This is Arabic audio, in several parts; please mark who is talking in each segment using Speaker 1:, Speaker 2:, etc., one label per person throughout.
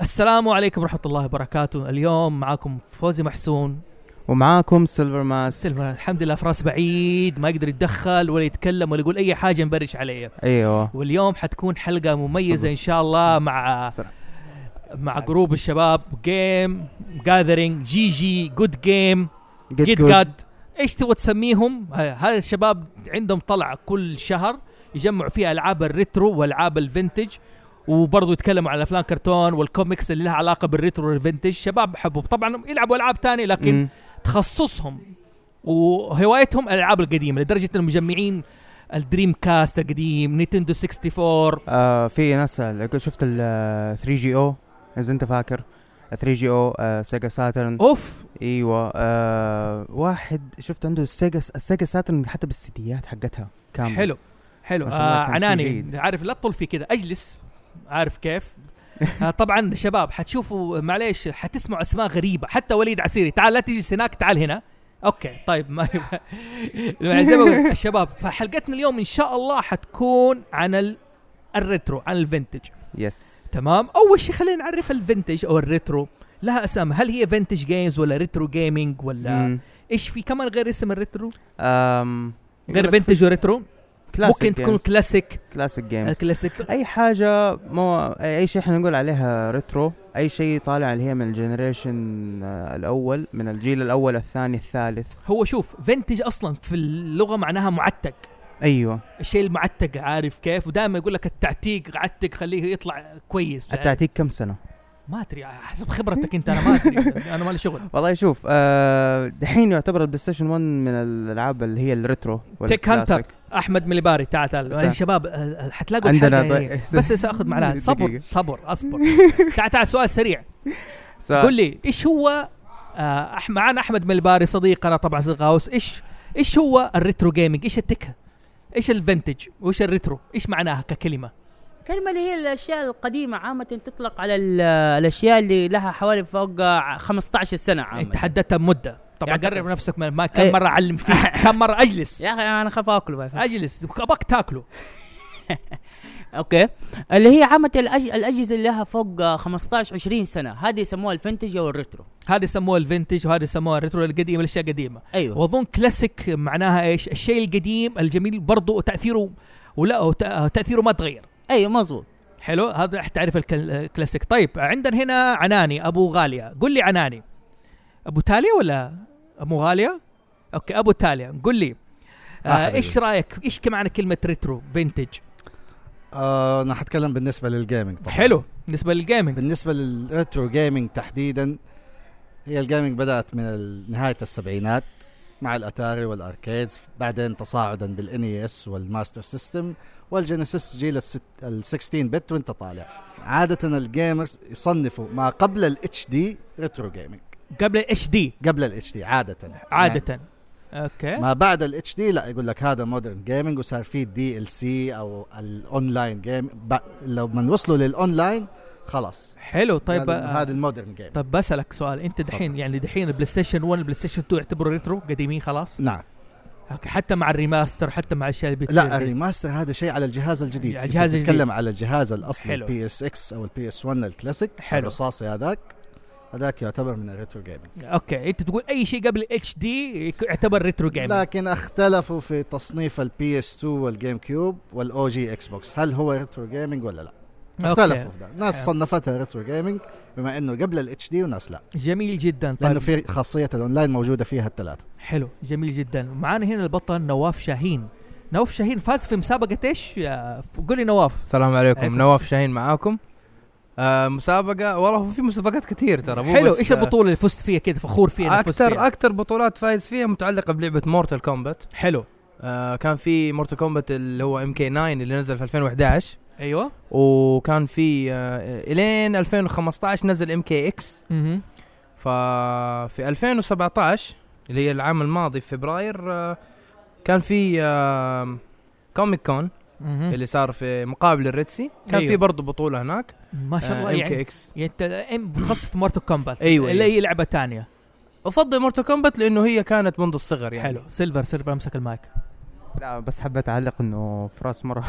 Speaker 1: السلام عليكم ورحمه الله وبركاته اليوم معاكم فوزي محسون
Speaker 2: ومعاكم سيلفر ماس
Speaker 1: سلفا الحمد لله في راس بعيد ما يقدر يتدخل ولا يتكلم ولا يقول اي حاجه مبرش علي
Speaker 2: ايوه
Speaker 1: واليوم حتكون حلقه مميزه ان شاء الله مع مع جروب الشباب جيم جاذرينج جي جي جود جيم جيت جاد ايش تبغى تسميهم ه- هذا الشباب عندهم طلع كل شهر يجمعوا فيها العاب الريترو والعاب الفينتج وبرضه يتكلموا عن افلام كرتون والكوميكس اللي لها علاقه بالريترو والفينتج شباب حبوب طبعا يلعبوا العاب تانية لكن
Speaker 2: مم.
Speaker 1: تخصصهم وهوايتهم الالعاب القديمه لدرجه انهم مجمعين الدريم كاست القديم نينتندو 64
Speaker 2: آه في ناس ال- شفت ال آه، 3 جي او اذا انت فاكر 3 جي او سيجا ساترن
Speaker 1: اوف
Speaker 2: ايوه آه واحد شفت عنده السيجا السيجا ساترن حتى بالسيديات حقتها كامله
Speaker 1: حلو حلو
Speaker 2: ما شاء الله
Speaker 1: آه
Speaker 2: كان شيء
Speaker 1: عناني
Speaker 2: جيد.
Speaker 1: عارف لا تطول في كذا اجلس عارف كيف آه طبعا شباب حتشوفوا معليش حتسمعوا اسماء غريبه حتى وليد عسيري تعال لا تجلس هناك تعال هنا اوكي طيب ما يبقى- يعني زي ما قلت الشباب فحلقتنا اليوم ان شاء الله حتكون عن ال... الريترو عن الفينتج
Speaker 2: يس
Speaker 1: تمام اول شيء خلينا نعرف الفينتج او الريترو لها اسامي هل هي فينتج جيمز ولا ريترو جيمنج ولا
Speaker 2: مم.
Speaker 1: ايش في كمان غير اسم الريترو
Speaker 2: آم،
Speaker 1: غير فينتج وريترو
Speaker 2: كلاسيك
Speaker 1: ممكن تكون
Speaker 2: جيمز.
Speaker 1: كلاسيك
Speaker 2: كلاسيك جيمز
Speaker 1: الكلاسيك
Speaker 2: اي حاجه مو اي شيء احنا نقول عليها ريترو اي شيء طالع اللي هي من الجنريشن آه، الاول من الجيل الاول الثاني الثالث
Speaker 1: هو شوف فينتج اصلا في اللغه معناها معتق
Speaker 2: ايوه
Speaker 1: الشيء المعتق عارف كيف ودائما يقول لك التعتيق عتق خليه يطلع كويس يعني
Speaker 2: التعتيق كم سنه
Speaker 1: ما ادري حسب خبرتك انت انا ما ادري انا مالي شغل
Speaker 2: والله شوف آه، دحين يعتبر البلاي ستيشن 1 من الالعاب اللي هي الريترو
Speaker 1: تيك هانتر
Speaker 2: والكلاسيك.
Speaker 1: احمد مليباري تعال تعال
Speaker 2: استنى.
Speaker 1: يا شباب آه، آه، حتلاقوا
Speaker 2: عندنا
Speaker 1: الحلقة
Speaker 2: ضي-
Speaker 1: يعني. بس ساخذ معلها صبر
Speaker 2: دقيقة.
Speaker 1: صبر اصبر تعال تعال سؤال سريع
Speaker 2: س-
Speaker 1: قول لي ايش هو آه، أح- معانا احمد ملباري صديقنا طبعا صديق غاوس ايش ايش هو الريترو جيمنج ايش التكه ايش الفنتج وايش الريترو ايش معناها ككلمه
Speaker 3: الكلمة اللي هي الأشياء القديمة عامة تطلق على ال- الأشياء اللي لها حوالي فوق 15 سنة عامة
Speaker 1: انت حددتها بمده طبعا
Speaker 3: يعتقد.
Speaker 2: طيب.
Speaker 1: قرب نفسك من المايك كم
Speaker 3: إيه.
Speaker 1: مره اعلم فيك كم مره اجلس
Speaker 3: يا أخي أنا أخاف آكله بعد.
Speaker 1: اجلس ابغاك تاكله
Speaker 3: أوكي اللي هي عامة الأج... الأجهزة اللي لها فوق 15 20 سنة هذه يسموها الفنتج أو الريترو
Speaker 1: هذا يسموه الفنتج وهذا يسموه الريترو القديم الاشياء القديمه
Speaker 3: أيوه
Speaker 1: واظن كلاسيك معناها ايش الشيء القديم الجميل برضو تاثيره ولا هو تأ- تاثيره ما تغير
Speaker 3: أيوه مظبوط
Speaker 1: حلو هذا راح تعرف الكل- الكلاسيك طيب عندنا هنا عناني ابو غاليه قل لي عناني ابو تاليا ولا ابو غاليه اوكي ابو تاليا قل لي آه
Speaker 4: مرحبا
Speaker 1: ايش رايك ايش معنى كلمه ريترو فينتج
Speaker 4: آه، انا هتكلم بالنسبه للجيمنج طبعا
Speaker 1: حلو بالنسبه للجيمنج
Speaker 4: بالنسبه للريترو جيمنج تحديدا هي الجيمنج بدات من ال- نهايه السبعينات مع الاتاري والاركيدز بعدين تصاعدا بالاني اس والماستر سيستم والجينيسيس جيل ال 16 بت وانت طالع عاده الجيمرز يصنفوا ما قبل الاتش دي ريترو جيمنج
Speaker 1: قبل اتش دي
Speaker 4: قبل الاتش دي عاده
Speaker 1: عاده اوكي
Speaker 4: ما بعد الاتش دي لا يقول لك هذا مودرن جيمنج وصار في دي ال سي او الاونلاين جيم ب- لو من وصلوا للاونلاين خلاص
Speaker 1: حلو طيب آه،
Speaker 4: يعني هذا المودرن جيم
Speaker 1: طب بسالك سؤال انت دحين يعني دحين البلاي ستيشن 1 البلاي ستيشن 2 يعتبروا ريترو قديمين خلاص
Speaker 4: نعم
Speaker 1: اوكي حتى مع الريماستر حتى مع الاشياء اللي بتصير
Speaker 4: لا
Speaker 1: دي.
Speaker 4: الريماستر هذا شيء على الجهاز الجديد
Speaker 1: على الجهاز
Speaker 4: أنت
Speaker 1: الجديد.
Speaker 4: تتكلم على الجهاز الاصلي
Speaker 1: حلو.
Speaker 4: البي اس اكس او البي اس 1 الكلاسيك
Speaker 1: حلو.
Speaker 4: الرصاصي هذاك هذاك يعتبر من الريترو جيمنج
Speaker 1: اوكي انت تقول اي شيء قبل اتش دي يعتبر ريترو جيم
Speaker 4: لكن اختلفوا في تصنيف البي اس 2 والجيم كيوب والاو جي اكس بوكس هل هو ريترو جيمنج ولا لا اختلفوا في ده ناس
Speaker 1: حلو.
Speaker 4: صنفتها ريترو جيمنج بما انه قبل الاتش دي وناس لا
Speaker 1: جميل جدا
Speaker 4: لانه
Speaker 1: طيب
Speaker 4: في خاصيه الاونلاين موجوده فيها الثلاثه
Speaker 1: حلو جميل جدا معانا هنا البطل نواف شاهين نواف شاهين فاز في مسابقه ايش يا- قولي نواف
Speaker 5: السلام عليكم
Speaker 1: عليكم
Speaker 5: نواف
Speaker 1: السلام.
Speaker 5: شاهين معاكم آه مسابقة والله هو في مسابقات كثير ترى مو
Speaker 1: حلو
Speaker 5: بس،
Speaker 1: ايش البطوله اللي فزت فيها كذا فخور فيها
Speaker 5: آه
Speaker 1: إنك فزت
Speaker 5: اكثر
Speaker 1: فيها؟
Speaker 5: اكثر بطولات فايز فيها متعلقة بلعبة مورتال كومبات
Speaker 1: حلو
Speaker 5: آه كان في مورتال كومبات اللي هو ام كي 9 اللي نزل في 2011
Speaker 1: ايوه
Speaker 5: وكان في آه الين 2015 نزل ام كي اكس
Speaker 1: مهم.
Speaker 5: ففي 2017 اللي هي العام الماضي في فبراير آه كان في آه كوميك كون
Speaker 1: مهم.
Speaker 5: اللي صار في مقابل الريتسي كان
Speaker 1: أيوه.
Speaker 5: في برضه بطولة هناك
Speaker 1: ما شاء الله
Speaker 5: ام كي
Speaker 1: يعني
Speaker 5: اكس
Speaker 1: يعني انت الآن متخصص في مورتو كومبات
Speaker 5: أيوة،
Speaker 1: اللي
Speaker 5: أيوة.
Speaker 1: هي لعبه ثانيه
Speaker 5: افضل مورتال كومبات لانه هي كانت منذ الصغر يعني
Speaker 1: حلو سيلفر سيلفر امسك المايك
Speaker 2: لا بس حبيت اعلق انه فراس مره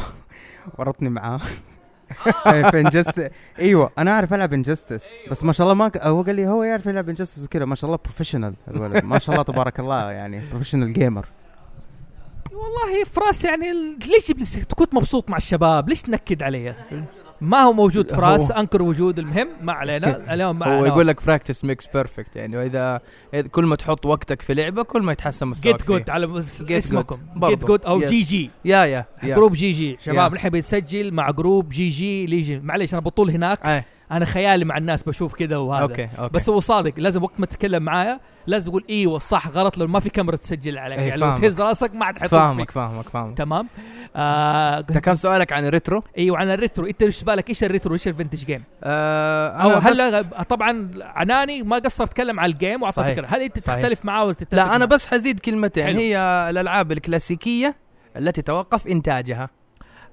Speaker 2: ورطني معاه
Speaker 6: إيه، في انجستس ايوه انا اعرف العب انجستس بس ما شاء الله ما ك... هو قال لي هو يعرف يلعب انجستس وكذا ما شاء الله بروفيشنال الولد ما شاء الله تبارك الله يعني بروفيشنال جيمر
Speaker 1: والله في راسي يعني ال- ليش جبت لي- كنت مبسوط مع الشباب ليش تنكد علي ما هو موجود في راس انكر وجود المهم ما علينا اليوم ما
Speaker 5: هو
Speaker 1: علينا.
Speaker 5: يقول لك براكتس ميكس بيرفكت يعني واذا إذا كل ما تحط وقتك في لعبه كل ما يتحسن مستواك
Speaker 1: جيت
Speaker 5: فيها.
Speaker 1: جود على مس-
Speaker 5: Get good.
Speaker 1: اسمكم جيت
Speaker 5: برضو.
Speaker 1: جود او
Speaker 5: Yes.
Speaker 1: جي جي
Speaker 5: يا يا يا
Speaker 1: جروب جي جي شباب
Speaker 5: Yeah.
Speaker 1: نحن بنسجل مع جروب جي جي ليجي معليش انا بطول هناك
Speaker 5: ايه
Speaker 1: انا خيالي مع الناس بشوف كذا وهذا
Speaker 5: اوكي اوكي
Speaker 1: بس هو صادق لازم وقت ما تتكلم معايا لازم تقول ايوه صح غلط لو ما في كاميرا تسجل عليك
Speaker 5: إيه،
Speaker 1: يعني لو
Speaker 5: فاهمك.
Speaker 1: تهز راسك ما عاد حيطوف
Speaker 5: فاهمك
Speaker 1: فيك
Speaker 5: فاهمك فاهمك
Speaker 1: تمام آه
Speaker 5: انت كان سؤالك عن الريترو
Speaker 1: ايوه عن الريترو انت ايش بالك ايش الريترو وايش الفنتج جيم
Speaker 5: آه
Speaker 1: او
Speaker 5: أنا بس-
Speaker 1: هلا طبعا عناني ما قصر اتكلم على الجيم واعطى
Speaker 5: صحيح.
Speaker 1: فكره هل انت
Speaker 5: صحيح.
Speaker 1: تختلف معاه ولا تتفق
Speaker 5: لا انا
Speaker 1: معاه؟
Speaker 5: بس حزيد كلمتين
Speaker 1: حلو.
Speaker 5: هي الالعاب الكلاسيكيه التي توقف انتاجها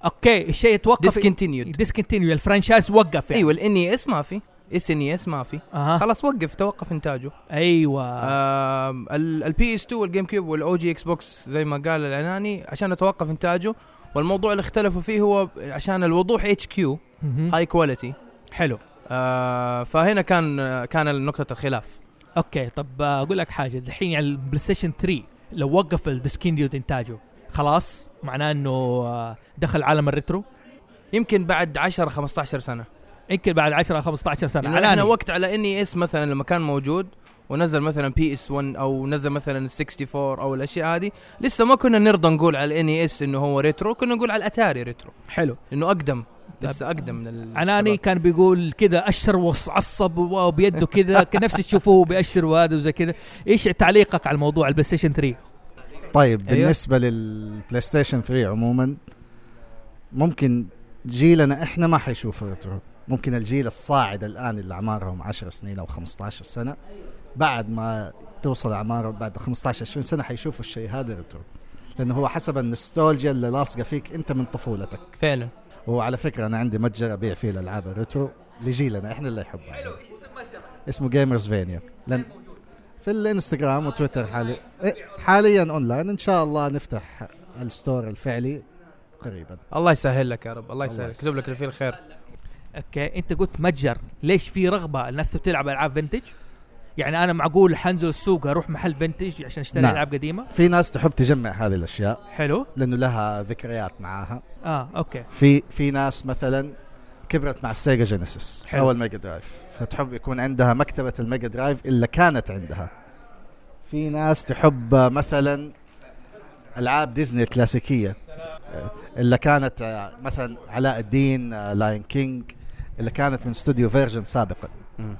Speaker 1: اوكي الشيء يتوقف
Speaker 5: ديسكونتينيود
Speaker 1: ديسكنتينيو الفرانشايز وقف يعني
Speaker 5: ايوه الاني اس ما في اس اني اس ما في
Speaker 1: اها
Speaker 5: خلاص وقف توقف انتاجه
Speaker 1: ايوه
Speaker 5: البي اس 2 والجيم كيوب والاو جي اكس بوكس زي ما قال العناني عشان يتوقف انتاجه والموضوع اللي اختلفوا فيه هو عشان الوضوح اتش كيو
Speaker 1: مهم.
Speaker 5: هاي كواليتي
Speaker 1: حلو
Speaker 5: فهنا كان آه، كان نقطه الخلاف
Speaker 1: اوكي طب آه، اقول لك حاجه الحين يعني البلاي ستيشن 3 لو وقف الديسكنتينيو انتاجه خلاص معناه انه آه، دخل عالم الريترو
Speaker 5: يمكن بعد 10 15 سنه
Speaker 1: يمكن بعد 10 15 سنه
Speaker 5: لانه احنا
Speaker 1: علاني.
Speaker 5: وقت على اني اس مثلا لما كان موجود ونزل مثلا بي اس 1 او نزل مثلا 64 او الاشياء هذه لسه ما كنا نرضى نقول على الاني اس انه هو ريترو كنا نقول على الاتاري ريترو
Speaker 1: حلو
Speaker 5: لانه اقدم لسه اقدم من ال-
Speaker 1: عناني
Speaker 5: الشباب.
Speaker 1: كان بيقول كذا اشر وعصب وبيده كذا كان نفسي تشوفوه بيأشر وهذا وزي كذا ايش تعليقك على الموضوع البلاي ستيشن 3
Speaker 4: طيب
Speaker 5: أيوه.
Speaker 4: بالنسبه للبلاي ستيشن 3 عموما ممكن جيلنا احنا ما حيشوف الريترو ممكن الجيل الصاعد الان اللي اعمارهم 10 سنين او 15 سنه بعد ما توصل اعماره بعد 15 20 سنه حيشوفوا الشيء هذا ريترو لانه هو حسب النستولجيا اللي لاصقه فيك انت من طفولتك
Speaker 5: فعلا
Speaker 4: وعلى فكره انا عندي متجر ابيع فيه الالعاب الريترو لجيلنا احنا اللي يحبها حلو ايش اسم المتجر؟ اسمه جيمرز فينيا لن في الانستغرام وتويتر حالي إيه، حاليا اونلاين ان شاء الله نفتح الستور الفعلي قريبا
Speaker 5: الله يسهل لك يا رب الله
Speaker 4: الله
Speaker 5: يسهل
Speaker 4: يسهل.
Speaker 5: يكتب لك اللي فيه الخير
Speaker 1: اوكي انت قلت متجر ليش في رغبه الناس تبي تلعب العاب فينتج يعني انا معقول حنزل السوق اروح محل فينتج عشان اشتري
Speaker 4: نعم.
Speaker 1: العاب قديمه
Speaker 4: في ناس تحب تجمع هذه الاشياء
Speaker 1: حلو
Speaker 4: لانه لها ذكريات معاها
Speaker 1: اه اوكي
Speaker 4: في في ناس مثلا كبرت مع السيجا جينيسيس
Speaker 1: حلو.
Speaker 4: او الميجا درايف فتحب يكون عندها مكتبه الميجا درايف اللي كانت عندها في ناس تحب مثلا العاب ديزني الكلاسيكيه اللي كانت آه، مثلا علاء الدين لاين كينج اللي كانت من استوديو فيرجن سابقا
Speaker 6: مم.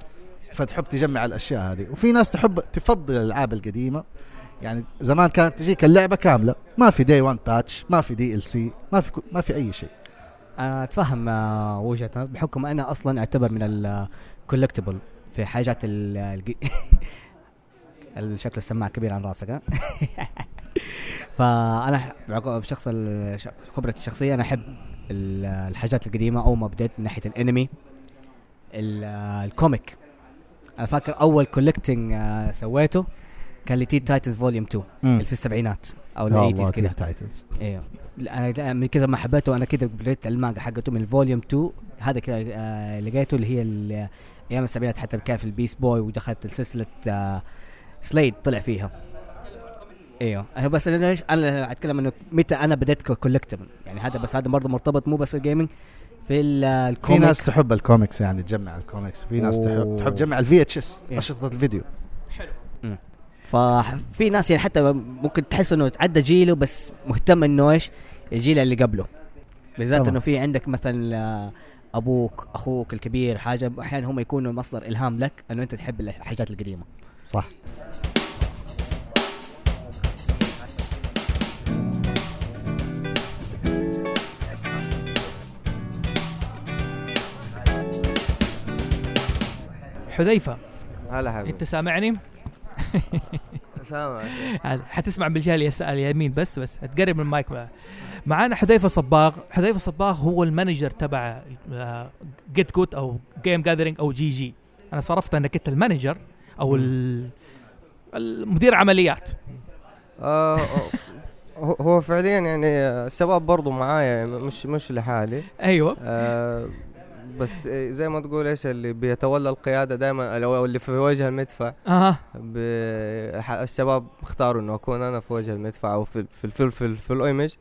Speaker 4: فتحب تجمع الاشياء هذه وفي ناس تحب تفضل الالعاب القديمه يعني زمان كانت تجيك اللعبه كامله ما في دي 1 باتش ما في دي ال سي ما في ما في اي شيء
Speaker 7: انا اتفهم آه، وجهه نظر بحكم انا اصلا اعتبر من الكولكتبل في حاجات ال الج- الشكل السماعه كبير عن راسك ها فانا ح- بعق- بشخص ال- ش- خبرتي الشخصيه انا احب ال- الحاجات القديمه اول ما بديت من ناحيه الانمي ال- آه، الكوميك انا فاكر اول كولكتنج سويته كان لتيد تايتنز فوليوم 2 اللي في السبعينات او الايتيز كذا
Speaker 4: تايتنز
Speaker 7: ايوه لا، انا لا، من كذا ما حبيته انا كذا قريت المانجا حقته من فوليوم 2 هذا كذا آه لقيته اللي هي ال- ايام السبعينات حتى كان في البيس بوي ودخلت سلسله آه سليد طلع فيها ايوه أنا بس انا ليش انا اتكلم انه متى انا بديت كولكتبل يعني هذا بس هذا برضه مرتبط مو بس في الجيمنج في ال- آه،
Speaker 4: في
Speaker 7: الكوميك
Speaker 4: ناس تحب الكوميكس يعني تجمع الكوميكس وفي ناس تحب
Speaker 7: أوه. إيه.
Speaker 4: تحب تجمع الفي اتش اس
Speaker 7: Yeah.
Speaker 4: اشرطه الفيديو
Speaker 7: ففي ناس يعني حتى ممكن تحس انه تعدى جيله بس مهتم انه ايش الجيل اللي قبله بالذات
Speaker 4: طبعاً.
Speaker 7: انه في عندك مثلا آه، ابوك اخوك الكبير حاجه احيانا هم يكونوا مصدر الهام لك انه انت تحب الحاجات القديمه
Speaker 4: صح
Speaker 1: حذيفه
Speaker 6: هلا حبيبي
Speaker 1: انت سامعني
Speaker 6: سامعك
Speaker 1: عاد حتسمع بالجهه اليس- اليمين بس بس تقرب من المايك بقى. معانا حذيفه صباغ حذيفه صباغ هو المانجر تبع آه، جيت جوت او جيم جاذرينج او جي جي انا صرفت انك انت المانجر او ال- المدير عمليات
Speaker 6: آه، آه،
Speaker 8: هو هو فعليا يعني آه، الشباب برضو معايا يعني مش مش لحالي
Speaker 1: ايوه
Speaker 8: آه، بس ت- زي ما تقول ايش اللي بيتولى القياده دائما او اللي في وجه المدفع
Speaker 1: اها
Speaker 8: ب- ح- الشباب اختاروا انه اكون انا في وجه المدفع او في في في, في, في الايمج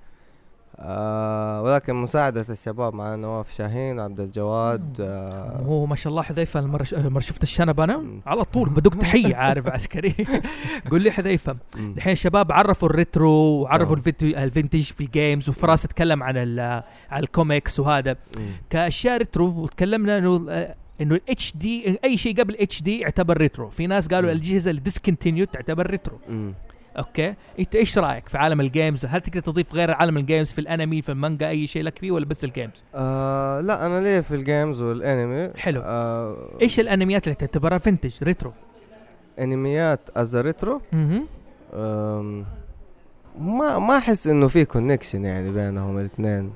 Speaker 8: آه ولكن مساعدة الشباب مع نواف شاهين عبد الجواد آه
Speaker 1: هو ما شاء الله حذيفه المره ش- المرة شفت الشنب انا على طول بدق تحيه عارف عسكري قول لي حذيفه
Speaker 8: مم.
Speaker 1: الحين الشباب عرفوا الريترو وعرفوا
Speaker 8: آه.
Speaker 1: الفيديو- الفينتج في الجيمز وفراس اتكلم عن ال- على الكوميكس وهذا
Speaker 8: مم.
Speaker 1: كاشياء ريترو وتكلمنا انه آه، انه الاتش دي اي شيء قبل اتش دي يعتبر ريترو في ناس قالوا
Speaker 8: مم.
Speaker 1: الاجهزه اللي ديسكونتينيو تعتبر ريترو
Speaker 8: مم.
Speaker 1: اوكي انت ايش رايك في عالم الجيمز هل تقدر تضيف غير عالم الجيمز في الانمي في المانجا اي شيء لك فيه ولا بس الجيمز
Speaker 8: آه لا انا ليه في الجيمز والانمي
Speaker 1: حلو.
Speaker 8: آه
Speaker 1: ايش الانميات اللي تعتبرها فينتج ريترو
Speaker 8: انميات از ريترو
Speaker 1: مهم.
Speaker 8: أم، ما ما احس انه في كونكشن يعني بينهم الاثنين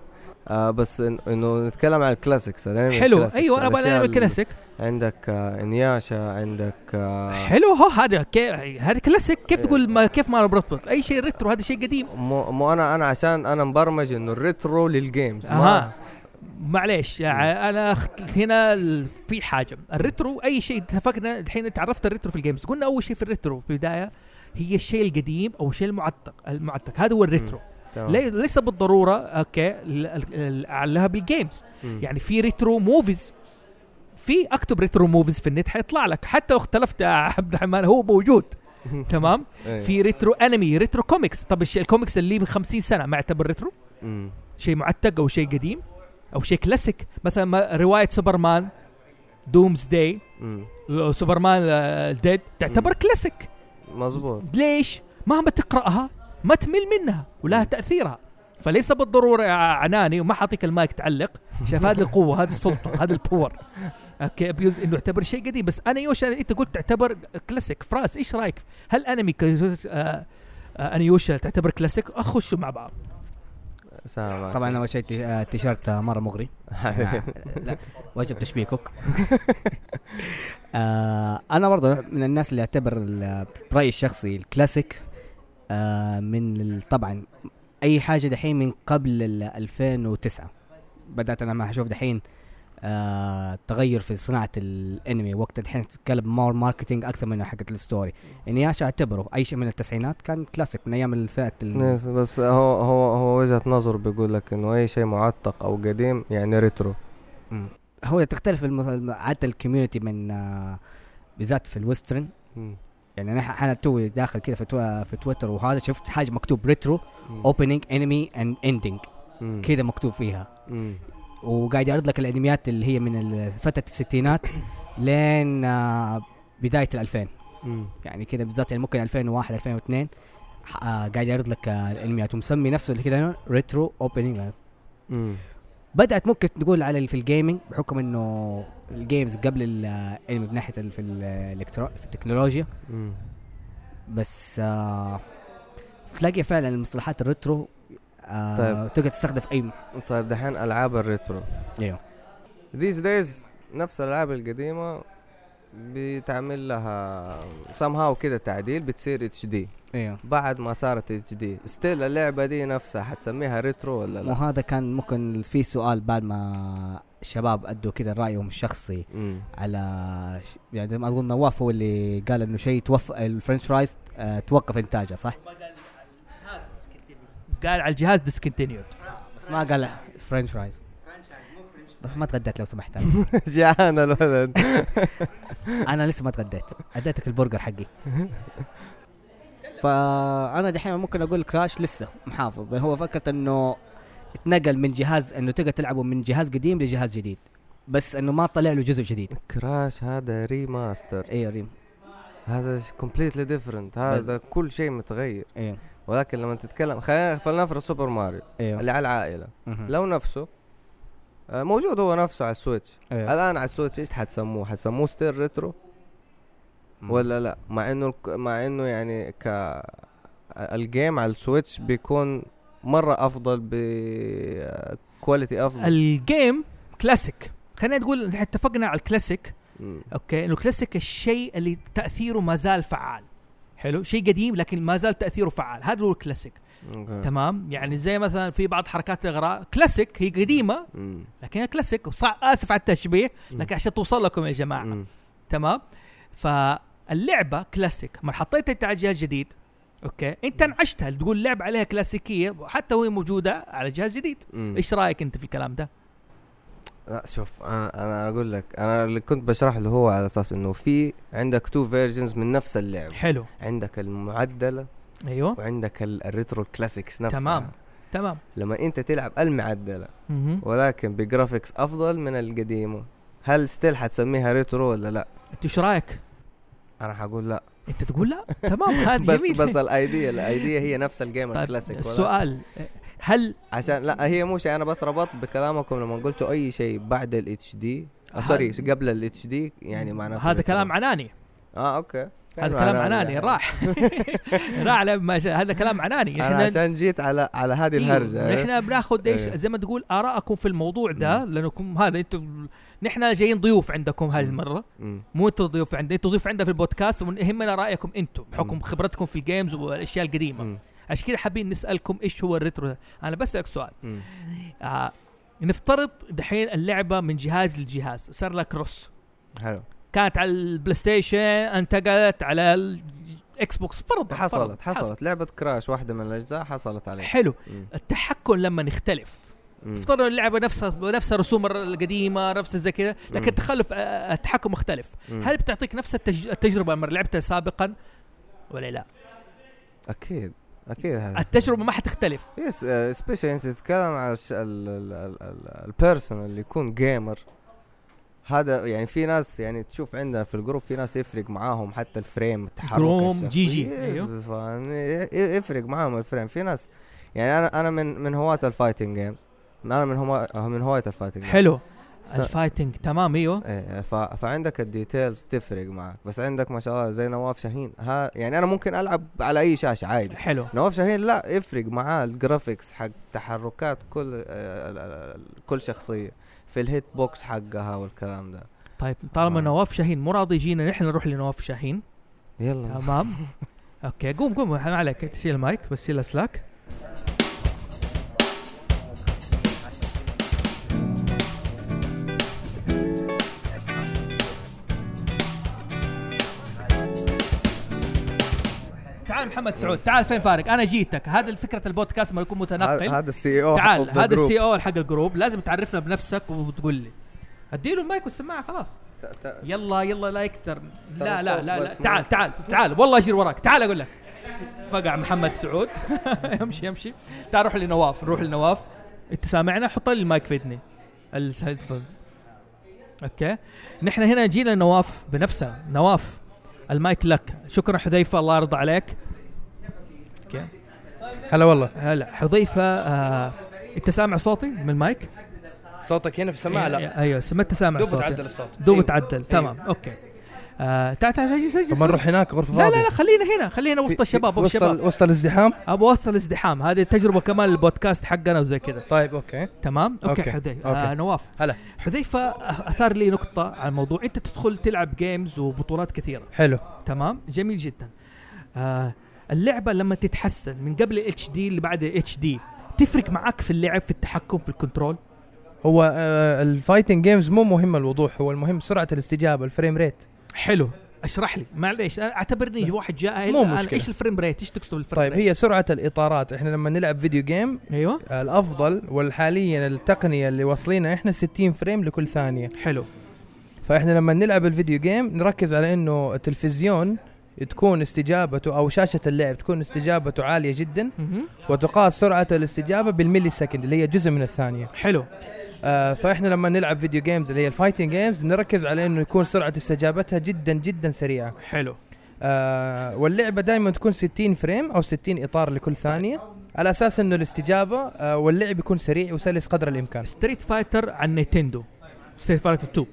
Speaker 8: آه بس إن- انه نتكلم عن الكلاسيكس الانمي
Speaker 1: حلو
Speaker 8: الكلاسيكس،
Speaker 1: ايوه انا
Speaker 8: الأشياء
Speaker 1: بانمي
Speaker 8: ال-
Speaker 1: كلاسيك
Speaker 8: عندك آه انياشا عندك آه
Speaker 1: حلو هو هذا كي- هذا كلاسيك كيف تقول ما كيف ما بربط اي شيء ريترو هذا شيء قديم
Speaker 8: مو, مو انا انا عشان انا مبرمج انه الريترو للجيمز
Speaker 1: اها
Speaker 8: ما
Speaker 1: معليش
Speaker 8: إيه.
Speaker 1: يعني انا أخت... هنا ال- في حاجه الريترو اي شيء اتفقنا الحين تعرفت الريترو في الجيمز قلنا اول شيء في الريترو في البدايه هي الشيء القديم او الشيء المعتق المعتق هذا هو الريترو
Speaker 8: تمام.
Speaker 1: لي... ليس بالضروره اوكي ال- ال- ال- اعلها بالجيمز
Speaker 8: مم.
Speaker 1: يعني في ريترو موفيز في اكتب ريترو موفيز في النت حيطلع لك حتى لو اختلفت يا عبد الرحمن هو موجود تمام
Speaker 8: إيه.
Speaker 1: في ريترو انمي ريترو كوميكس طب الشيء الكوميكس اللي من 50 سنه ما يعتبر ريترو
Speaker 8: مم.
Speaker 1: شيء معتق او شيء قديم او شيء كلاسيك مثلا ما- روايه سوبرمان دومز داي
Speaker 8: مم.
Speaker 1: سوبرمان آه، ديد تعتبر
Speaker 8: مم.
Speaker 1: كلاسيك
Speaker 8: مظبوط
Speaker 1: ليش مهما تقراها ما تمل منها ولها تاثيرها فليس بالضروره يا عناني وما حاعطيك المايك تعلق شايف هذه القوه هذه السلطه هذا البور اوكي ابيوز انه يعتبر شيء قديم بس انا يوشا انت قلت تعتبر كلاسيك فراس ايش رايك هل انمي ك- آه، آه، انيوشا تعتبر كلاسيك اخشوا مع بعض
Speaker 8: سلام عليكم.
Speaker 7: طبعا اول شيء التي- آه، التيشيرت آه، مره مغري آه، لا وجب تشبيكك آه انا برضو من الناس اللي اعتبر ال- برايي الشخصي الكلاسيك آه من ال- طبعا اي حاجه دحين من قبل ال 2009 بدات انا ما اشوف دحين آه تغير في صناعه الانمي وقت الحين تتكلم مور ماركتينج اكثر من يعني حقه الستوري انياشا اعتبره اي شيء من التسعينات كان كلاسيك من ايام الفئه ال-
Speaker 8: ناس- بس هو هو هو وجهه نظر بيقول لك انه اي شيء معتق او قديم يعني ريترو
Speaker 7: هو تختلف المس- الم- عاده الكوميونتي من آه بالذات في الويسترن
Speaker 8: مم.
Speaker 7: يعني انا ح- انا توي داخل كذا في تو... في تويتر وهذا شفت حاجه مكتوب ريترو
Speaker 8: مم.
Speaker 7: اوبننج انمي اند اندنج
Speaker 8: مم.
Speaker 7: كذا مكتوب فيها
Speaker 8: مم.
Speaker 7: وقاعد يعرض لك الانميات اللي هي من ال- فتره الستينات لين آه، بدايه ال2000
Speaker 8: مم.
Speaker 7: يعني كذا بالذات يعني ممكن 2001 2002 ح- آه، قاعد يعرض لك آه، الانميات ومسمي نفسه اللي كذا ريترو اوبننج
Speaker 8: مم.
Speaker 7: بدات ممكن تقول على اللي في الجيمنج بحكم انه الجيمز قبل الانمي من ناحيه ال- في الالكترو في التكنولوجيا
Speaker 8: مم.
Speaker 7: بس آه تلاقي فعلا المصطلحات الريترو آه
Speaker 8: طيب.
Speaker 7: طيب. تقدر تستخدم في اي م-
Speaker 8: طيب دحين العاب الريترو
Speaker 7: ايوه
Speaker 8: these days نفس الالعاب القديمه بتعمل لها somehow كده تعديل بتصير اتش دي
Speaker 7: ايوه
Speaker 8: بعد ما صارت اتش دي ستيل اللعبه دي نفسها حتسميها ريترو ولا لا؟
Speaker 7: وهذا كان ممكن في سؤال بعد ما الشباب ادوا كذا رايهم الشخصي
Speaker 8: مم.
Speaker 7: على ش- يعني زي ما اقول نواف هو اللي قال انه شيء توف الفرنش رايز آه توقف انتاجه صح؟
Speaker 1: قال على الجهاز ديسكونتينيود
Speaker 7: آه، بس ما قال فرنش رايز بس ما تغديت لو سمحت
Speaker 8: جعان الولد
Speaker 7: انا لسه ما تغديت اديتك البرجر حقي فانا دحين ممكن اقول كراش لسه محافظ بل هو فكره انه اتنقل من جهاز انه تقدر تلعبه من جهاز قديم لجهاز جديد بس انه ما طلع له جزء جديد
Speaker 8: كراش هذا ريماستر
Speaker 7: ايوه ريم
Speaker 8: هذا كومبليتلي ديفرنت هذا كل شيء متغير
Speaker 7: ايوه
Speaker 8: ولكن لما تتكلم خلينا فلنفرض سوبر ماريو
Speaker 7: ايوه
Speaker 8: اللي على العائله
Speaker 7: مهم.
Speaker 8: لو نفسه آه، موجود هو نفسه على السويتش
Speaker 7: ايوه
Speaker 8: الان على السويتش ايش حتسموه؟ حتسموه ستيل ريترو
Speaker 7: مم.
Speaker 8: ولا لا مع انه الك- مع انه يعني ك الجيم على السويتش بيكون مره افضل ب آه، كواليتي افضل
Speaker 1: الجيم كلاسيك خلينا نقول إحنا اتفقنا على الكلاسيك
Speaker 8: مم.
Speaker 1: اوكي انه الكلاسيك الشيء اللي تاثيره ما زال فعال حلو شيء قديم لكن ما زال تاثيره فعال هذا هو الكلاسيك
Speaker 8: نعم. أوكي.
Speaker 1: تمام يعني زي مثلا في بعض حركات الاغراء كلاسيك هي قديمه
Speaker 8: مم.
Speaker 1: لكن هي كلاسيك وصع اسف على التشبيه
Speaker 8: مم.
Speaker 1: لكن عشان توصل لكم يا جماعه
Speaker 8: مم.
Speaker 1: تمام فاللعبه كلاسيك ما حطيت انت على جهاز جديد اوكي انت انعشتها تقول لعبه عليها كلاسيكيه حتى وهي موجوده على جهاز جديد
Speaker 8: مم.
Speaker 1: ايش رايك انت في الكلام ده
Speaker 8: لا شوف انا انا اقول لك انا اللي كنت بشرح له هو على اساس انه في عندك تو فيرجنز من نفس اللعبه
Speaker 1: حلو
Speaker 8: عندك المعدله
Speaker 1: ايوه
Speaker 8: وعندك ال- الريترو كلاسيكس نفسها
Speaker 1: تمام. تمام
Speaker 8: لما انت تلعب المعدله
Speaker 1: مهم.
Speaker 8: ولكن بجرافيكس افضل من القديمه هل ستيل حتسميها ريترو ولا لا
Speaker 1: انت ايش رايك
Speaker 8: انا حقول لا
Speaker 1: انت تقول لا تمام هذا
Speaker 8: بس
Speaker 1: جميل
Speaker 8: بس الايديا الايديا هي نفس الجيم
Speaker 1: طيب
Speaker 8: الكلاسيك ولا
Speaker 1: السؤال هل
Speaker 8: عشان لا هي مو شيء انا بس ربطت بكلامكم لما قلتوا اي شيء بعد الاتش دي
Speaker 1: هل-
Speaker 8: سوري آه، قبل الاتش دي يعني معناته
Speaker 1: هذا
Speaker 8: retro.
Speaker 1: كلام عناني
Speaker 8: اه اوكي
Speaker 1: هذا كلام عناني راح راح على ما شاء- هذا كلام عناني
Speaker 8: انا عشان جيت على على هذه الهرجه
Speaker 1: إيه، نحن بناخذ ايش
Speaker 8: إيه.
Speaker 1: زي ما تقول ارائكم في الموضوع ده لانكم هذا انتم نحن جايين ضيوف عندكم هذه
Speaker 8: مم.
Speaker 1: المره
Speaker 8: مم.
Speaker 1: مو انتم ضيوف عندنا انتم ضيوف عندنا في البودكاست ويهمنا رايكم انتم بحكم
Speaker 8: مم.
Speaker 1: خبرتكم في الجيمز والاشياء القديمه
Speaker 8: مم.
Speaker 1: عشان كذا حابين نسالكم ايش هو الريترو ده. انا بسالك سؤال
Speaker 8: مم.
Speaker 1: آه نفترض دحين اللعبه من جهاز لجهاز صار لها كروس
Speaker 8: حلو
Speaker 1: كانت على البلاي ستيشن انتقلت على الاكس بوكس فرضا فرضا.
Speaker 8: حصلت حصلت لعبه كراش واحده من الاجزاء حصلت عليه
Speaker 1: حلو
Speaker 8: مم.
Speaker 1: التحكم لما يختلف
Speaker 8: مم.
Speaker 1: افترضوا اللعبه نفسها نفس الرسوم القديمه نفس زي كذا لكن
Speaker 8: مم.
Speaker 1: تخلف آه، التحكم مختلف
Speaker 8: مم.
Speaker 1: هل بتعطيك نفس التج... التجربه لما لعبتها سابقا ولا لا
Speaker 8: اكيد اكيد هذا
Speaker 1: التجربه ما حتختلف
Speaker 8: يس سبيشال انت uh, تتكلم على الش... ال... ال... ال... ال... البيرسون اللي يكون جيمر هذا يعني في ناس يعني تشوف عندنا في الجروب في ناس يفرق معاهم حتى الفريم التحرك
Speaker 1: جروم،
Speaker 8: الشخصي.
Speaker 1: جي جي،
Speaker 8: يس،
Speaker 1: أيوه.
Speaker 8: فاهم؟ ي- ي- يفرق معاهم الفريم في ناس يعني انا انا من من هواة الفايتنج جيمز انا من هما من هواة الفايتنج جيمز
Speaker 1: حلو
Speaker 8: س-
Speaker 1: الفايتنج تمام ايوه
Speaker 8: ايه ف... فعندك الديتيلز تفرق معك بس عندك ما شاء الله زي نواف شاهين ها يعني انا ممكن العب على اي شاشه عادي
Speaker 1: حلو
Speaker 8: نواف شاهين لا يفرق معاه الجرافيكس حق تحركات كل آه، ال- ال- ال- كل شخصيه في الهيت بوكس حقها والكلام ده
Speaker 1: طيب طالما
Speaker 8: آه.
Speaker 1: نواف شاهين مو راضي يجينا نحن نروح لنواف شاهين
Speaker 8: يلا
Speaker 1: تمام اوكي قوم قوم ما عليك تشيل المايك بس شيل اسلاك تعال محمد سعود تعال فين فارق انا جيتك هذا فكره البودكاست ما يكون
Speaker 8: هذا
Speaker 1: متنقل
Speaker 8: هذا السي او
Speaker 1: تعال هذا السي او حق الجروب لازم تعرفنا بنفسك وتقول لي اديله المايك والسماعه خلاص يلا يلا لا يكتر لا لا لا, لا.
Speaker 8: بس مو-
Speaker 1: تعال تعال تعال والله اجي وراك تعال اقول لك فقع محمد سعود يمشي يمشي تعال روح لنواف نروح لنواف انت سامعنا حط لي المايك في اذني الهيدفون اوكي نحن هنا جينا نواف بنفسنا نواف المايك لك شكرا حذيفه الله يرضى عليك اوكي
Speaker 5: هلا والله
Speaker 1: هلا حذيفه آه. انت سامع صوتي من المايك؟
Speaker 5: صوتك هنا في السماعه لا
Speaker 1: ايوه سمعت سامع
Speaker 5: دوب
Speaker 1: صوتي
Speaker 5: تعدل الصوت
Speaker 1: دوب
Speaker 5: أيوه.
Speaker 1: تعدل تمام اوكي آه تعال تعال سجل سجل
Speaker 5: طب ما نروح هناك غرفه
Speaker 1: لا لا
Speaker 5: فاضيه
Speaker 1: لا خلينا هنا خلينا
Speaker 5: في-
Speaker 1: وسط
Speaker 5: في-
Speaker 1: الشباب ابو
Speaker 5: وسط ال-
Speaker 1: الشباب
Speaker 5: وسط الازدحام
Speaker 1: ابو وسط الازدحام هذه تجربه كمان البودكاست حقنا وزي كذا
Speaker 5: طيب اوكي
Speaker 1: تمام اوكي,
Speaker 5: أوكي،
Speaker 1: حذيفه
Speaker 5: أوكي.
Speaker 1: آه نواف
Speaker 5: هلا.
Speaker 1: حذيفه أ- اثار لي نقطه على الموضوع انت تدخل تلعب جيمز وبطولات كثيره
Speaker 5: حلو
Speaker 1: تمام جميل جدا آه اللعبه لما تتحسن من قبل الاتش دي اللي بعد الاتش دي تفرق معاك في اللعب في التحكم في الكنترول
Speaker 5: هو آه الفايتنج جيمز مو مهم الوضوح هو المهم سرعه الاستجابه الفريم ريت
Speaker 1: حلو اشرح لي معليش انا اعتبرني واحد جاهل
Speaker 5: مو
Speaker 1: أنا
Speaker 5: مشكلة.
Speaker 1: ايش الفريم ريت ايش تقصد بالفريم
Speaker 5: طيب
Speaker 1: ريت؟
Speaker 5: هي سرعه الاطارات احنا لما نلعب فيديو جيم
Speaker 1: ايوه
Speaker 5: آه، الافضل والحاليا التقنيه اللي واصلينا احنا 60 فريم لكل ثانيه
Speaker 1: حلو
Speaker 5: فاحنا لما نلعب الفيديو جيم نركز على انه التلفزيون تكون استجابته او شاشه اللعب تكون استجابته عاليه جدا
Speaker 1: مهم.
Speaker 5: وتقاس سرعه الاستجابه بالملي سكند اللي هي جزء من الثانيه
Speaker 1: حلو
Speaker 5: آه فاحنا لما نلعب فيديو جيمز اللي هي الفايتنج جيمز نركز على انه يكون سرعه استجابتها جدا جدا سريعه
Speaker 1: حلو
Speaker 5: آه واللعبه دائما تكون 60 فريم او 60 اطار لكل ثانيه على اساس انه الاستجابه آه واللعب يكون سريع وسلس قدر الامكان
Speaker 1: ستريت فايتر عن نينتندو ستريت فايتر 2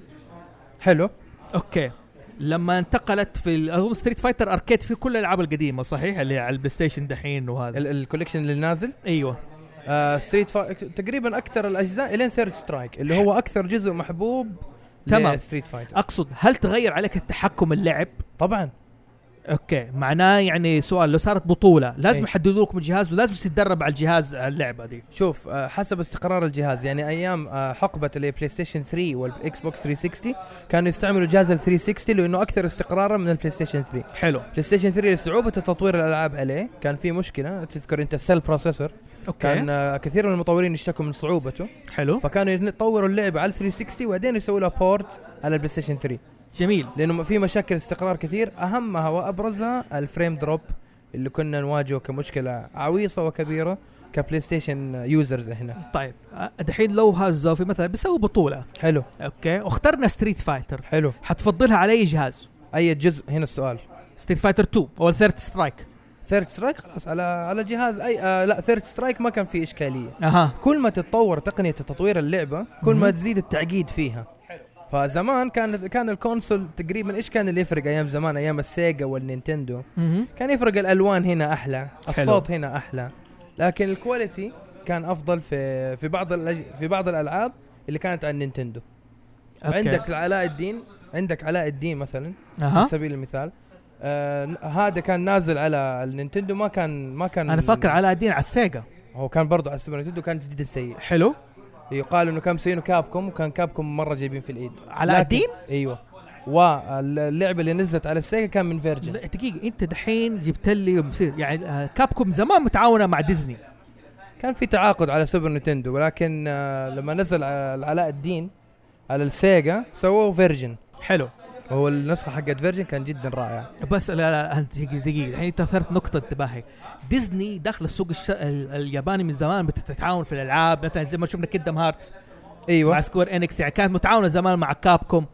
Speaker 5: حلو
Speaker 1: اوكي لما انتقلت في ال- اظن ستريت فايتر اركيد في كل الالعاب القديمه صحيح اللي على البلاي ستيشن دحين وهذا
Speaker 5: ال- الكوليكشن اللي نازل
Speaker 1: ايوه
Speaker 5: آه ستريت فا... تقريبا اكثر الاجزاء الين ثيرد سترايك اللي هو اكثر جزء محبوب
Speaker 1: تمام.
Speaker 5: ستريت فايتر
Speaker 1: اقصد هل تغير عليك التحكم اللعب
Speaker 5: طبعا
Speaker 1: اوكي معناه يعني سؤال لو صارت بطوله لازم
Speaker 5: إيه.
Speaker 1: يحددوا لكم الجهاز ولازم تتدرب على الجهاز على اللعبه دي
Speaker 5: شوف آه، حسب استقرار الجهاز يعني ايام آه، حقبه البلاي ستيشن 3 والاكس بوكس 360 كانوا يستعملوا جهاز ال 360 لانه اكثر استقرارا من البلاي ستيشن 3
Speaker 1: حلو
Speaker 5: بلاي ستيشن 3 لصعوبه تطوير الالعاب عليه كان في مشكله تذكر انت السيل بروسيسور
Speaker 1: اوكي
Speaker 5: كان آه، كثير من المطورين يشتكوا من صعوبته
Speaker 1: حلو
Speaker 5: فكانوا يطوروا اللعبه على ال 360 وبعدين يسووا لها بورت على البلاي ستيشن 3
Speaker 1: جميل
Speaker 5: لانه في مشاكل استقرار كثير اهمها وابرزها الفريم دروب اللي كنا نواجهه كمشكله عويصه وكبيره كبلاي ستيشن يوزرز هنا
Speaker 1: طيب أه، دحين لو هالزوفي مثلا بيسوي بطوله
Speaker 5: حلو
Speaker 1: اوكي واخترنا ستريت فايتر
Speaker 5: حلو
Speaker 1: حتفضلها على اي جهاز
Speaker 5: اي جزء هنا السؤال
Speaker 1: ستريت فايتر 2 او ثيرد سترايك
Speaker 5: ثيرد سترايك خلاص على على جهاز اي آه لا ثيرد سترايك ما كان فيه اشكاليه
Speaker 1: اها
Speaker 5: كل ما تتطور تقنيه تطوير اللعبه كل ما
Speaker 1: مهم.
Speaker 5: تزيد التعقيد فيها فزمان كان كان الكونسول تقريبا ايش كان اللي يفرق ايام زمان ايام السيجا والنينتندو
Speaker 1: مهم.
Speaker 5: كان يفرق الالوان هنا احلى الصوت هنا احلى لكن الكواليتي كان افضل في في بعض الأج- في بعض الالعاب اللي كانت على النينتندو
Speaker 1: أوكي.
Speaker 5: عندك علاء الدين عندك علاء الدين مثلا على
Speaker 1: اها
Speaker 5: سبيل المثال آه ن- هذا كان نازل على النينتندو ما كان ما كان
Speaker 1: انا فاكر علاء الدين على السيجا
Speaker 5: هو كان برضه على السوبر نينتندو كان جدا سيء
Speaker 1: حلو
Speaker 5: يقال انه كان مسوينه كابكم وكان كابكم مره جايبين في الايد
Speaker 1: علاء
Speaker 5: لكن-
Speaker 1: الدين
Speaker 5: ايوه واللعبه اللي نزلت على السيجا كان من فيرجن
Speaker 1: لا، دقيقه انت دحين جبت لي مصير يعني آه، كابكوم زمان متعاونه مع ديزني
Speaker 5: كان في تعاقد على سوبر نينتندو ولكن آه، لما نزل على علاء الدين على السيجا سووه فيرجن
Speaker 1: حلو
Speaker 5: هو النسخه حقت فيرجن كان جدا رائعه
Speaker 1: بس لا لا أنت دقيقه الحين انت اثرت نقطه انتباهي ديزني داخل السوق الش... ال- الياباني من زمان بتتعاون في الالعاب مثلا زي ما شفنا كيدم هارتس مع
Speaker 5: ايوه
Speaker 1: سكوير انكس يعني كانت متعاونه زمان مع كابكوم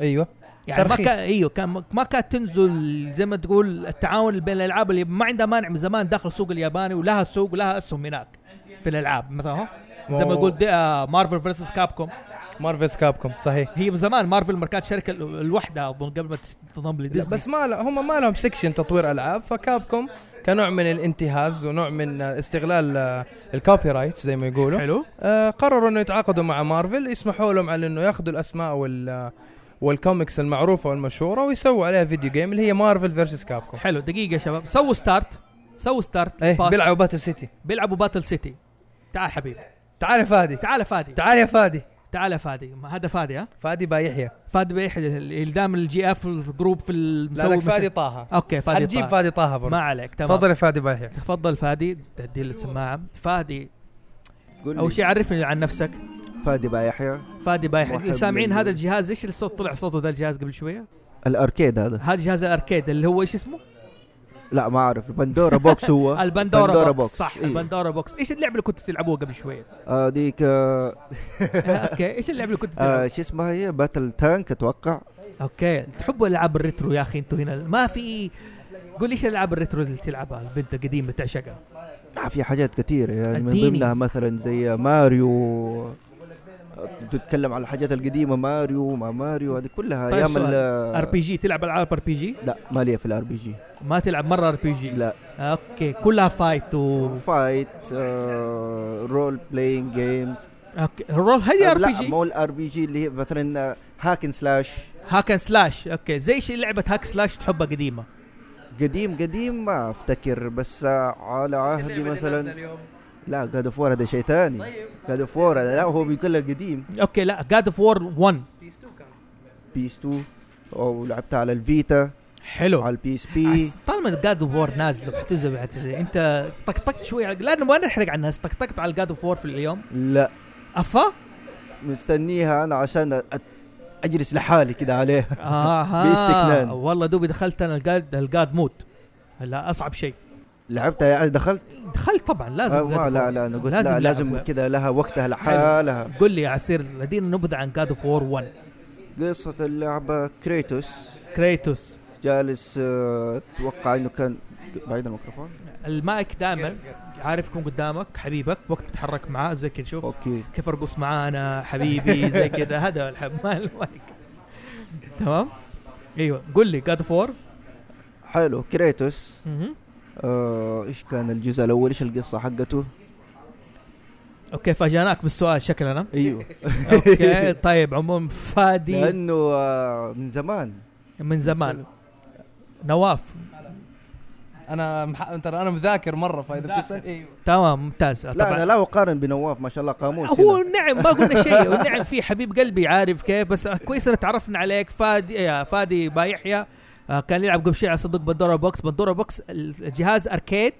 Speaker 5: ايوه
Speaker 1: يعني ما
Speaker 5: ترخيص.
Speaker 1: كان ايوه كان ما كانت تنزل زي ما تقول التعاون بين الالعاب اللي ما عندها مانع من زمان داخل السوق الياباني ولها سوق ولها اسهم هناك في الالعاب مثلا هو زي ما يقول دي- آه، مارفل فيرسس كابكوم
Speaker 5: مارفلز كابكوم صحيح
Speaker 1: هي من زمان مارفل ما كانت شركه ال- لوحدها اظن قبل ما تنضم
Speaker 5: لا
Speaker 1: لديزني
Speaker 5: بس ما لا هم ما لهم سكشن تطوير العاب فكابكوم كنوع من الانتهاز ونوع من آه، استغلال آه، الكوبي رايت زي ما يقولوا
Speaker 1: حلو
Speaker 5: آه، قرروا انه يتعاقدوا مع مارفل يسمحوا لهم على انه ياخذوا الاسماء وال آه، والكوميكس المعروفه والمشهوره ويسووا عليها فيديو جيم اللي هي مارفل فيرسس كابكوم
Speaker 1: حلو دقيقه يا شباب سووا ستارت سووا ستارت
Speaker 5: ايه
Speaker 1: باص.
Speaker 5: بيلعبوا باتل سيتي
Speaker 1: بيلعبوا باتل سيتي تعال حبيبي
Speaker 5: تعال يا فادي
Speaker 1: تعال يا فادي
Speaker 5: تعال يا فادي
Speaker 1: تعال يا فادي ما هذا فادي ها
Speaker 5: فادي بايحيى
Speaker 1: فادي بيحد اللي دام الجي اف الجروب في
Speaker 5: لا
Speaker 1: المسوي
Speaker 5: لك فادي طه
Speaker 1: اوكي فادي
Speaker 5: حنجيب
Speaker 1: طه.
Speaker 5: فادي طه برضه
Speaker 1: ما عليك تمام
Speaker 5: تفضل يا فادي بايحيى
Speaker 1: تفضل فادي تدي له السماعه فادي
Speaker 9: قول
Speaker 1: اول
Speaker 9: لي
Speaker 1: شيء عرفني عن نفسك
Speaker 9: فادي بايحيى
Speaker 1: فادي بايح
Speaker 9: محب
Speaker 1: اللي سامعين
Speaker 9: لل-
Speaker 1: هذا الجهاز ايش الصوت طلع صوته ذا الجهاز قبل شويه
Speaker 9: الاركيد هذا
Speaker 1: هذا جهاز الاركيد اللي هو ايش اسمه
Speaker 9: لا ما اعرف بندورا بوكس هو
Speaker 1: البندورا,
Speaker 9: بندورا
Speaker 1: بوكس
Speaker 9: بوكس.
Speaker 1: صح
Speaker 9: إيه.
Speaker 1: البندورا بوكس ايش اللعبه اللي كنتوا تلعبوها قبل شويه
Speaker 9: آه، ديك آه،
Speaker 1: اوكي ايش اللعبه اللي كنتوا
Speaker 9: آه،
Speaker 1: تلعبوها
Speaker 9: شو اسمها هي باتل تانك اتوقع
Speaker 1: اوكي تحبوا العاب الريترو يا اخي انتوا هنا ما في قول ايش الالعاب الريترو اللي تلعبها البنت القديمه تعشقها
Speaker 9: ما آه، في حاجات كثيرة يعني من
Speaker 1: اديني.
Speaker 9: ضمنها مثلا زي ماريو تتكلم على الحاجات القديمة ماريو ما ماريو هذه كلها
Speaker 1: طيب
Speaker 9: ايام
Speaker 1: سؤال.
Speaker 9: ال
Speaker 1: ار بي جي تلعب العاب ار بي جي
Speaker 9: لا ما ليا في الار بي جي
Speaker 1: ما تلعب مره ار بي جي
Speaker 9: لا
Speaker 1: اوكي كلها فايت و
Speaker 9: فايت آه، رول بلاينج جيمز
Speaker 1: اوكي الرول هذه
Speaker 9: آه،
Speaker 1: ار بي
Speaker 9: لا
Speaker 1: جي
Speaker 9: مو الار بي جي اللي هي آه، مثلا هاكن سلاش
Speaker 1: هاك أند سلاش اوكي زي شيء لعبه هاك سلاش تحبها قديمه
Speaker 9: قديم قديم ما افتكر بس آه، على عهدي مثلا لا جاد اوف وور هذا شيء ثاني جاد اوف وور لا هو بيقول لك قديم
Speaker 1: اوكي لا جاد اوف وور 1
Speaker 9: بيس 2 او لعبتها على الفيتا
Speaker 1: حلو
Speaker 9: على البي اس بي
Speaker 1: عس- طالما جاد اوف وور نازل واحتزم انت طقطقت شوي على- لانه ما نحرق على الناس طقطقت على جاد اوف وور في اليوم
Speaker 9: لا
Speaker 1: افا
Speaker 9: مستنيها انا عشان أت- اجلس لحالي كده عليها
Speaker 1: اها
Speaker 9: باستكنان.
Speaker 1: والله دوبي دخلت انا الجاد الجاد مود لا اصعب شيء
Speaker 9: لعبتها يعني دخلت
Speaker 1: دخلت طبعا لازم
Speaker 9: آه، ما
Speaker 1: God of
Speaker 9: لا
Speaker 1: War.
Speaker 9: لا انا قلت
Speaker 1: لازم
Speaker 9: لا
Speaker 1: لعبة.
Speaker 9: لازم كده لها آه، وقتها لحالها
Speaker 1: قل لي يا عسير ادينا نبذه عن جاد اوف وور 1
Speaker 9: قصة اللعبة كريتوس
Speaker 1: كريتوس
Speaker 9: جالس آه، اتوقع انه كان بعيد الميكروفون
Speaker 1: المايك دائما عارفكم قدامك حبيبك وقت تتحرك معاه زي كذا شوف
Speaker 9: اوكي
Speaker 1: كيف ارقص معانا حبيبي زي كذا هذا الحب ما المايك تمام ايوه قل لي جاد اوف وور
Speaker 9: حلو كريتوس آه، ايش كان الجزء الاول ايش القصة حقته
Speaker 1: اوكي فاجأناك بالسؤال شكلنا
Speaker 9: ايوه
Speaker 1: اوكي طيب عموما فادي
Speaker 9: لانه آه، من زمان
Speaker 1: من زمان نواف
Speaker 5: انا مح... ترى انا مذاكر مره فاذا بتسال ايوه
Speaker 1: تمام ممتاز
Speaker 9: لا انا لا اقارن بنواف ما شاء الله قاموس
Speaker 1: هو النعم ما قلنا شيء والنعم فيه حبيب قلبي عارف كيف بس كويس ان تعرفنا عليك فادي يا فادي بايحيى آه، كان يلعب قبل شيء على صندوق بندورا بوكس بندورا بوكس الجهاز اركيد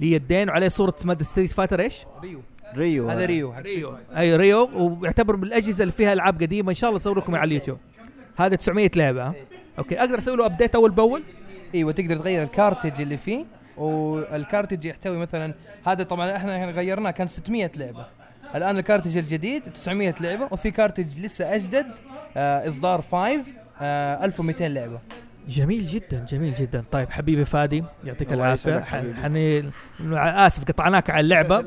Speaker 1: ليدين وعليه صوره ماده ستريت فاتر ايش؟
Speaker 5: ريو
Speaker 9: ريو
Speaker 5: هذا ريو حق
Speaker 1: ريو اي ريو ويعتبر من الاجهزه اللي فيها العاب قديمه ان شاء الله اسوي لكم على اليوتيوب هذا 900 لعبه
Speaker 5: إيه.
Speaker 1: ها؟ اوكي اقدر اسوي له ابديت اول باول
Speaker 5: ايوه تقدر تغير الكارتج اللي فيه والكارتج يحتوي مثلا هذا طبعا احنا هنا غيرناه كان 600 لعبه الان الكارتج الجديد 900 لعبه وفي كارتج لسه اجدد آه اصدار 5 آه 1200 لعبه
Speaker 1: جميل جدا جميل جدا طيب حبيبي فادي يعطيك
Speaker 9: الله
Speaker 1: العافيه
Speaker 9: يسعدك
Speaker 1: ح-
Speaker 9: حبيبي.
Speaker 1: حني اسف قطعناك على اللعبه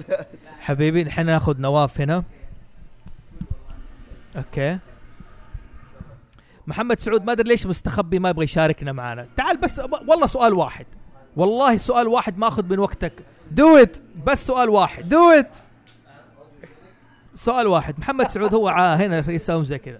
Speaker 1: حبيبي الحين ناخذ نواف هنا اوكي محمد سعود ما ادري ليش مستخبي ما يبغى يشاركنا معنا تعال بس أب- والله سؤال واحد والله سؤال واحد ما اخذ من وقتك دو ات بس سؤال واحد دو ات سؤال واحد محمد سعود هو ع- هنا يساوم زي كذا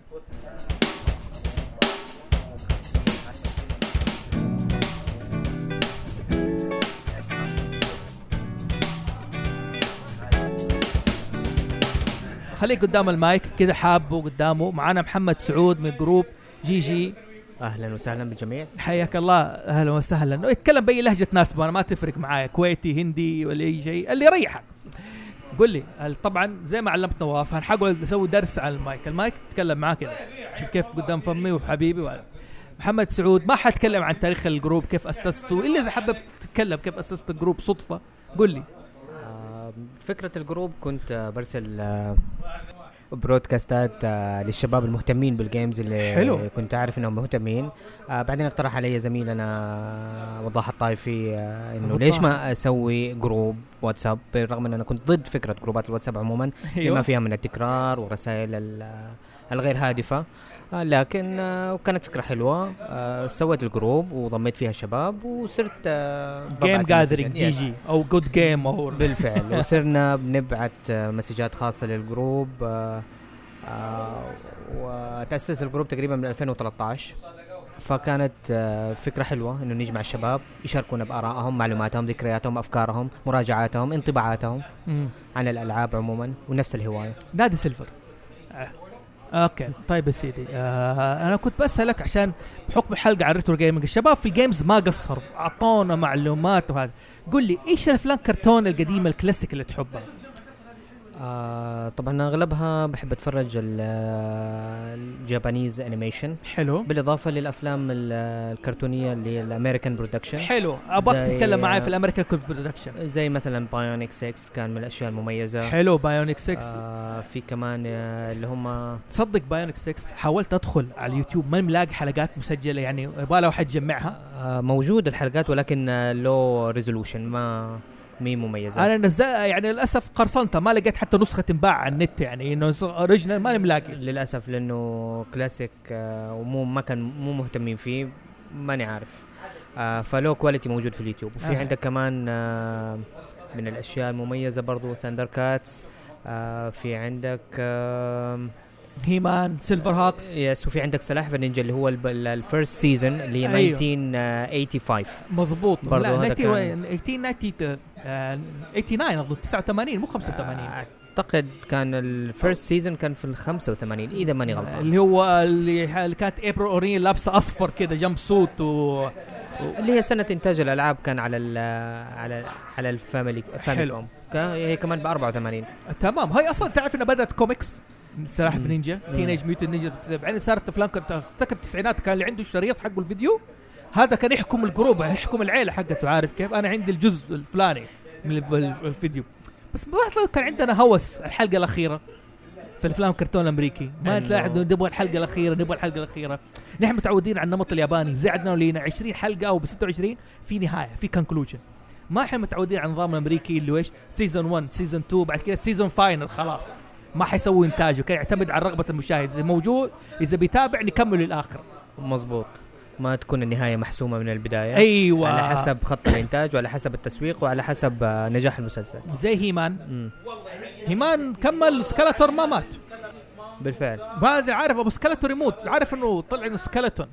Speaker 1: خليك قدام المايك كذا حابه قدامه معانا محمد سعود من جروب جي جي
Speaker 10: اهلا وسهلا بالجميع
Speaker 1: حياك الله اهلا وسهلا يتكلم باي لهجه تناسبه انا ما تفرق معايا كويتي هندي ولا اي شيء اللي يريحك قل لي هل- طبعا زي ما علمت نواف هنحاول نسوي درس على المايك المايك تتكلم معاه كذا شوف كيف قدام فمي وحبيبي وعلى. محمد سعود ما حتكلم عن تاريخ الجروب كيف اسسته الا اذا حابب تتكلم كيف اسست الجروب صدفه قل لي
Speaker 10: آه، فكرة الجروب كنت آه، برسل آه، برودكاستات آه، للشباب المهتمين بالجيمز اللي
Speaker 1: حلو.
Speaker 10: كنت عارف انهم مهتمين آه، بعدين اقترح علي زميلنا وضاح الطائفي آه، انه
Speaker 1: وضاح.
Speaker 10: ليش ما اسوي جروب واتساب بالرغم ان انا كنت ضد فكره جروبات الواتساب عموما
Speaker 1: أيوه.
Speaker 10: لما فيها من التكرار ورسائل ال- آه، الغير هادفة آه، لكن آه، وكانت فكرة حلوة آه، سويت الجروب وضميت فيها الشباب وصرت آه،
Speaker 1: جيم
Speaker 10: ببعت
Speaker 1: جاذرينج
Speaker 10: مسج-
Speaker 1: جي
Speaker 10: Yes.
Speaker 1: جي او جود جيم او
Speaker 10: بالفعل وصرنا بنبعت آه، مسجات خاصة للجروب آه، آه، وتأسس الجروب تقريبا من 2013 فكانت آه، فكرة حلوة انه نجمع الشباب يشاركونا بآرائهم معلوماتهم ذكرياتهم افكارهم مراجعاتهم انطباعاتهم
Speaker 1: مم.
Speaker 10: عن الالعاب عموما ونفس الهواية
Speaker 1: نادي سيلفر آه. اوكي طيب يا سيدي آه انا كنت بسالك عشان بحكم الحلقه عن الريترو جيمنج الشباب في الجيمز ما قصروا اعطونا معلومات وهذا قل لي ايش الافلام كرتون القديمه الكلاسيك اللي تحبها
Speaker 10: آه طبعا اغلبها بحب اتفرج ال- آه، الجابانيز انيميشن
Speaker 1: حلو
Speaker 10: بالاضافه للافلام ال- الكرتونيه اللي الامريكان برودكشن
Speaker 1: حلو ابغاك
Speaker 10: زي- آه،
Speaker 1: تتكلم معي في الامريكان كود برودكشن
Speaker 10: زي مثلا بايونيك 6 كان من الاشياء المميزه
Speaker 1: حلو بايونيك 6
Speaker 10: آه في كمان آه اللي هم
Speaker 1: تصدق بايونيك 6 حاولت ادخل على اليوتيوب ما ملاقي حلقات مسجله يعني يبغى لها واحد يجمعها
Speaker 10: آه موجود الحلقات ولكن آه لو ريزولوشن ما مي مميزه
Speaker 1: انا نزل يعني للاسف قرصنتها ما لقيت حتى نسخه تنباع على النت يعني انه اوريجنال ما ملاقي
Speaker 10: للاسف لانه كلاسيك آه ومو ما كان مو مهتمين فيه ماني عارف آه فلو كواليتي موجود في اليوتيوب وفي
Speaker 1: آه.
Speaker 10: آه. عندك كمان آه من الاشياء المميزه برضو ثاندر كاتس آه في عندك آه
Speaker 1: هيمان سيلفر هاكس
Speaker 10: يس وفي عندك سلاحف النينجا اللي هو الفيرست سيزون اللي هي
Speaker 1: أيوه.
Speaker 10: 1985
Speaker 1: مظبوط
Speaker 10: برضو
Speaker 1: لا،
Speaker 10: هذا
Speaker 1: 19
Speaker 10: كان-
Speaker 1: 1890 آه، 89 اظن 89 مو 85
Speaker 10: آه. اعتقد كان الفيرست سيزون كان في ال 85 اذا ماني
Speaker 1: آه،
Speaker 10: غلطان
Speaker 1: اللي هو اللي اللي كانت ابريل اورين لابسه اصفر كده جنب سوت و
Speaker 10: اللي هي سنه انتاج الالعاب كان على ال على على الفاميلي فاميلي هي كمان ب 84
Speaker 1: آه، تمام هاي اصلا تعرف انها بدات كوميكس سلاحف
Speaker 10: مم.
Speaker 1: نينجا
Speaker 10: مم.
Speaker 1: تينيج ميوتن نينجا بعدين صارت افلام كنت افتكر التسعينات كان اللي عنده الشريط حقه الفيديو هذا كان يحكم الجروب يحكم العيله حقته عارف كيف انا عندي الجزء الفلاني من ال- ال- الفيديو بس ما أعتقد كان عندنا هوس الحلقه الاخيره في الافلام الكرتون الامريكي ما
Speaker 10: إنه-
Speaker 1: تلاحظ نبغى الحلقه الاخيره نبغى الحلقه الاخيره نحن متعودين على النمط الياباني زعدنا ولينا 20 حلقه او ب 26 في نهايه في كونكلوجن ما احنا متعودين على النظام الامريكي اللي هو ايش سيزون 1 سيزون 2 بعد كده سيزون فاينل خلاص ما حيسوي انتاجه كان يعتمد على رغبه المشاهد اذا موجود اذا بيتابع نكمل للاخر
Speaker 10: مظبوط ما تكون النهايه محسومه من البدايه
Speaker 1: ايوه
Speaker 10: على حسب خط الانتاج وعلى حسب التسويق وعلى حسب آه، نجاح المسلسل
Speaker 1: زي هيمان
Speaker 10: مم.
Speaker 1: هيمان كمل سكالاتور ما مات
Speaker 10: بالفعل
Speaker 1: هذا عارف ابو سكالتون يموت عارف انه طلع انه سكالتون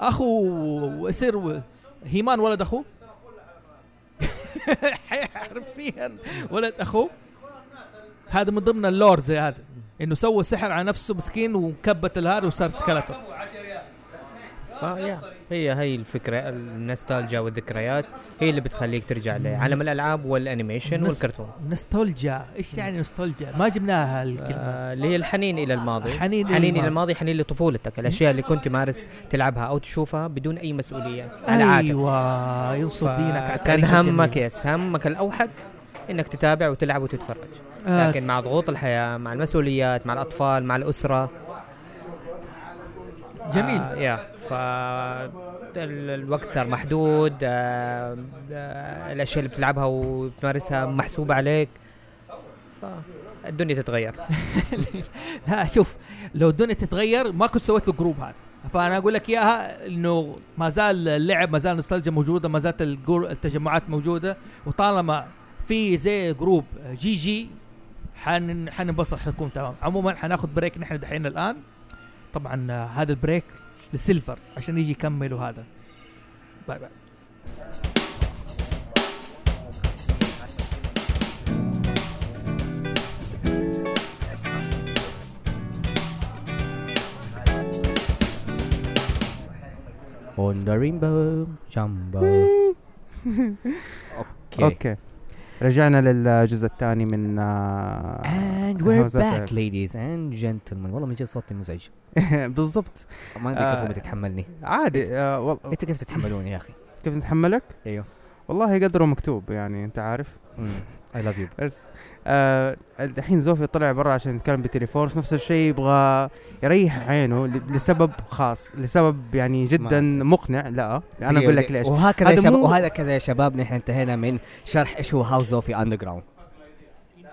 Speaker 1: اخو يصير هيمان ولد اخوه حرفيا ولد اخوه هذا من ضمن اللور زي هذا انه سوى سحر على نفسه مسكين وكبت الهار وصار سكلته
Speaker 10: فيا هي هي الفكره النوستالجيا والذكريات هي اللي بتخليك ترجع لعالم الالعاب والانيميشن
Speaker 1: نس-
Speaker 10: والكرتون
Speaker 1: نستولجيا ايش يعني نستولجيا ما جبناها الكلمه
Speaker 10: آه، اللي هي الحنين الى الماضي
Speaker 1: حنين إلى
Speaker 10: حنين الى
Speaker 1: الماضي.
Speaker 10: الماضي حنين لطفولتك الاشياء اللي كنت تمارس تلعبها او تشوفها بدون اي مسؤوليه على عاتقك
Speaker 1: ايوه ينصب دينك على
Speaker 10: كان
Speaker 1: التاريخ الجميل.
Speaker 10: همك يس همك الاوحد انك تتابع وتلعب وتتفرج
Speaker 1: آه،
Speaker 10: لكن مع ضغوط الحياه مع المسؤوليات مع الاطفال مع الاسره
Speaker 1: جميل
Speaker 10: آه يا ف ال- الوقت صار محدود آه آه الاشياء اللي بتلعبها وبتمارسها محسوبه عليك فالدنيا تتغير
Speaker 1: لا شوف لو الدنيا تتغير ما كنت سويت له جروب هذا فانا اقول لك اياها انه ما زال اللعب ما زال النوستالجيا موجوده ما زالت الجرو- التجمعات موجوده وطالما في زي جروب جي جي حن حننبسط حنكون تمام عموما حناخذ بريك نحن دحين الان طبعا آه، هذا البريك لسيلفر عشان يجي يكملوا هذا باي باي
Speaker 7: اون ذا رينبو جامبو اوكي
Speaker 6: اوكي رجعنا للجزء الثاني من آه،
Speaker 7: اند وير
Speaker 6: How's that
Speaker 7: باك
Speaker 6: fair?
Speaker 7: ليديز اند جنتلمان والله من جد صوتي مزعج
Speaker 6: بالضبط
Speaker 7: ما ادري كيف
Speaker 6: آه.
Speaker 7: أمي تتحملني
Speaker 6: عادي آه، والله
Speaker 7: انتوا كيف تتحملوني يا اخي
Speaker 6: كيف نتحملك؟
Speaker 7: ايوه
Speaker 6: والله قدره مكتوب يعني انت عارف
Speaker 7: اي لاف يو
Speaker 6: بس آه الحين زوفي طلع برا عشان يتكلم بالتليفون نفس الشيء يبغى يريح عينه ل- لسبب خاص لسبب يعني جدا مقنع لا انا اقول لك ليش
Speaker 7: أيوه، وهكذا يا
Speaker 6: هذا
Speaker 7: شباب
Speaker 6: مو-
Speaker 7: وهكذا يا شباب نحن انتهينا من شرح ايش هو هاوس اوف اندر جراوند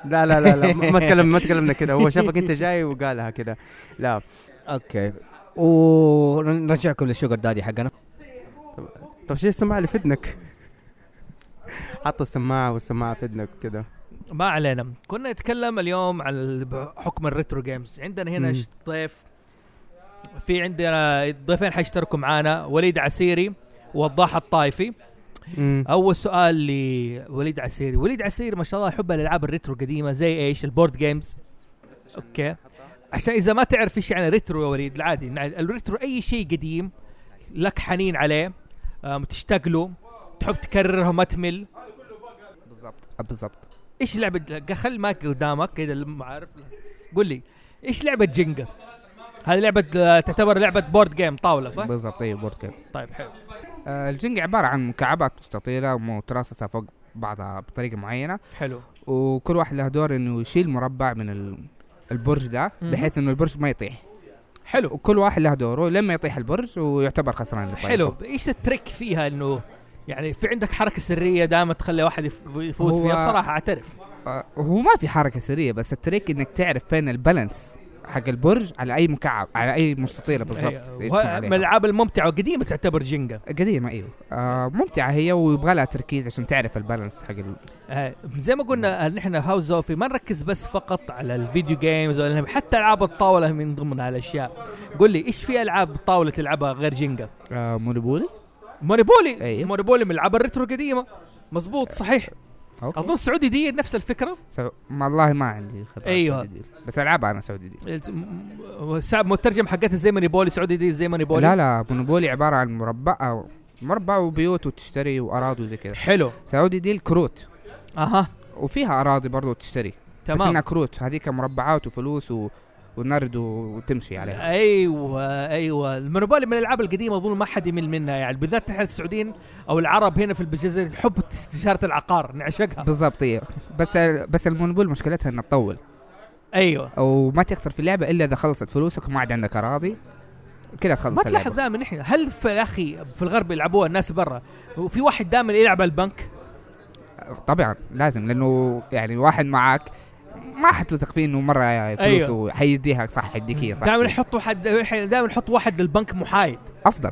Speaker 6: لا لا لا, لا ما ما تكلم ما تكلمنا كذا هو شافك انت جاي وقالها كذا لا
Speaker 7: اوكي ونرجعكم للشوجر دادي حقنا
Speaker 6: طب شيء السماعه اللي في اذنك حط السماعه والسماعه في اذنك كذا
Speaker 1: ما علينا كنا نتكلم اليوم على حكم الريترو جيمز عندنا هنا
Speaker 6: مم.
Speaker 1: ش- ضيف في عندنا ضيفين حيشتركوا معانا وليد عسيري وضاح الطائفي اول سؤال لوليد عسيري وليد عسيري ما شاء الله يحب الالعاب الريترو قديمه زي ايش البورد جيمز اوكي عشان اذا ما تعرف ايش يعني ريترو يا وليد العادي إن الريترو اي شيء قديم لك حنين عليه آم، تشتاق له تحب تكرره ما تمل
Speaker 7: بالضبط بالضبط
Speaker 1: ايش لعبه خل ماك قدامك كذا المعارف قول لي ايش لعبه جينجا هذه لعبه آه، تعتبر لعبه بورد جيم طاوله صح
Speaker 11: بالضبط اي بورد جيمز
Speaker 1: طيب حلو
Speaker 11: آه، الجنج عباره عن مكعبات مستطيله ومتراصصه فوق بعضها بطريقه معينه
Speaker 1: حلو
Speaker 11: وكل واحد له دور انه يشيل مربع من ال- البرج ده
Speaker 1: مهم.
Speaker 11: بحيث انه البرج ما يطيح
Speaker 1: حلو
Speaker 11: وكل واحد له دوره لما يطيح البرج ويعتبر خسران للطريق.
Speaker 1: حلو ايش التريك فيها انه يعني في عندك حركه سريه دائما تخلي واحد يف- يفوز
Speaker 11: هو-
Speaker 1: فيها بصراحه اعترف
Speaker 11: آه، هو ما في حركه سريه بس التريك انك تعرف فين البالانس حق البرج على اي مكعب على اي مستطيله بالضبط
Speaker 1: أيوة.
Speaker 11: يدخل
Speaker 1: وه- من
Speaker 11: عليها.
Speaker 1: الالعاب الممتعه وقديمه تعتبر جينجا
Speaker 11: قديمه ايوه آه ممتعه هي ويبغى لها تركيز عشان تعرف البالانس حق ال...
Speaker 1: آه، زي ما قلنا آه، نحن هاوس زوفي ما نركز بس فقط على الفيديو جيمز ولا حتى العاب الطاوله من ضمنها الاشياء قول لي ايش في العاب طاوله تلعبها غير جينجا
Speaker 11: آه مونوبولي
Speaker 1: مونوبولي
Speaker 11: أيوه.
Speaker 1: مونوبولي من العاب الريترو قديمه مزبوط صحيح
Speaker 11: أوكي.
Speaker 1: اظن سعودي دي نفس الفكره
Speaker 11: سو... ما والله ما عندي خبره
Speaker 1: أيوة.
Speaker 11: سعودي دي. بس العبها انا سعودي دي
Speaker 1: الت- م- والسا- مترجم حقتها زي مونيبولي سعودي دي زي مونيبولي
Speaker 11: لا لا مونوبولي عباره عن مربع أو مربع وبيوت وتشتري واراضي وزي كذا
Speaker 1: حلو
Speaker 11: سعودي دي الكروت
Speaker 1: اها
Speaker 11: وفيها اراضي برضو تشتري بس
Speaker 1: تمام
Speaker 11: انها كروت هذيك مربعات وفلوس و... ونرد و... وتمشي عليها
Speaker 1: ايوه ايوه المونوبولي من الالعاب القديمه اظن ما حد يمل منها يعني بالذات نحن السعوديين او العرب هنا في الجزيره نحب تجاره العقار نعشقها
Speaker 11: بالضبط ايوه بس بس المونوبول مشكلتها انها تطول
Speaker 1: ايوه
Speaker 11: وما تخسر في اللعبه الا اذا خلصت فلوسك وما عاد عندك اراضي كذا تخلص
Speaker 1: ما تلاحظ
Speaker 11: اللعبة.
Speaker 1: دائما نحن هل في يا اخي في الغرب يلعبوها الناس برا وفي واحد دائما يلعب على البنك
Speaker 11: طبعا لازم لانه يعني واحد معك ما حتثق فيه انه مره
Speaker 1: أيوة.
Speaker 11: فلوسه أيوه. حيديها صح يديك هي صح
Speaker 1: دائما يحطوا حد دائما يحطوا واحد للبنك محايد
Speaker 11: افضل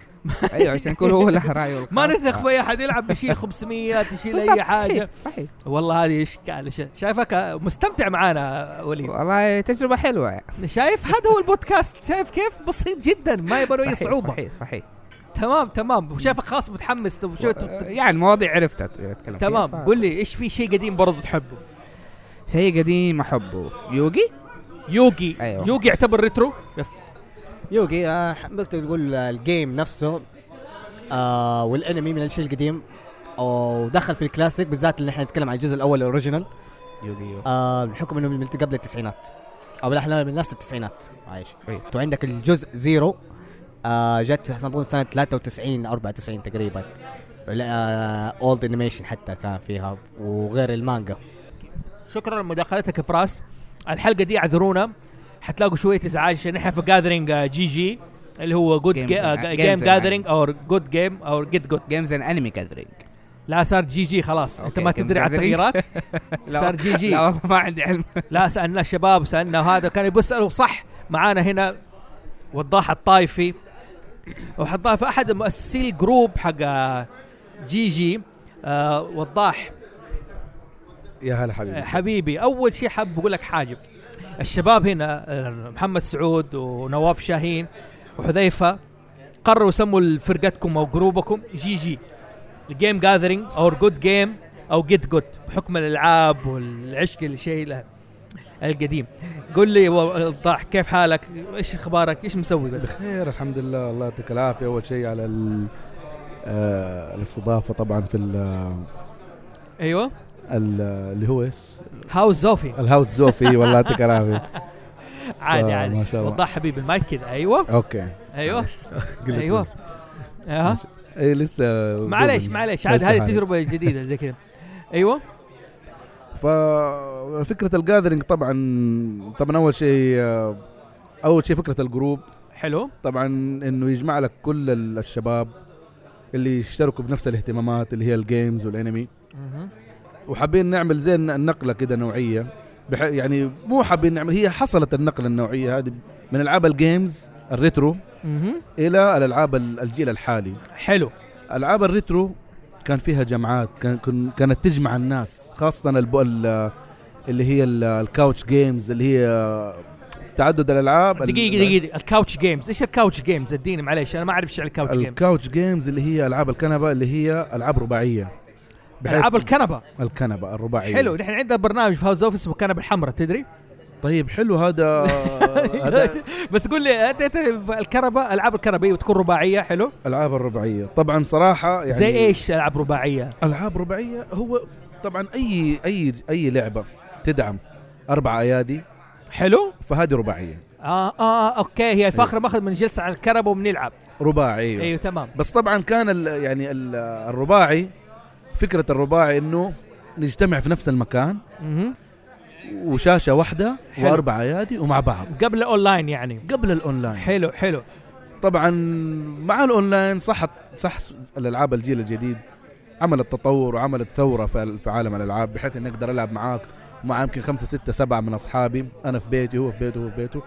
Speaker 11: ايوه عشان يكون هو له رايه والخاص.
Speaker 1: ما نثق في اي احد يلعب بيشيل 500 تشيل
Speaker 11: بالضبط،
Speaker 1: اي حاجه
Speaker 11: صحيح، صحيح
Speaker 1: والله هذه اشكال ش- شايفك مستمتع معانا وليد
Speaker 11: والله تجربه حلوه
Speaker 1: شايف هذا هو البودكاست شايف كيف بسيط جدا ما يبغى له اي
Speaker 11: صحيح،
Speaker 1: صعوبه
Speaker 11: صحيح صحيح
Speaker 1: تمام تمام شايفك خلاص متحمس طب شو
Speaker 11: يعني مواضيع عرفتها اتكلم فيها.
Speaker 1: تمام قول لي ايش في شيء قديم برضو تحبه
Speaker 11: شيء قديم احبه يوغي
Speaker 1: يوغي
Speaker 11: أيوة.
Speaker 1: يوغي يعتبر ريترو
Speaker 7: يوكي آه، حبيت تقول آه، الجيم نفسه آه والانمي من الشيء القديم ودخل في الكلاسيك بالذات اللي احنا نتكلم عن الجزء الاول الاوريجينال
Speaker 8: يوغيو
Speaker 7: آه بحكم انه من قبل التسعينات او لا احنا من نفس التسعينات عايش
Speaker 11: أي.
Speaker 7: تو عندك الجزء زيرو آه جت اظن سنه 93 94 تقريبا اولد انيميشن آه، حتى كان فيها وغير المانجا
Speaker 1: شكرا لمداخلتك يا فراس الحلقه دي اعذرونا حتلاقوا شويه ازعاج عشان احنا في جاذرينج جي جي اللي هو آه، جود
Speaker 11: Games and-
Speaker 1: جيم
Speaker 11: Games and-
Speaker 1: جاذرينج او جود جيم او جيت جود
Speaker 11: جيمز ان انمي كاذرينج
Speaker 1: لا صار جي جي خلاص انت
Speaker 11: أوكي،
Speaker 1: ما
Speaker 11: Games
Speaker 1: تدري على
Speaker 11: Gathering.
Speaker 1: التغييرات صار جي جي.
Speaker 11: لا والله ما عندي علم
Speaker 1: لا سالنا الشباب سالنا هذا كان بيسالوا صح معانا هنا وضاح الطايفي وضاح الطايفي احد مؤسسي الجروب حق جي جي آه وضاح آه،
Speaker 12: يا هلا حبيبي
Speaker 1: حبيبي اول شيء حاب اقول لك حاجه الشباب هنا آه، محمد سعود ونواف شاهين وحذيفه قرروا يسموا فرقتكم او جروبكم جي جي الجيم جاذرينج او جود جيم او جيت جود بحكم الالعاب والعشق الشيء له القديم قل لي وضاح كيف حالك ايش اخبارك ايش مسوي بس
Speaker 12: بخير الحمد لله الله يعطيك العافيه اول شيء على ال- آه، الاستضافه طبعا في ال- آه،
Speaker 1: ايوه
Speaker 12: ال- آه، اللي هو إيش؟
Speaker 1: هاوس زوفي
Speaker 12: الهاوس زوفي والله يعطيك العافيه
Speaker 1: عادي
Speaker 12: آه،
Speaker 1: عادي
Speaker 12: ما شاء الله.
Speaker 1: وضاح حبيبي المايك كده ايوه
Speaker 12: اوكي
Speaker 1: ايوه
Speaker 12: قلت
Speaker 1: ايوه اها
Speaker 12: اي إيه، لسه
Speaker 1: معليش
Speaker 12: دوبني.
Speaker 1: معليش عاد
Speaker 12: ماشي
Speaker 1: هذه
Speaker 12: حالي.
Speaker 1: تجربه جديده زي كذا ايوه
Speaker 12: ففكره الجاذرينج طبعا طبعا اول شيء آه، اول شيء فكره الجروب
Speaker 1: حلو
Speaker 12: طبعا انه يجمع لك كل ال- الشباب اللي يشتركوا بنفس الاهتمامات اللي هي الجيمز والانمي وحابين نعمل زي الن- النقله كده نوعيه بح يعني مو حابين نعمل هي حصلت النقله النوعيه هذه من العاب الجيمز الريترو
Speaker 1: مهم.
Speaker 12: الى الالعاب ال- الجيل الحالي
Speaker 1: حلو
Speaker 12: العاب الريترو كان فيها جمعات كان كن- كانت تجمع الناس خاصه الب... ال- اللي هي ال- الكاوتش جيمز اللي هي تعدد الالعاب ال-
Speaker 1: دقيقه دقيقه الكاوتش جيمز ايش الكاوتش جيمز اديني معليش انا ما اعرف ايش الكاوتش جيمز
Speaker 12: الكاوتش جيمز اللي هي العاب الكنبه اللي هي العاب رباعيه بحيث
Speaker 1: العاب الكنبه
Speaker 12: الكنبه الرباعيه
Speaker 1: حلو نحن عندنا برنامج في هاوس اوف اسمه كنبه الحمراء تدري
Speaker 12: طيب حلو هذا هذا
Speaker 1: بس قول لي انت أنت الكنبه العاب الكنبه ايوه تكون رباعيه حلو
Speaker 12: العاب الرباعيه طبعا صراحه يعني
Speaker 1: زي ايش العاب رباعيه
Speaker 12: العاب رباعيه هو طبعا اي اي اي لعبه تدعم اربع ايادي
Speaker 1: حلو
Speaker 12: فهذه رباعيه
Speaker 1: اه اه اوكي هي فاخره
Speaker 12: أيوة.
Speaker 1: ماخذ من جلسه على الكنبه وبنلعب
Speaker 12: رباعيه
Speaker 1: ايوه تمام
Speaker 12: أيوة. بس طبعا كان ال يعني ال الرباعي فكره الرباعي انه نجتمع في نفس المكان
Speaker 1: مهم.
Speaker 12: وشاشه واحده
Speaker 1: حلو.
Speaker 12: واربع ايادي ومع بعض
Speaker 1: قبل الاونلاين يعني
Speaker 12: قبل الاونلاين
Speaker 1: حلو حلو
Speaker 12: طبعا مع الاونلاين صحت صح الالعاب الجيل الجديد عملت تطور وعملت ثوره في ال- في عالم الالعاب بحيث اني اقدر العب معاك مع يمكن خمسه سته سبعه من اصحابي انا في بيتي هو في بيته هو في بيته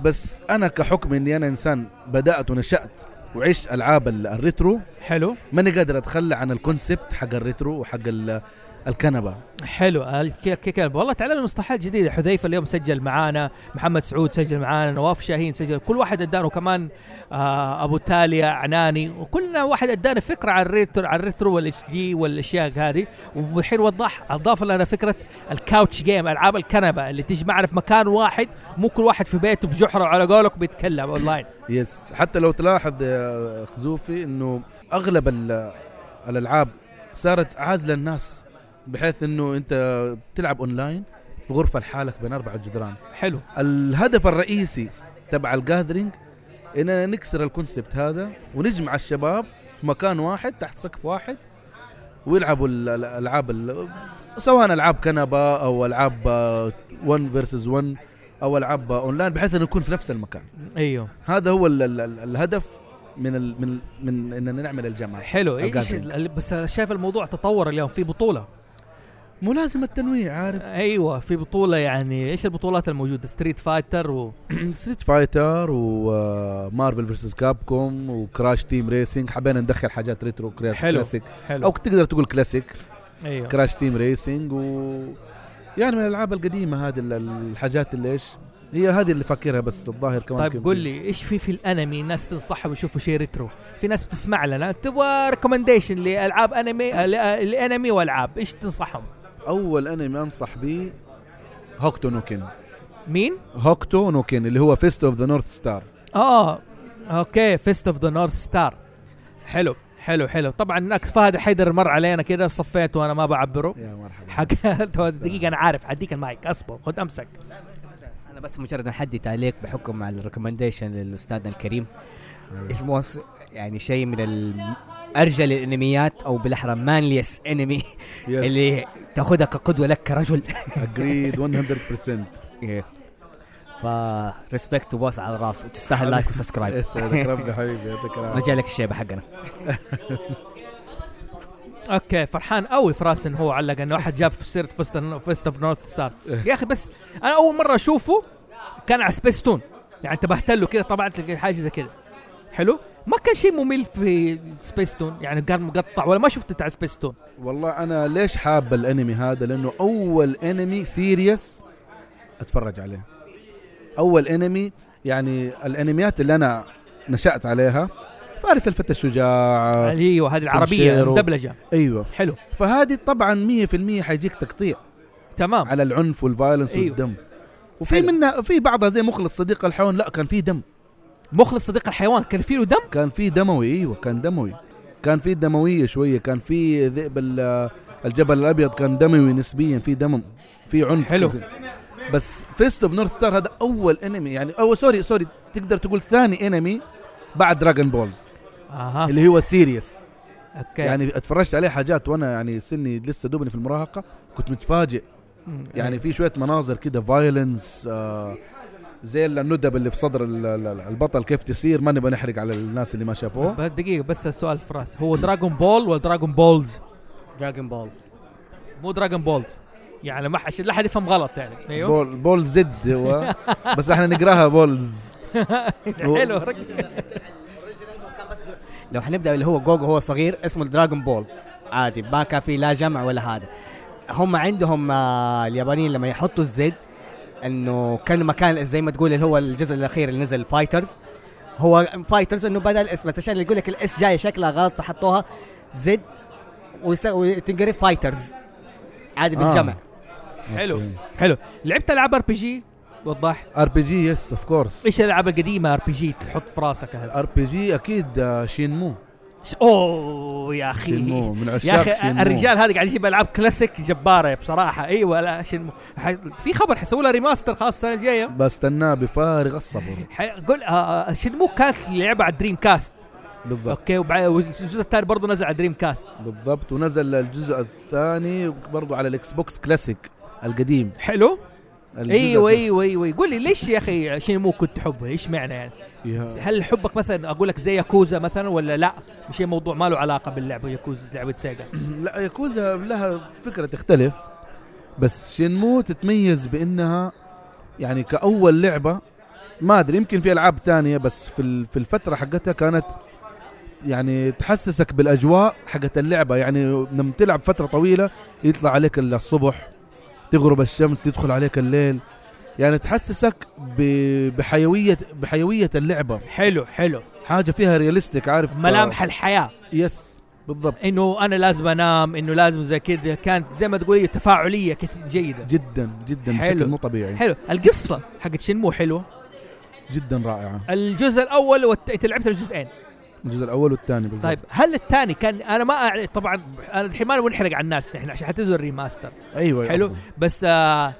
Speaker 12: بس انا كحكم اني انا انسان بدات ونشات وعشت العاب ال- الريترو
Speaker 1: حلو
Speaker 12: ماني قادر اتخلى عن الكونسبت حق الريترو وحق ال- الكنبه
Speaker 1: حلو الكلب والله تعلمنا مصطلحات جديده حذيفه اليوم سجل معانا محمد سعود سجل معانا نواف شاهين سجل كل واحد ادانا وكمان آه ابو تاليا عناني وكلنا واحد ادانا فكره عن الريترو عن الريترو والاتش دي والاشياء هذه والحين وضح اضاف لنا فكره الكاوتش جيم العاب الكنبه اللي تجمعنا في مكان واحد مو كل واحد في بيته بجحره على قولك بيتكلم اونلاين
Speaker 12: يس حتى لو تلاحظ يا خزوفي انه اغلب ال- الالعاب صارت عازله الناس بحيث انه انت تلعب اونلاين في غرفه لحالك بين اربع جدران
Speaker 1: حلو
Speaker 12: الهدف الرئيسي تبع الجاذرينج اننا نكسر الكونسبت هذا ونجمع الشباب في مكان واحد تحت سقف واحد ويلعبوا ال- ال- الالعاب ال- سواء العاب كنبه او العاب 1 فيرسز 1 او العاب اونلاين آه، بحيث انه نكون في نفس المكان
Speaker 1: ايوه
Speaker 12: هذا هو ال ال ال الهدف من ال من من اننا نعمل الجامعه
Speaker 1: حلو ايش
Speaker 12: الجاذرينج.
Speaker 1: ال- بس أنا شايف الموضوع تطور اليوم في بطوله
Speaker 12: مو لازم التنويع عارف
Speaker 1: ايوه في بطوله يعني ايش البطولات الموجوده ستريت فايتر و
Speaker 12: ستريت فايتر ومارفل فيرسس كابكوم وكراش تيم ريسنج حبينا ندخل حاجات ريترو كرا-
Speaker 1: حلو.
Speaker 12: كلاسيك
Speaker 1: حلو
Speaker 12: او تقدر تقول كلاسيك
Speaker 1: ايوه
Speaker 12: كراش تيم ريسنج و يعني من الالعاب القديمه هذه ال- الحاجات اللي ايش هي هذه اللي فاكرها بس الظاهر كمان
Speaker 1: طيب
Speaker 12: كان
Speaker 1: قول
Speaker 12: في-
Speaker 1: لي ايش في في الانمي الناس تنصحهم يشوفوا شيء ريترو في ناس بتسمع لنا تبغى ريكومنديشن لالعاب انمي آه، لأ- لانمي والعاب ايش تنصحهم
Speaker 12: اول انمي انصح به هوكتو نوكن
Speaker 1: مين
Speaker 12: هوكتو نوكن اللي هو فيست اوف ذا نورث ستار
Speaker 1: اه اوكي فيست اوف ذا نورث ستار حلو حلو حلو طبعا هناك فهد حيدر مر علينا كده صفيت وانا ما بعبره
Speaker 12: يا مرحبا
Speaker 1: حق دقيقه انا عارف حديك المايك اصبر خد امسك
Speaker 7: انا بس مجرد احدي تعليق بحكم على الريكومنديشن للاستاذنا الكريم اسمه س- يعني شيء من ال- ارجل الانميات او بالاحرى مانليس انمي اللي تاخذها كقدوه لك كرجل
Speaker 12: اجريد
Speaker 7: 100% فريسبكت وبوس على راسه تستاهل لايك وسبسكرايب
Speaker 12: يسعدك إيه، ربي حبيبي يعطيك العافيه
Speaker 7: رجع لك الشيبه حقنا
Speaker 1: اوكي فرحان قوي في راسي ان هو علق انه واحد جاب في سيره فيست فيست اوف نورث ستار يا اخي بس انا اول مره اشوفه كان على سبيستون يعني انتبهت له كده طبعت لك حاجه زي كده حلو ما كان شيء ممل في سبيستون يعني كان مقطع ولا ما شفت انت على سبيستون
Speaker 12: والله انا ليش حاب الانمي هذا لانه اول انمي سيريس اتفرج عليه اول انمي يعني الانميات اللي انا نشات عليها فارس الفتى الشجاع
Speaker 1: ايوه هذه العربيه
Speaker 12: سنشيرو.
Speaker 1: المدبلجه
Speaker 12: ايوه
Speaker 1: حلو
Speaker 12: فهذه طبعا 100% حيجيك تقطيع
Speaker 1: تمام
Speaker 12: على العنف والفايلنس
Speaker 1: أيوه.
Speaker 12: أيوه. والدم وفي منها في بعضها زي مخلص صديق الحيوان لا كان في دم
Speaker 1: مخلص صديق الحيوان كان فيه دم
Speaker 12: كان في دموي ايوه كان دموي كان في دمويه شويه كان في ذئب ال- الجبل الابيض كان دموي نسبيا في دم في عنف
Speaker 1: حلو.
Speaker 12: كثير. بس فيست اوف نورث ستار هذا اول انمي يعني او سوري سوري تقدر تقول ثاني انمي بعد دراجون بولز
Speaker 1: اها
Speaker 12: اللي هو سيريس
Speaker 1: اوكي يعني
Speaker 12: يعني اتفرجت عليه حاجات وانا يعني سني لسه دوبني في المراهقه كنت متفاجئ
Speaker 1: مم.
Speaker 12: يعني في شويه مناظر كده فايلنس آه زي الندب اللي في صدر ال- ال- البطل كيف تصير ما نبغى نحرق على الناس اللي ما شافوه
Speaker 1: دقيقه بس السؤال في راسي هو دراغون بول ولا دراغون بولز
Speaker 7: دراغون بول
Speaker 1: مو دراغون بولز يعني ما حد لا حد يفهم غلط يعني ايوه
Speaker 12: بول بول زد هو بس احنا نقراها بولز هو-
Speaker 1: حلو ركز.
Speaker 7: لو حنبدا اللي هو جوجو هو صغير اسمه دراغون بول عادي ما كان في لا جمع ولا هذا هم عندهم آه، اليابانيين لما يحطوا الزد انه كان مكان زي ما تقول اللي هو الجزء الاخير اللي نزل فايترز هو فايترز انه بدل اسم بس عشان يقول لك الاس جاي شكلها غلط فحطوها زد ويس- وتنقري فايترز
Speaker 1: آه.
Speaker 7: عادي بالجمع
Speaker 12: آه.
Speaker 1: حلو حلو لعبت العاب ار بي جي وضح
Speaker 12: ار بي جي يس اوف كورس
Speaker 1: ايش الالعاب القديمه ار بي جي تحط في راسك هذا
Speaker 12: ار بي جي اكيد آه، شينمو
Speaker 1: ش- اوه يا اخي
Speaker 12: شينمو، من عشاق
Speaker 1: يا اخي
Speaker 12: شينمو.
Speaker 1: الرجال هذا قاعد يجيب العاب كلاسيك جباره بصراحه ايوه لا شنمو ح- في خبر حيسووا لها ريماستر خاص السنه الجايه
Speaker 12: بستناه بفارغ الصبر
Speaker 1: ح- قول آه، آه، شنمو كانت لعبه على دريم كاست
Speaker 12: بالضبط
Speaker 1: اوكي وبع- والجزء الثاني برضه نزل على دريم كاست
Speaker 12: بالضبط ونزل الجزء الثاني برضو على الاكس بوكس كلاسيك القديم
Speaker 1: حلو
Speaker 12: الجزء
Speaker 1: ايوه
Speaker 12: ده.
Speaker 1: ايوه ايوه قول لي ليش يا اخي شنمو كنت تحبه ايش معنى يعني
Speaker 12: يا-
Speaker 1: هل حبك مثلا اقول لك زي ياكوزا مثلا ولا لا شيء موضوع ما له علاقه باللعبه ياكوزا لعبه سيجا
Speaker 12: لا ياكوزا لها فكره تختلف بس شينمو تتميز بانها يعني كاول لعبه ما ادري يمكن في العاب تانية بس في ال- في الفتره حقتها كانت يعني تحسسك بالاجواء حقت اللعبه يعني لما تلعب فتره طويله يطلع عليك الصبح تغرب الشمس يدخل عليك الليل يعني تحسسك ب- بحيويه بحيويه اللعبه
Speaker 1: حلو حلو
Speaker 12: حاجه فيها رياليستيك عارف آه،
Speaker 1: ملامح الحياه
Speaker 12: يس بالضبط
Speaker 1: انه انا لازم انام انه لازم زي كذا كانت زي ما تقول هي تفاعليه كت- جيده
Speaker 12: جدا جدا
Speaker 1: حلو.
Speaker 12: بشكل مو طبيعي
Speaker 1: حلو القصه حقت شنمو حلوه
Speaker 12: جدا رائعه
Speaker 1: الجزء الاول والت... انت لعبت الجزئين
Speaker 12: الجزء الاول والثاني بالضبط
Speaker 1: طيب هل الثاني كان انا ما أعرف طبعا انا الحين ما بنحرق على الناس نحن عشان حتنزل ريماستر
Speaker 12: ايوه
Speaker 1: حلو
Speaker 12: أفضل.
Speaker 1: بس آه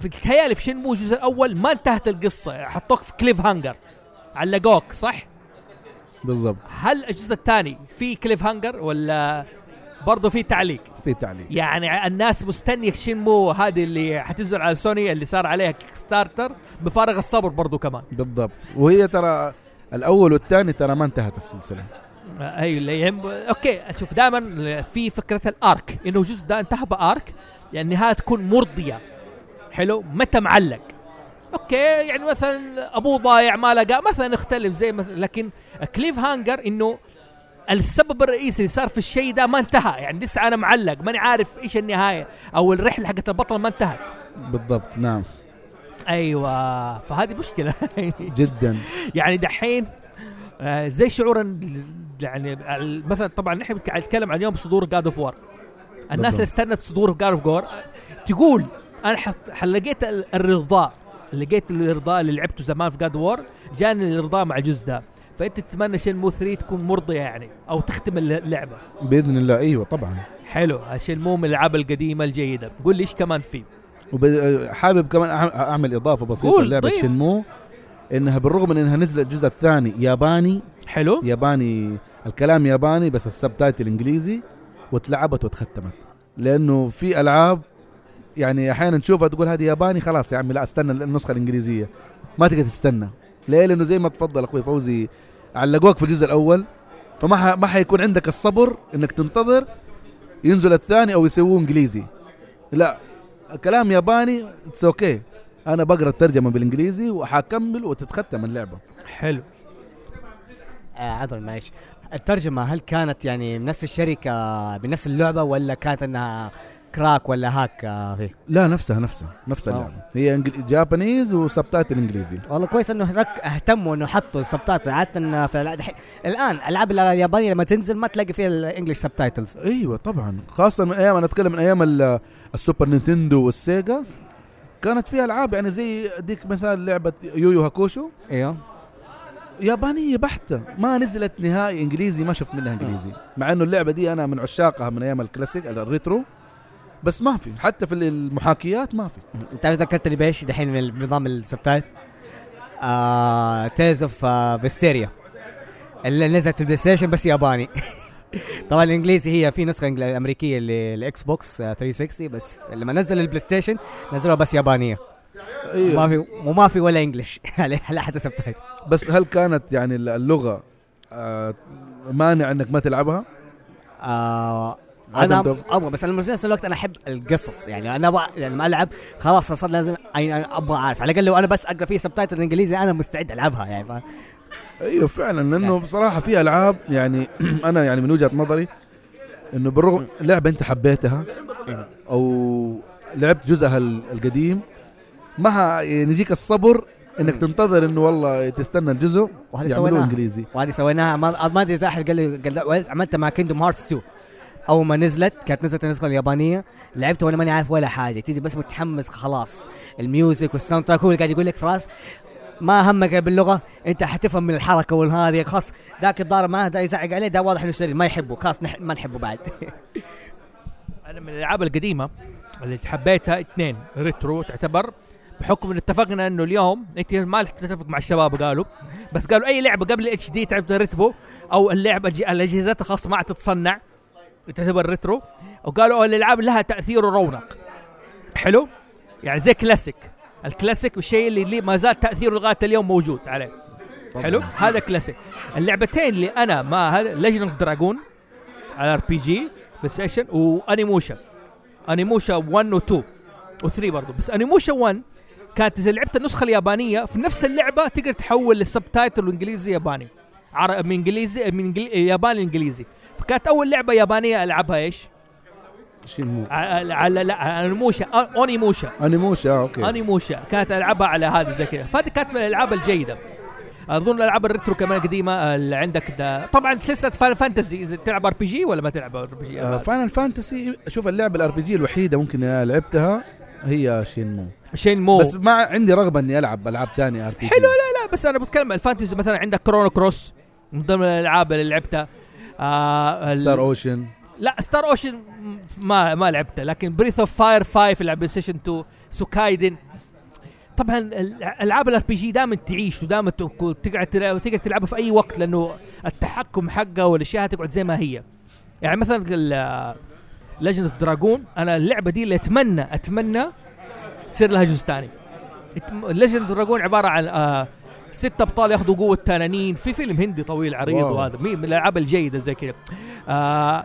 Speaker 1: في الخيال في شنمو الجزء الاول ما انتهت القصه حطوك في كليف هانجر علقوك صح؟
Speaker 12: بالضبط
Speaker 1: هل الجزء الثاني في كليف هانجر ولا برضه في تعليق؟
Speaker 12: في تعليق
Speaker 1: يعني الناس مستنيه شنمو هذه اللي حتنزل على سوني اللي صار عليها كيك ستارتر بفارغ الصبر برضه كمان
Speaker 12: بالضبط وهي ترى الاول والثاني ترى ما انتهت السلسله
Speaker 1: آه، ايوه اللي يهم اوكي شوف دائما في فكره الارك انه الجزء ده انتهى بارك يعني النهايه تكون مرضيه حلو متى معلق اوكي يعني مثلا ابوه ضايع ما لقى مثلا اختلف زي مثلا لكن كليف هانجر انه السبب الرئيسي اللي صار في الشيء ده ما انتهى يعني لسه انا معلق ماني عارف ايش النهايه او الرحله حقت البطل ما انتهت
Speaker 12: بالضبط نعم
Speaker 1: ايوه فهذه مشكله
Speaker 12: جدا
Speaker 1: يعني دحين آه، زي شعور ال- يعني ال- مثلا طبعا نحن بنتك- نتكلم عن يوم صدور جاد اوف وار الناس
Speaker 12: بالضبط.
Speaker 1: اللي استنت صدور جاد اوف وار تقول انا ح- ح- لقيت ال- الرضا لقيت الرضا اللي لعبته زمان في جاد وار جاني الرضا مع الجزء ده فانت تتمنى شنمو 3 تكون مرضيه يعني او تختم الل- اللعبه
Speaker 12: باذن الله ايوه طبعا
Speaker 1: حلو شنمو من الالعاب القديمه الجيده قول لي ايش كمان فيه
Speaker 12: وحابب كمان أع- اعمل اضافه بسيطه
Speaker 1: قول،
Speaker 12: لعبه
Speaker 1: طيب.
Speaker 12: شنمو انها بالرغم من انها نزلت الجزء الثاني ياباني
Speaker 1: حلو
Speaker 12: ياباني الكلام ياباني بس السبتايتل انجليزي واتلعبت واتختمت لانه في العاب يعني احيانا تشوفها تقول هذه ياباني خلاص يا عمي لا استنى النسخه الانجليزيه ما تقدر تستنى ليه لانه زي ما تفضل اخوي فوزي علقوك في الجزء الاول فما ح... ما حيكون عندك الصبر انك تنتظر ينزل الثاني او يسووه انجليزي لا كلام ياباني اتس اوكي انا بقرا الترجمه بالانجليزي وحكمل وتتختم اللعبه
Speaker 1: حلو
Speaker 7: آه عذر معلش الترجمه هل كانت يعني من نفس الشركه بنفس اللعبه ولا كانت انها كراك ولا هاك آه فيه
Speaker 12: لا نفسها نفسها نفس
Speaker 7: واو.
Speaker 12: اللعبه هي انجل... جابانيز وسبتايتل انجليزي
Speaker 7: والله كويس انه هناك اهتموا انه حطوا السبتايتل عاده إن في الع- دحين- الان العاب اليابانيه لما تنزل ما تلاقي فيها الانجلش سبتايتلز
Speaker 12: ايوه طبعا خاصه من ايام انا اتكلم من ايام ال- السوبر نينتندو والسيجا كانت فيها العاب يعني زي اديك مثال لعبه يويو هاكوشو
Speaker 7: ايوه
Speaker 12: يابانيه بحته ما نزلت نهائي انجليزي ما شفت منها انجليزي مع انه اللعبه دي انا من عشاقها من ايام الكلاسيك الريترو بس ما في حتى في المحاكيات ما في
Speaker 7: تعرف ذكرتني بايش دحين من ال- نظام السبتايت آه تيز اوف فيستيريا اللي نزلت في البلاي ستيشن بس ياباني طبعا الانجليزي هي في نسخه إنجل- امريكيه للاكس بوكس آه، 360 بس لما نزل البلاي ستيشن نزلوها بس يابانيه
Speaker 12: أيوه.
Speaker 7: ما في وما في ولا انجلش لا حتى سبتايت
Speaker 12: بس هل كانت يعني اللغه آه مانع انك ما تلعبها؟
Speaker 7: آه
Speaker 12: عدم
Speaker 7: انا
Speaker 12: توفيق.
Speaker 7: ابغى بس انا في نفس الوقت انا احب القصص يعني انا ابغى يعني لما العب خلاص صار لازم أي- أنا ابغى اعرف على الاقل لو انا بس اقرا فيه سبتايتل انجليزي انا مستعد العبها يعني فاهم؟
Speaker 12: ايوه فعلا لانه بصراحه في العاب يعني انا يعني من وجهه نظري انه بالرغم لعبه انت حبيتها او لعبت جزءها ال- القديم ما ح- يعني يجيك الصبر انك تنتظر انه والله تستنى الجزء
Speaker 7: وهذه
Speaker 12: يعملوه
Speaker 7: سويناها
Speaker 12: انجليزي
Speaker 7: وهذه سويناها ما ما ادري اذا احد قال لي قال لي- عملتها مع كيندوم هارتس 2 اول ما نزلت كانت نزلت النسخه اليابانيه لعبتها وانا ماني عارف ولا حاجه تيجي بس متحمس خلاص الميوزك والساوند تراك هو اللي قاعد يقول لك فراس ما همك باللغه انت حتفهم من الحركه والهذه خلاص ذاك الضارب معاه ده يزعق عليه ده واضح انه شرير ما يحبه خلاص نح- ما نحبه بعد
Speaker 1: انا من الالعاب القديمه اللي حبيتها اثنين ريترو تعتبر بحكم انه اتفقنا انه اليوم انت ما تتفق مع الشباب قالوا بس قالوا اي لعبه قبل اتش دي تعتبر ريترو او اللعبه جي- الاجهزه الخاصه ما عاد تتصنع تعتبر ريترو وقالوا أو الالعاب لها تاثير ورونق حلو يعني زي كلاسيك الكلاسيك والشيء اللي ليه ما زال تاثيره لغايه اليوم موجود عليه حلو هذا كلاسيك اللعبتين اللي انا ما هذا ليجند اوف دراجون على ار بي جي بلاي ستيشن وانيموشا انيموشا 1 و 2 و 3 برضه بس انيموشا 1 كانت اذا لعبت النسخه اليابانيه في نفس اللعبه تقدر تحول للسبتايتل انجليزي ياباني عر... من انجليزي من انجلي... ياباني انجليزي فكانت اول لعبه يابانيه العبها ايش؟
Speaker 12: شنمو
Speaker 1: على على لا انيموشا اونيموشا
Speaker 12: انيموشا اوكي
Speaker 1: انيموشا كانت العبها على هذه زي كذا فهذه كانت من الالعاب الجيده اظن الالعاب الريترو كمان قديمه اللي عندك ده طبعا سلسله فان فانتسي إذا تلعب ار بي جي ولا ما تلعب ار بي جي
Speaker 12: فاينل فانتسي آه، شوف اللعبه الار بي جي الوحيده ممكن لعبتها هي شينمو
Speaker 1: شينمو
Speaker 12: بس ما عندي رغبه اني العب العاب ثانيه ار بي
Speaker 1: حلو لا لا بس انا بتكلم عن الفانتسي مثلا عندك كرونو كروس من ضمن الالعاب اللي لعبتها آه ال-
Speaker 12: ستار اوشن
Speaker 1: لا ستار اوشن ما ما لعبته لكن بريث اوف فاير 5 اللي على بلاي ستيشن 2 سوكايدن طبعا ال- العاب الار بي جي دائما تعيش ودائما تكو- تقعد تلع- تقعد تلعبها في اي وقت لانه التحكم حقها والاشياء تقعد زي ما هي يعني مثلا ليجند اوف دراجون انا اللعبه دي اللي اتمنى اتمنى تصير لها جزء ثاني ليجند اوف دراجون عباره عن آه ست ابطال ياخذوا قوه تنانين في فيلم هندي طويل عريض
Speaker 12: واو.
Speaker 1: وهذا مي- من الالعاب الجيده زي كذا آه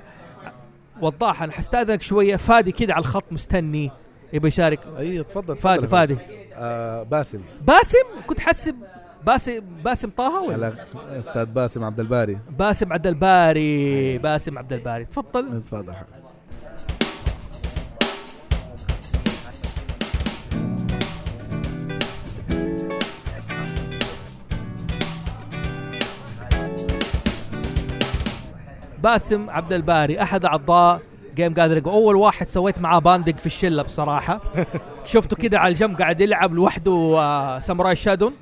Speaker 1: وضاح انا حستاذنك شويه فادي كذا على الخط مستني يبي يشارك
Speaker 12: اي تفضل
Speaker 1: فادي
Speaker 12: تفضل.
Speaker 1: فادي
Speaker 12: آه باسم
Speaker 1: باسم كنت حاسب باسم باسم طه ولا
Speaker 12: على استاذ باسم عبد الباري
Speaker 1: باسم عبد الباري باسم عبد الباري تفضل
Speaker 12: تفضل
Speaker 1: باسم عبد الباري احد اعضاء جيم جاذرينج اول واحد سويت معاه باندنج في الشله بصراحه شفته كده على الجنب قاعد يلعب لوحده آه، ساموراي شادون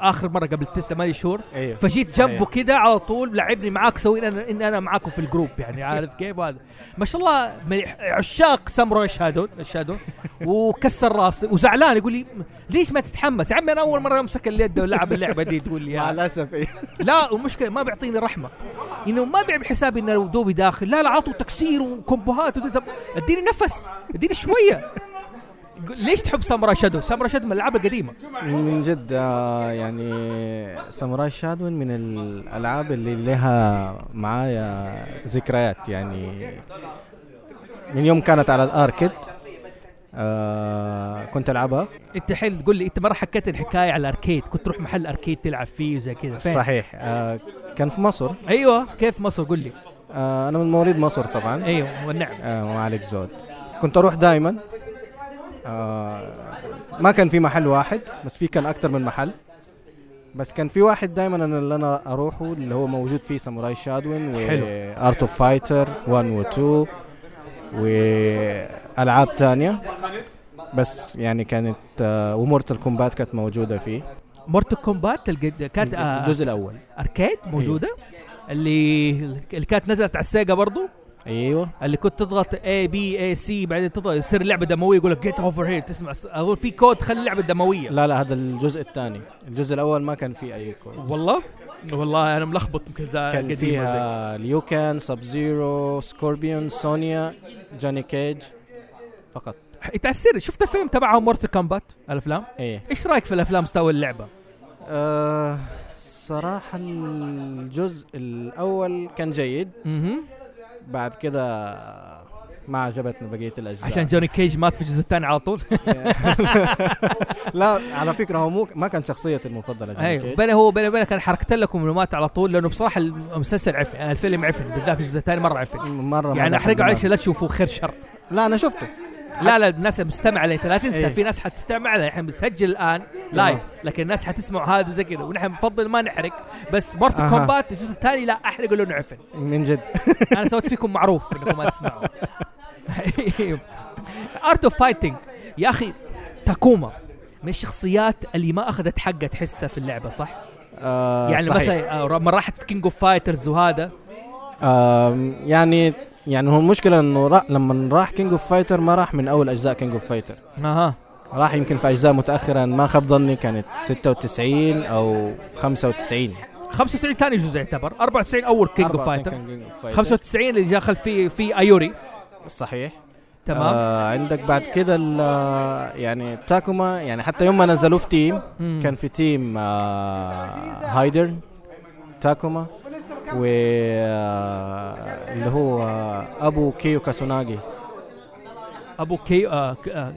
Speaker 1: اخر مره قبل تسعة ثمانية شهور
Speaker 13: أيوه.
Speaker 1: فجيت جنبه
Speaker 13: أيوه.
Speaker 1: كده على طول لعبني معاك سوينا أنا- ان انا معاكم في الجروب يعني عارف كيف هذا ما شاء الله من عشاق ساموراي شادون شادون وكسر راسي وزعلان يقول لي ليش ما تتحمس يا عمي انا اول مره امسك اليد ولعب اللعبه دي تقول لي مع
Speaker 4: الاسف
Speaker 1: لا والمشكله ما بيعطيني رحمه انه ما بيعمل حسابي انه دوبي داخل لا لا عطوا تكسير وكومبوهات ودي- طب اديني نفس اديني شويه يقول ليش تحب ساموراي شادو؟ ساموراي شادو من الالعاب القديمه
Speaker 13: من جد آه، يعني ساموراي شادون من الالعاب اللي لها معايا ذكريات يعني من يوم كانت على الاركد آه كنت العبها
Speaker 1: انت حل تقول لي انت مره حكيت الحكايه على الاركيد كنت تروح محل اركيد تلعب فيه وزي كذا فين؟
Speaker 13: صحيح آه كان في مصر
Speaker 1: ايوه كيف مصر قول لي
Speaker 13: آه انا من مواليد مصر طبعا
Speaker 1: ايوه والنعم
Speaker 13: آه ما عليك زود كنت اروح دائما آه ما كان في محل واحد بس في كان اكثر من محل بس كان في واحد دائما انا اللي انا اروحه اللي هو موجود فيه ساموراي شادون
Speaker 1: حلو.
Speaker 13: وارت اوف فايتر 1 و 2 والعاب تانية بس يعني كانت آه ومورتال كومبات كانت موجوده فيه
Speaker 1: مورتو كومبات الجد- كانت آه،
Speaker 13: الجزء إيه. الاول
Speaker 1: اركيد موجوده اللي اللي كانت نزلت على السيجا برضو
Speaker 13: ايوه
Speaker 1: اللي كنت تضغط اي بي اي سي بعدين تضغط يصير اللعبه دمويه يقول لك جيت اوفر هير تسمع س- اقول في كود خلي اللعبه دمويه
Speaker 13: لا لا هذا الجزء الثاني الجزء الاول ما كان فيه اي كود
Speaker 1: والله والله انا ملخبط كذا
Speaker 13: كان فيها ليوكان سب زيرو سكوربيون سونيا جوني كيج فقط
Speaker 1: انت على السر شفت الفيلم تبعهم مورتو كومبات الافلام
Speaker 13: ايه
Speaker 1: ايش رايك في الافلام مستوى اللعبه
Speaker 13: آه صراحة الجزء الأول كان جيد
Speaker 1: مهم.
Speaker 13: بعد كده ما عجبتنا بقية الأجزاء
Speaker 1: عشان جوني كيج مات في الجزء الثاني على طول
Speaker 13: لا على فكرة هو مو ما كان شخصيتي المفضلة جوني
Speaker 1: ايوه
Speaker 13: كيج
Speaker 1: بين هو بين بينك انا حركت لكم انه مات على طول لانه بصراحه المسلسل عفن الفيلم عفن بالذات الجزء الثاني مره عفن
Speaker 13: مرة
Speaker 1: يعني
Speaker 13: مرة
Speaker 1: احرقه
Speaker 13: مرة.
Speaker 1: عليك عشان لا تشوفوه خير شر
Speaker 13: لا انا شفته
Speaker 1: لا لا الناس مستمع عليه لا تنسى
Speaker 13: إيه.
Speaker 1: في ناس حتستمع عليه احنا بنسجل الان
Speaker 13: تمام.
Speaker 1: لايف لكن الناس حتسمع هذا زي كذا ونحن بنفضل ما نحرق بس مارت
Speaker 13: أها.
Speaker 1: كومبات الجزء الثاني لا احرقه لانه عفن
Speaker 13: من جد
Speaker 1: انا سويت فيكم معروف انكم ما تسمعوا ارت اوف فايتنج يا اخي تاكوما من الشخصيات اللي ما اخذت حقها تحسها في اللعبه صح؟
Speaker 13: آه
Speaker 1: يعني
Speaker 13: صحيح.
Speaker 1: مثلا آه، لما راحت في كينج اوف فايترز وهذا
Speaker 13: آم، يعني يعني هو المشكلة انه را لما راح كينج اوف فايتر ما راح من اول اجزاء كينج اوف فايتر
Speaker 1: اها
Speaker 13: راح يمكن في اجزاء متاخرة أنا ما خاب ظني كانت 96 او 95
Speaker 1: 95 ثاني جزء يعتبر 94 اول كينج اوف
Speaker 13: 94
Speaker 1: فايتر
Speaker 13: كان King of Fighter.
Speaker 1: 95 اللي دخل فيه في ايوري
Speaker 13: صحيح
Speaker 1: تمام
Speaker 13: آه عندك بعد كده ال- يعني تاكوما يعني حتى يوم ما نزلوه في تيم
Speaker 1: مم.
Speaker 13: كان في تيم آه هايدر تاكوما و آه، اللي هو آه، ابو كيو كاسوناغي
Speaker 1: ابو كيو آه ك- آه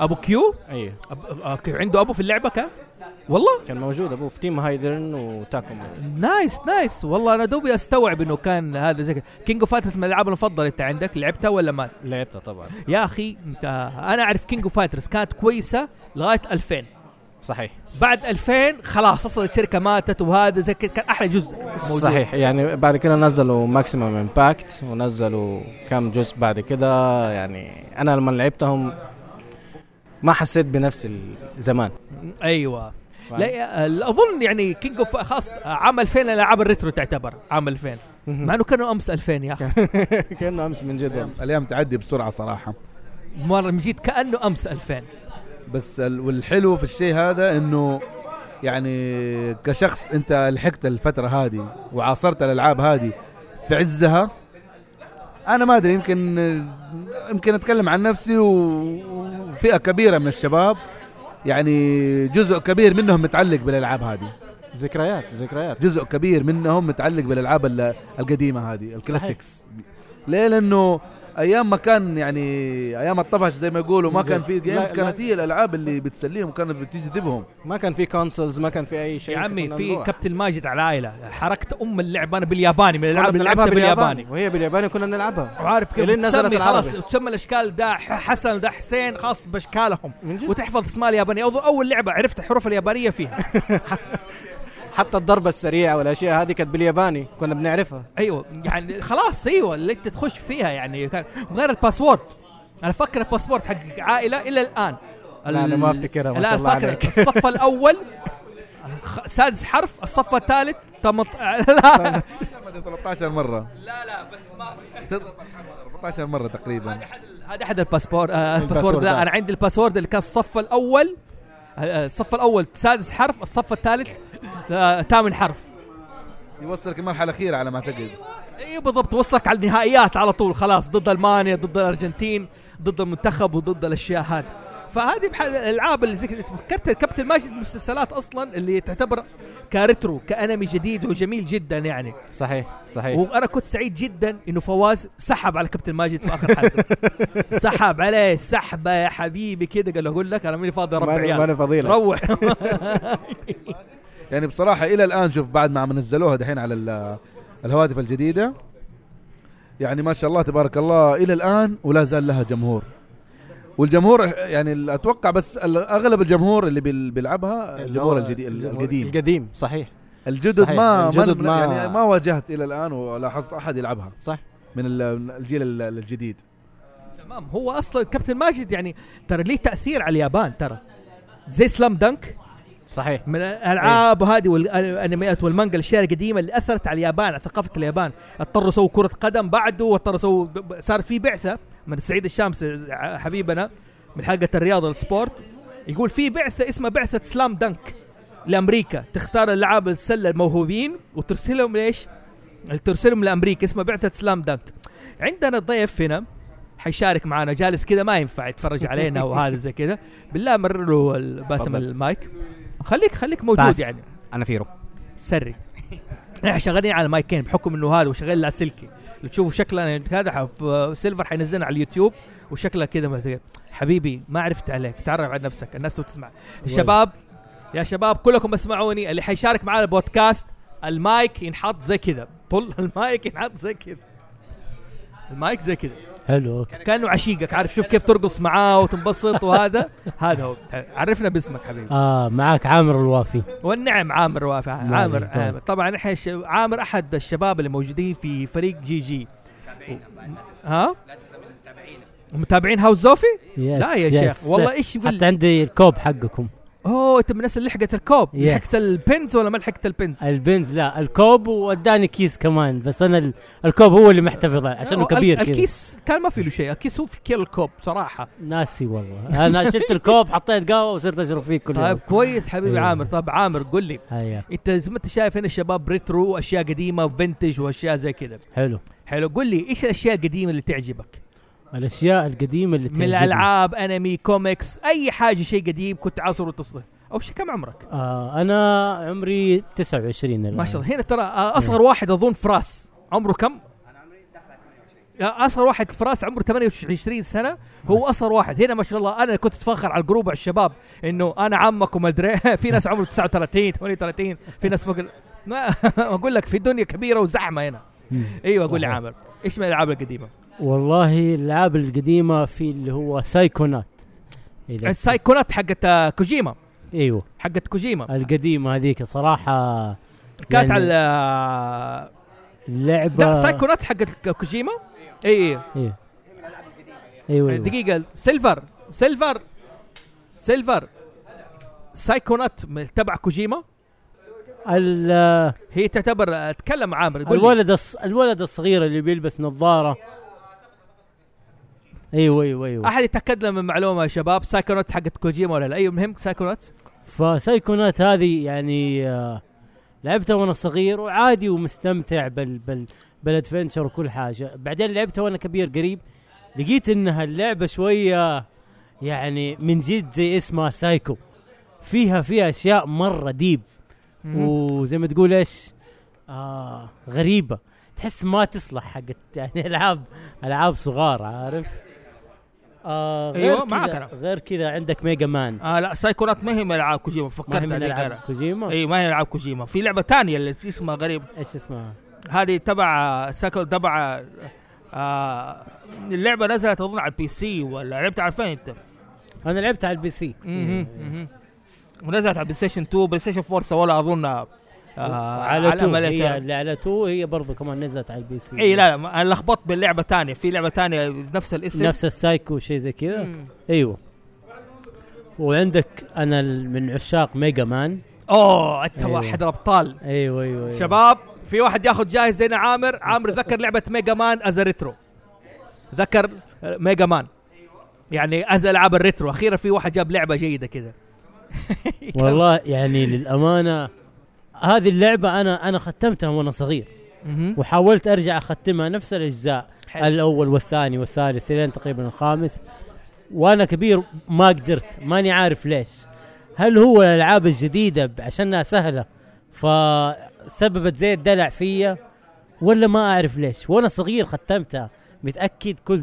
Speaker 1: ابو كيو
Speaker 13: ايوه
Speaker 1: أب... آه كيو عنده ابو في اللعبه كان والله
Speaker 13: كان موجود ابوه في تيم هايدرن وتاكوما
Speaker 1: نايس نايس والله انا دوبي استوعب انه كان هذا زي كينج اوف فايترز من الالعاب المفضله انت عندك لعبتها ولا ما
Speaker 13: لعبتها طبعا
Speaker 1: يا اخي انت انا اعرف كينج اوف فايترز كانت كويسه لغايه 2000
Speaker 13: صحيح
Speaker 1: بعد 2000 خلاص اصلا الشركه ماتت وهذا زي كده، كان احلى جزء موجود.
Speaker 13: صحيح يعني بعد كده نزلوا ماكسيمم امباكت ونزلوا كم جزء بعد كده يعني انا لما لعبتهم ما حسيت بنفس الزمان
Speaker 1: ايوه
Speaker 13: فاهم.
Speaker 1: لا يا- اظن يعني كينج اوف خاص عام 2000 الالعاب الريترو تعتبر عام 2000 مع انه كانوا امس 2000 يا اخي
Speaker 13: كانه امس من جد
Speaker 12: الايام تعدي بسرعه صراحه
Speaker 1: مره مجيت كانه امس 2000
Speaker 12: بس ال- والحلو في الشيء هذا انه يعني كشخص انت لحقت الفتره هذه وعاصرت الالعاب هذه في عزها انا ما ادري يمكن يمكن اتكلم عن نفسي و- وفئه كبيره من الشباب يعني جزء كبير منهم متعلق بالالعاب هذه
Speaker 13: ذكريات ذكريات
Speaker 12: جزء كبير منهم متعلق بالالعاب ال- القديمه هذه الكلاسيكس ليه لانه ايام ما كان يعني ايام الطفش زي ما يقولوا ما كان في
Speaker 13: لا-
Speaker 12: جيمز
Speaker 13: لا.
Speaker 12: كانت هي الالعاب اللي بتسليهم كانت بتجذبهم
Speaker 13: ما كان في كونسولز ما كان في اي شيء
Speaker 1: يا عمي
Speaker 13: كنا
Speaker 1: في
Speaker 13: نروح.
Speaker 1: كابتن ماجد على العائله حركت ام اللعب انا بالياباني من الالعاب اللي
Speaker 13: بنلعبها
Speaker 1: لعبتها بالياباني
Speaker 13: وهي بالياباني كنا نلعبها
Speaker 1: وعارف كيف
Speaker 13: الين نزلت
Speaker 1: تسمي خلاص
Speaker 13: العربي
Speaker 1: تسمى الاشكال ده ح- حسن وده حسين خاص باشكالهم وتحفظ اسماء اليابانيه أظن اول لعبه عرفت الحروف اليابانيه فيها
Speaker 13: حتى الضربه السريعه والاشياء هذه كانت بالياباني كنا بنعرفها
Speaker 1: ايوه يعني خلاص ايوه اللي انت تخش فيها يعني كان غير الباسورد انا فاكر الباسورد حق عائله الى الان
Speaker 13: لا، أنا ما أفتكرها، ما شاء
Speaker 1: لا
Speaker 13: الله
Speaker 1: فاكر
Speaker 13: عليك.
Speaker 1: الصف الاول خ- سادس حرف الصف الثالث تمط... لا
Speaker 12: 13 مره لا لا بس ما 14 مره تقريبا
Speaker 1: هذا احد الباسبور آه الباسورد
Speaker 12: الباسوردات.
Speaker 1: لا انا عندي الباسورد اللي كان الصف الاول آه، الصف الاول سادس حرف الصف الثالث آه، ثامن حرف
Speaker 12: يوصلك المرحله الاخيره على ما اعتقد
Speaker 1: اي إيه بالضبط وصلك على النهائيات على طول خلاص ضد المانيا ضد الارجنتين ضد المنتخب وضد الاشياء هذه فهذه بحال الالعاب اللي زي كده فكرت كابتن ماجد مسلسلات اصلا اللي تعتبر كاريترو كانمي جديد وجميل جدا يعني
Speaker 13: صحيح صحيح
Speaker 1: وانا كنت سعيد جدا انه فواز سحب على كابتن ماجد في اخر حلقه سحب عليه سحبه يا حبيبي كده قال له اقول لك انا ماني فاضي اربع
Speaker 12: ماني-
Speaker 1: عيال
Speaker 12: ماني فاضي لك.
Speaker 1: روح
Speaker 12: يعني بصراحه الى الان شوف بعد ما عم نزلوها دحين على ال- الهواتف الجديده يعني ما شاء الله تبارك الله الى الان ولا زال لها جمهور والجمهور يعني ال- اتوقع بس ال- اغلب الجمهور اللي بيل- بيلعبها الجمهور الجديد القديم
Speaker 13: القديم صحيح
Speaker 12: الجدد
Speaker 13: صحيح.
Speaker 12: ما الجدد
Speaker 13: الجدد
Speaker 12: ما
Speaker 13: ما-
Speaker 12: يعني ما واجهت الى الان ولاحظت احد يلعبها
Speaker 13: صح
Speaker 12: من ال- من الجيل ال- الجديد
Speaker 1: تمام هو اصلا كابتن ماجد يعني ترى ليه تاثير على اليابان ترى زي سلام دنك
Speaker 13: صحيح
Speaker 1: من الالعاب وهذه والانميات والمانجا الاشياء القديمه اللي اثرت على اليابان على ثقافه اليابان اضطروا يسووا كره قدم بعده واضطروا يسووا صارت في بعثه من سعيد الشامس ع- حبيبنا من حلقه الرياضه السبورت يقول في بعثه اسمها بعثه سلام دنك لامريكا تختار العاب السله الموهوبين وترسلهم ليش؟ ترسلهم لامريكا اسمها بعثه سلام دنك عندنا ضيف هنا حيشارك معنا جالس كذا ما ينفع يتفرج علينا وهذا زي كذا بالله مرر له ال- باسم
Speaker 7: تفضل.
Speaker 1: المايك خليك خليك موجود
Speaker 7: بس.
Speaker 1: يعني
Speaker 7: انا فيرو
Speaker 1: سري احنا شغالين على مايكين بحكم انه هذا وشغال لاسلكي لو تشوفوا شكلنا هذا حف- سيلفر حينزلنا على اليوتيوب وشكله كذا مثل- حبيبي ما عرفت عليك تعرف على نفسك الناس تو تسمع الشباب يا شباب كلكم اسمعوني اللي حيشارك معنا البودكاست المايك ينحط زي كذا طل المايك ينحط زي كذا المايك زي كذا
Speaker 3: حلو
Speaker 1: كانه عشيقك عارف شوف كيف ترقص معاه وتنبسط وهذا هذا هو عرفنا باسمك حبيبي
Speaker 3: اه معاك عامر الوافي
Speaker 1: والنعم عامر وافع
Speaker 3: الله
Speaker 1: عامر
Speaker 3: يرزقك.
Speaker 1: عامر طبعا احنا ش- عامر احد الشباب اللي موجودين في فريق جي جي ها متابعين هاوس زوفي؟ لا يا شيخ والله ايش يقول
Speaker 3: حتى عندي الكوب حقكم
Speaker 1: اوه انت من الناس اللي لحقت الكوب
Speaker 3: Yes.
Speaker 1: لحقت البنز ولا ما لحقت البنز؟
Speaker 3: البنز لا الكوب واداني كيس كمان بس انا ال- الكوب هو اللي محتفظ عليه عشان
Speaker 1: هو
Speaker 3: هو
Speaker 1: ال-
Speaker 3: كبير كذا
Speaker 1: الكيس كان ما في له شيء الكيس هو في كيل الكوب صراحه
Speaker 3: ناسي والله انا شلت الكوب حطيت قهوه وصرت اشرب فيه كل
Speaker 1: طيب
Speaker 3: يوم
Speaker 1: كويس حبيبي
Speaker 3: إيه.
Speaker 1: عامر طيب عامر قل لي
Speaker 3: هيا
Speaker 1: انت زي ما انت شايف هنا الشباب ريترو واشياء قديمه وفنتج واشياء زي كذا
Speaker 3: حلو
Speaker 1: حلو قل لي ايش الاشياء القديمه اللي تعجبك؟
Speaker 3: الاشياء القديمه اللي
Speaker 1: من
Speaker 3: تعجبني.
Speaker 1: الالعاب انمي كوميكس اي حاجه شيء قديم كنت عاصر وتصله او شيء كم عمرك
Speaker 3: آه انا عمري 29 الان
Speaker 1: ما شاء الله هنا ترى آه، اصغر واحد اظن فراس عمره كم لا، اصغر واحد فراس عمره 28 سنه هو اصغر واحد هنا ما شاء الله انا كنت اتفخر على الجروب على الشباب انه انا عمك وما ادري إيه. في ناس عمره 39 38 في ناس فوق ال- ما اقول لك في دنيا كبيره وزحمه هنا
Speaker 3: مم.
Speaker 1: ايوه قول لي
Speaker 3: صحيح.
Speaker 1: عامر ايش من الالعاب القديمه
Speaker 3: والله الالعاب القديمه في اللي هو سايكونات إذا-
Speaker 1: السايكونات حقت آه، كوجيما
Speaker 3: ايوه
Speaker 1: حقت كوجيما
Speaker 3: القديمه هذيك يعني صراحه
Speaker 1: كانت على
Speaker 3: اللعبه
Speaker 1: لا سايكونات حقت كوجيما إيه. اي
Speaker 3: ايوه ايوه ايوه
Speaker 1: يعني دقيقة سيلفر سيلفر سيلفر سايكونات من- تبع كوجيما
Speaker 3: ال-
Speaker 1: هي تعتبر اتكلم عامر قول لي.
Speaker 3: الولد الص... الولد الصغير اللي بيلبس نظاره ايوه ايوه ايوه
Speaker 1: احد يتاكد لنا من معلومه يا شباب سايكونات حقت كوجيما ولا لا ايوه مهم سايكونات
Speaker 3: فسايكونات هذه يعني آه، لعبتها وانا صغير وعادي ومستمتع بال بال بالادفنشر وكل حاجه بعدين لعبتها وانا كبير قريب لقيت انها اللعبه شويه يعني من جد زي اسمها سايكو فيها فيها اشياء مره ديب
Speaker 1: مم.
Speaker 3: وزي ما تقول ايش آه غريبه تحس ما تصلح حقت يعني العاب العاب صغار عارف آه غير
Speaker 1: أيوة، معاك
Speaker 3: كذا-
Speaker 1: أنا.
Speaker 3: غير كذا عندك ميجا مان
Speaker 1: آه لا سايكونات ما هي من العاب كوجيما فكرت
Speaker 3: ما هي من ألعاب كوجيما؟
Speaker 1: اي ما هي العاب كوجيما في لعبه ثانيه اللي اسمها غريب
Speaker 3: ايش اسمها؟
Speaker 1: هذه تبع سايكو تبع آه اللعبه نزلت اظن على البي سي ولا لعبت على فين انت؟
Speaker 3: انا لعبت على البي سي
Speaker 1: مهم، مهم. ونزلت على بلاي ستيشن 2 بلاي ستيشن 4 سووا لها اظن آه،
Speaker 3: على تو
Speaker 1: الأمل
Speaker 3: هي
Speaker 1: التالي.
Speaker 3: اللي على تو هي برضو كمان نزلت على البي سي
Speaker 1: اي لا لا ما- انا لخبطت باللعبه ثانيه في لعبه ثانيه نفس الاسم
Speaker 3: نفس السايكو شيء زي كذا
Speaker 1: مم.
Speaker 3: ايوه وعندك انا ال- من عشاق ميجا مان أيوه.
Speaker 1: اوه انت واحد الابطال
Speaker 3: ايوه ايوه, أيوة.
Speaker 1: شباب في واحد ياخذ جاهز زينا عامر عامر ذكر لعبه ميجا مان از ريترو ذكر آه، ميجا مان يعني از العاب الريترو اخيرا في واحد جاب لعبه جيده كذا
Speaker 3: والله يعني للامانه هذه اللعبه انا انا ختمتها وانا صغير
Speaker 1: مهم.
Speaker 3: وحاولت ارجع اختمها نفس الاجزاء
Speaker 1: حلو.
Speaker 3: الاول والثاني والثالث لين تقريبا الخامس وانا كبير ما قدرت ماني عارف ليش هل هو الالعاب الجديده ب- عشانها سهله فسببت زي الدلع فيا ولا ما اعرف ليش وانا صغير ختمتها متاكد كل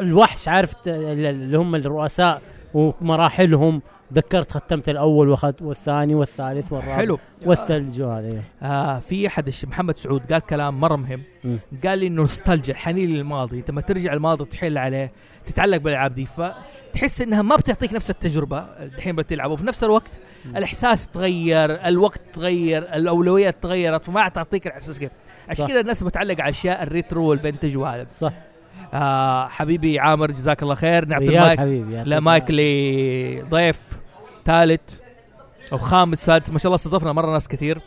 Speaker 3: الوحش عارف ت- اللي هم الرؤساء ومراحلهم ذكرت ختمت الاول واخذت والثاني والثالث والرابع
Speaker 1: حلو.
Speaker 3: والثلج وهذا إيه.
Speaker 1: آه في احد الش- محمد سعود قال كلام مره مهم
Speaker 3: مم.
Speaker 1: قال لي نوستالجيا الحنين للماضي انت لما ترجع الماضي تحل عليه تتعلق بالالعاب دي فتحس انها ما بتعطيك نفس التجربه الحين بتلعب وفي نفس الوقت الاحساس تغير الوقت تغير الاولويات تغيرت فما تعطيك الاحساس كيف عشان
Speaker 3: صح.
Speaker 1: كذا الناس بتعلق على اشياء الريترو والفنتج وهذا
Speaker 3: صح
Speaker 1: آه حبيبي عامر جزاك الله خير نعطي
Speaker 3: رياض
Speaker 1: المايك
Speaker 3: حبيبي، يعطيك
Speaker 1: لا مايك لضيف ثالث او خامس سادس ما شاء الله استضفنا مره ناس كثير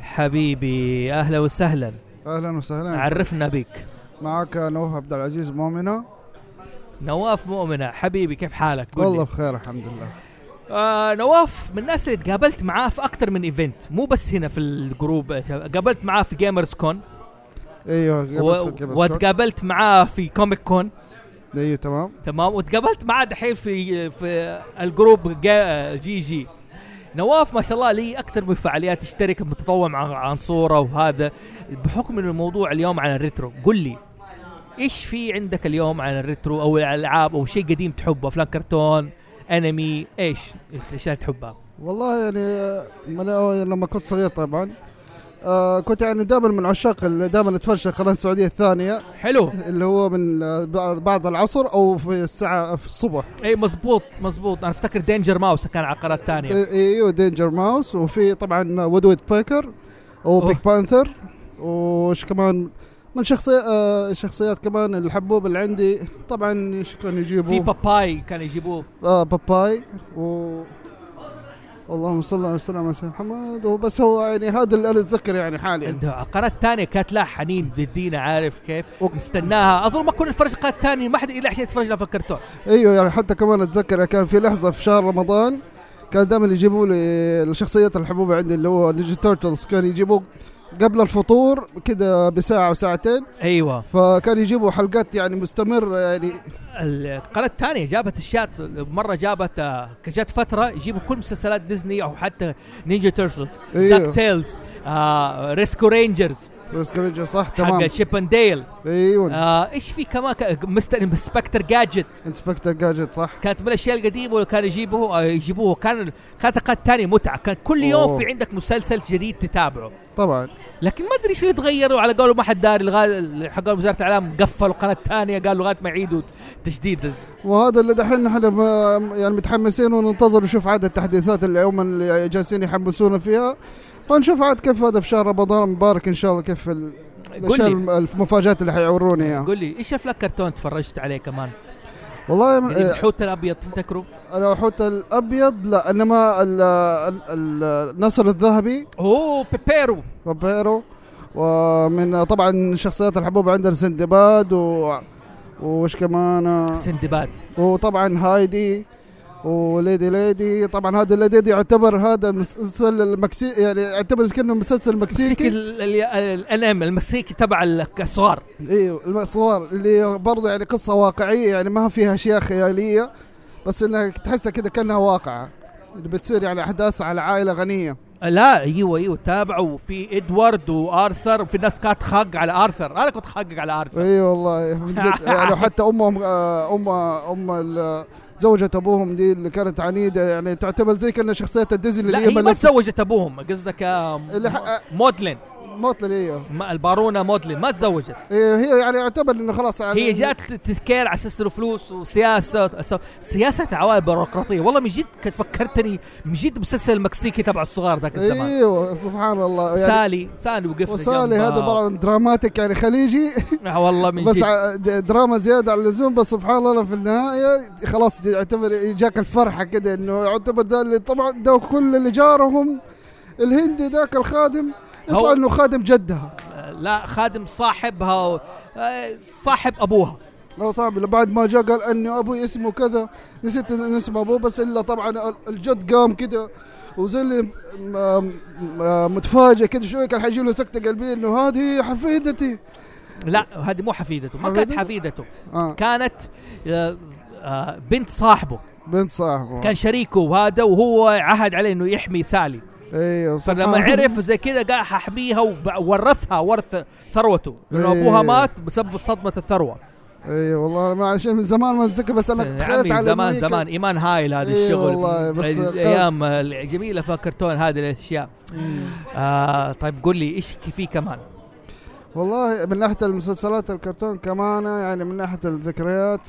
Speaker 1: حبيبي اهلا وسهلا
Speaker 14: اهلا وسهلا
Speaker 1: عرفنا بك
Speaker 14: معك نوح عبد العزيز مؤمنه
Speaker 1: نواف مؤمنه حبيبي كيف حالك قل لي.
Speaker 14: والله بخير الحمد لله
Speaker 1: آه نواف من الناس اللي تقابلت معاه في اكثر من ايفنت مو بس هنا في الجروب آه، قابلت معاه في جيمرز كون
Speaker 14: ايوه قابلت في
Speaker 1: و-
Speaker 14: الكبس كوك.
Speaker 1: وتقابلت معاه في كوميك كون
Speaker 14: ايوه تمام
Speaker 1: تمام وتقابلت معاه دحين في في الجروب جا- جي جي نواف ما شاء الله لي اكثر من فعاليات اشترك متطوع مع عنصوره وهذا بحكم انه الموضوع اليوم عن الريترو قل لي ايش في عندك اليوم عن الريترو او الالعاب او شيء قديم تحبه افلام كرتون انمي ايش الاشياء اللي تحبها
Speaker 14: والله يعني آه، من أول- لما كنت صغير طبعا آه كنت يعني دائما من عشاق اللي دائما اتفرج على القناه السعوديه الثانيه
Speaker 1: حلو
Speaker 14: اللي هو من آه، بعد- بعد العصر او في الساعه في الصبح
Speaker 1: اي مزبوط مزبوط انا افتكر دينجر ماوس كان على قناه ثانيه
Speaker 14: إي- ايوه دينجر ماوس وفي طبعا وودويد بيكر وبيك بانثر وش كمان من شخصيات آه شخصيات كمان الحبوب اللي عندي طبعا ايش كانوا يجيبوا
Speaker 1: في باباي كان يجيبوه
Speaker 14: آه باباي و اللهم صل على وسلم على سيدنا محمد وبس هو يعني هذا اللي انا اتذكر يعني حاليا
Speaker 1: عنده القناه الثانيه كانت لها حنين دينا عارف كيف مستناها اظن ما كنا نتفرج القناه الثانيه ما حد الا عشان يتفرج لها في الكرتون
Speaker 14: ايوه يعني حتى كمان اتذكر كان في لحظه في شهر رمضان كان دائما يجيبوا لي الشخصيات الحبوبه عندي اللي هو نيجي تورتلز كان يجيبوا قبل الفطور كده بساعه وساعتين أيوة.
Speaker 1: ايوه
Speaker 14: فكان يجيبوا حلقات يعني مستمره يعني
Speaker 1: القناه الثانيه جابت اشياء مره جابت آه، جت فتره يجيبوا كل مسلسلات ديزني او حتى نينجا تيرتلز
Speaker 14: أيوه.
Speaker 1: داك تيلز آه، ريسكو رينجرز
Speaker 14: ريسكو رينجرز صح تمام.
Speaker 1: حق شيب اند ديل
Speaker 14: ايوه
Speaker 1: آه ايش في كمان ك- مستر انسبكتر جاجت
Speaker 14: انسبكتر جاجت صح
Speaker 1: كانت من الاشياء القديمه اللي كانوا يجيبوه آه، يجيبوه كان كانت القناه الثانيه متعه كان كل يوم
Speaker 14: أوه.
Speaker 1: في عندك مسلسل جديد تتابعه
Speaker 14: طبعا
Speaker 1: لكن ما ادري شو تغيروا على قولهم ما حد داري لغايه حقهم وزاره الاعلام قفلوا القناه الثانيه قالوا لغايه ما يعيدوا تجديد
Speaker 14: وهذا اللي دحين نحن ب- يعني متحمسين وننتظر نشوف عاد التحديثات اللي يوما اللي جالسين يحمسونا فيها فنشوف عاد كيف هذا في شهر رمضان المبارك ان شاء الله كيف ال- الاشياء الم- المفاجات اللي يعني. حيعورونا اياها
Speaker 1: قول لي ايش افلام كرتون تفرجت عليه كمان؟
Speaker 14: والله من-
Speaker 1: من
Speaker 14: آه،
Speaker 1: الحوت الابيض تفتكروا؟
Speaker 14: الحوت الابيض لا انما ال- ال- ال- النصر الذهبي
Speaker 1: اوه بيبيرو
Speaker 14: بيبيرو ومن طبعا شخصيات الحبوب عندنا سندباد و وش كمان آه،
Speaker 1: سندباد
Speaker 14: وطبعا هايدي وليدي ليدي طبعا هذا الليدي دي يعتبر هذا المسلسل المكسي يعني يعتبر كأنه مسلسل
Speaker 1: مكسيكي
Speaker 14: مكسيكي
Speaker 1: ال- ال- الانام المكسيكي تبع الصغار
Speaker 14: ايوه المصور اللي برضه يعني قصه واقعيه يعني ما فيها اشياء خياليه بس انها تحسها كده كانها واقعه اللي بتصير يعني احداث على عائله غنيه
Speaker 1: لا ايوه ايوه تابعوا في ادوارد وارثر وفي ناس كانت تخقق على ارثر انا كنت خقق على ارثر
Speaker 14: اي والله من جد يعني حتى امهم آه، ام ام ال- زوجة ابوهم دي اللي كانت عنيده يعني تعتبر زي كانها شخصيه الديزني
Speaker 1: لا
Speaker 14: اللي
Speaker 1: هي ما
Speaker 14: ملفوسة.
Speaker 1: تزوجت ابوهم قصدك آه، مودلين
Speaker 14: موتلن ايوه
Speaker 1: ما- البارونه مودلين ما تزوجت
Speaker 14: إيه، هي يعني يعتبر انه خلاص يعني
Speaker 1: هي جات تذكير على اساس إنه فلوس وسياسه أس- سياسه عوائل بيروقراطيه والله من جد كنت فكرتني من جد مسلسل المكسيكي تبع الصغار ذاك الزمان
Speaker 14: ايوه سبحان الله يعني
Speaker 1: سالي سالي وقفنا
Speaker 14: وسالي
Speaker 1: جنبها.
Speaker 14: هذا طبعا دراماتيك يعني خليجي
Speaker 1: آه، والله من
Speaker 14: بس
Speaker 1: جد.
Speaker 14: ع- د- دراما زياده عن اللزوم بس سبحان الله في النهايه خلاص يعتبر جاك الفرحه كده انه يعتبر ده اللي طبعا ده كل اللي جارهم الهندي ذاك الخادم
Speaker 1: هو-
Speaker 14: يطلع انه خادم جدها
Speaker 1: آه، لا خادم صاحبها و- آه، صاحب ابوها
Speaker 14: لو صعب لو بعد ما جاء قال انه ابوي اسمه كذا نسيت إن اسم ابوه بس الا طبعا ال- الجد قام كده وزي اللي م- م- م- متفاجئ كده شوي كان حيجي له سكته قلبيه انه هذه حفيدتي
Speaker 1: لا هذه مو حفيدته ما كانت
Speaker 14: حفيدته؟
Speaker 1: حفيدته
Speaker 14: آه.
Speaker 1: كانت آه، آه، بنت صاحبه
Speaker 14: بنت صاحبه
Speaker 1: كان شريكه وهذا وهو عهد عليه انه يحمي سالي
Speaker 14: ايوه
Speaker 1: فلما
Speaker 14: سبحان الله.
Speaker 1: عرف زي كذا قال ححميها وورثها ورث ثروته لانه
Speaker 14: إيه.
Speaker 1: ابوها مات بسبب صدمه الثروه
Speaker 14: اي والله ما عشان من زمان ما اتذكر بس انا
Speaker 1: يا
Speaker 14: كنت
Speaker 1: عمي
Speaker 14: خايف على
Speaker 1: زمان
Speaker 14: أمريكا.
Speaker 1: زمان ايمان هايل هذا
Speaker 14: إيه
Speaker 1: الشغل
Speaker 14: والله، بس
Speaker 1: ال-
Speaker 14: كان-
Speaker 1: الايام الجميله في كرتون هذه الاشياء
Speaker 14: إيه.
Speaker 1: آه طيب قول لي ايش في كمان
Speaker 14: والله من ناحيه المسلسلات الكرتون كمان يعني من ناحيه الذكريات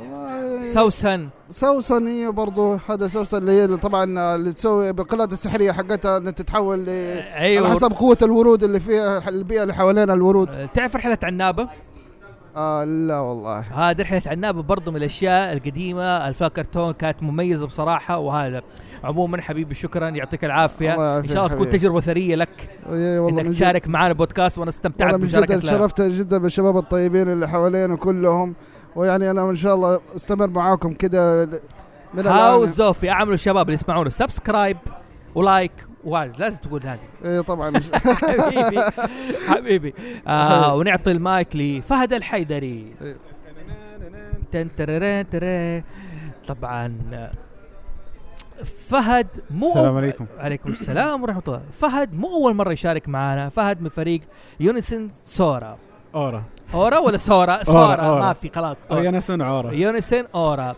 Speaker 14: والله
Speaker 1: سوسن
Speaker 14: سوسن هي برضه هذا سوسن اللي هي اللي طبعا اللي تسوي بالقلادة السحرية حقتها انها تتحول ل
Speaker 1: أيوة.
Speaker 14: على حسب قوة الورود اللي فيها البيئة اللي حوالينا الورود
Speaker 1: آه، تعرف رحله عنابه
Speaker 14: آه لا والله
Speaker 1: هذا رحله عنابه برضو من الاشياء القديمه الفا كرتون كانت مميزه بصراحه وهذا عموما حبيبي شكرا يعطيك العافيه
Speaker 14: الله
Speaker 1: ان
Speaker 14: يعافيك
Speaker 1: شاء الله تكون
Speaker 14: حبيبي.
Speaker 1: تجربه ثريه لك
Speaker 14: إي والله من
Speaker 1: انك
Speaker 14: جد.
Speaker 1: تشارك معنا بودكاست وانا
Speaker 14: انا
Speaker 1: استمتعت
Speaker 14: من جد
Speaker 1: بمشاركتك لنا.
Speaker 14: تشرفت جدا بالشباب الطيبين اللي حوالينا كلهم ويعني انا ان شاء الله استمر معاكم كده ل- من
Speaker 1: هاو
Speaker 14: الآن
Speaker 1: زوفي اعملوا الشباب اللي يسمعونا سبسكرايب ولايك وهذا لازم تقول هذه
Speaker 14: اي طبعا
Speaker 1: حبيبي حبيبي
Speaker 14: إيه.
Speaker 1: آه ونعطي المايك لفهد الحيدري تن تررن ترى. طبعا آه، فهد مو
Speaker 15: السلام عليكم.
Speaker 1: عليكم السلام ورحمه الله فهد مو اول مره يشارك معنا فهد من فريق يونيسن سورا
Speaker 15: اورا
Speaker 1: اورا ولا سورا
Speaker 15: أورا،
Speaker 1: سورا
Speaker 15: أورا.
Speaker 1: ما في خلاص سورا.
Speaker 15: أو يونيسن أورا.
Speaker 1: يونيسن اورا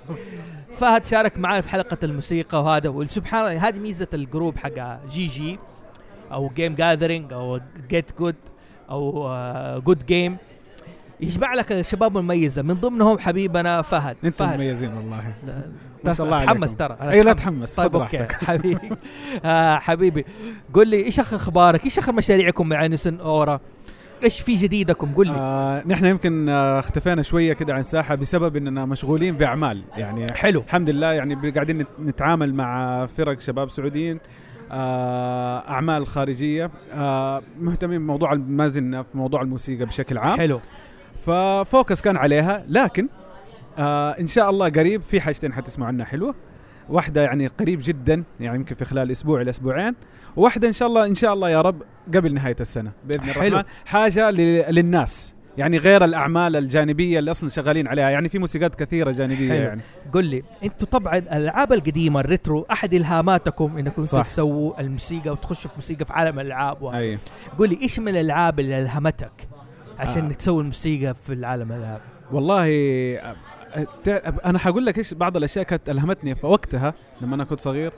Speaker 1: فهد شارك معنا في حلقه الموسيقى وهذا وسبحان الله هذه ميزه الجروب حق جي جي او جيم جاذرينج او جيت جود او جود جيم يجمع لك شباب مميزه من ضمنهم حبيبنا فهد
Speaker 15: انتم
Speaker 1: فهد.
Speaker 15: مميزين والله
Speaker 1: لا-
Speaker 15: ما شاء الله عليكم
Speaker 1: تحمس ترى أنا
Speaker 15: اي لا تحمس
Speaker 1: طيب
Speaker 15: خذ
Speaker 1: اوكي
Speaker 15: راحتك
Speaker 1: حبيبي آه حبيبي قول لي ايش اخر اخبارك ايش اخر مشاريعكم مع انسن اورا ايش في جديدكم قول لي
Speaker 15: آه نحن يمكن آه اختفينا شويه كده عن الساحه بسبب اننا مشغولين باعمال يعني
Speaker 1: حلو
Speaker 15: الحمد لله يعني ب- قاعدين نت- نتعامل مع فرق شباب سعوديين آه اعمال خارجيه آه مهتمين بموضوع الم- ما زلنا في موضوع الموسيقى بشكل عام
Speaker 1: حلو
Speaker 15: ففوكس كان عليها لكن آه ان شاء الله قريب في حاجتين حتسمعوا عنها حلوه واحده يعني قريب جدا يعني يمكن في خلال اسبوع الى اسبوعين واحده ان شاء الله ان شاء الله يا رب قبل نهايه السنه باذن
Speaker 1: حلو.
Speaker 15: الرحمن حاجه ل- للناس يعني غير الاعمال الجانبيه اللي اصلا شغالين عليها يعني في موسيقات كثيره جانبيه
Speaker 1: حلو.
Speaker 15: يعني
Speaker 1: قل لي انتم طبعا الالعاب القديمه الريترو احد الهاماتكم انكم انتم
Speaker 15: صح.
Speaker 1: تسووا الموسيقى وتخشوا في موسيقى في عالم الالعاب وهذا.
Speaker 15: أيوه.
Speaker 1: قل لي ايش من الالعاب اللي الهمتك عشان
Speaker 15: آه.
Speaker 1: آه. تسوي الموسيقى في العالم الالعاب
Speaker 15: والله أ- أ- انا حقول لك ايش بعض الاشياء كانت الهمتني في وقتها لما انا كنت صغير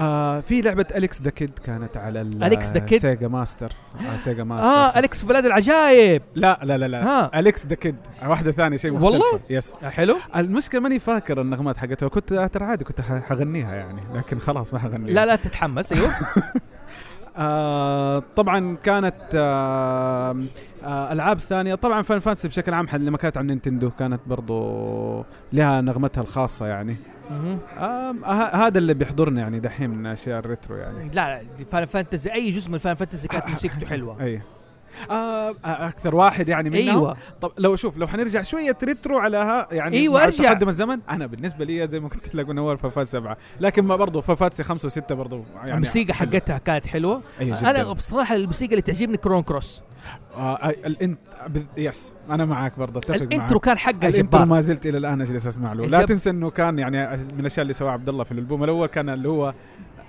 Speaker 15: آه في لعبه اليكس ذا كيد كانت على
Speaker 1: أليكس ذا كيد؟
Speaker 15: سيجا ماستر آه سيجا ماستر
Speaker 1: اه اليكس بلاد العجائب
Speaker 15: لا لا لا لا
Speaker 1: ها.
Speaker 15: آه. اليكس ذا كيد واحده ثانيه شيء مختلف
Speaker 1: والله؟
Speaker 15: يس
Speaker 1: حلو
Speaker 15: المشكله ماني فاكر النغمات حقتها كنت ترى عادي كنت ح- حغنيها يعني لكن خلاص ما حغنيها
Speaker 1: لا لا تتحمس ايوه
Speaker 15: آه طبعا كانت آه آه العاب ثانيه طبعا فان فانتسي بشكل عام حل- لما كانت على نينتندو كانت برضو لها نغمتها الخاصه يعني
Speaker 1: مهم.
Speaker 15: آه ه- هذا اللي بيحضرنا يعني دحين من اشياء الريترو يعني
Speaker 1: لا لا فان فانتزي اي جزء من فان فانتزي كانت موسيقته حلوه
Speaker 15: اي آه آه، اكثر واحد يعني منهم
Speaker 1: أيوة.
Speaker 15: طب لو شوف لو حنرجع شويه ريترو على ها يعني
Speaker 1: أيوة،
Speaker 15: مع
Speaker 1: أرجع.
Speaker 15: تقدم الزمن انا بالنسبه لي زي ما قلت لك من اول فافات سبعه لكن ما برضه فافات خمسه وسته برضه يعني
Speaker 1: الموسيقى حقتها كانت حلوه
Speaker 15: أيوة
Speaker 1: انا
Speaker 15: جداً.
Speaker 1: بصراحه الموسيقى اللي تعجبني كرون كروس
Speaker 15: آه الانت بال- يس انا معك برضه اتفق معك
Speaker 1: الانترو كان حقه
Speaker 15: الانترو
Speaker 1: جبار.
Speaker 15: ما زلت الى الان اجلس اسمع له لا
Speaker 1: جب-
Speaker 15: تنسى انه كان يعني من الاشياء اللي سواها عبد الله في الالبوم الاول كان اللي هو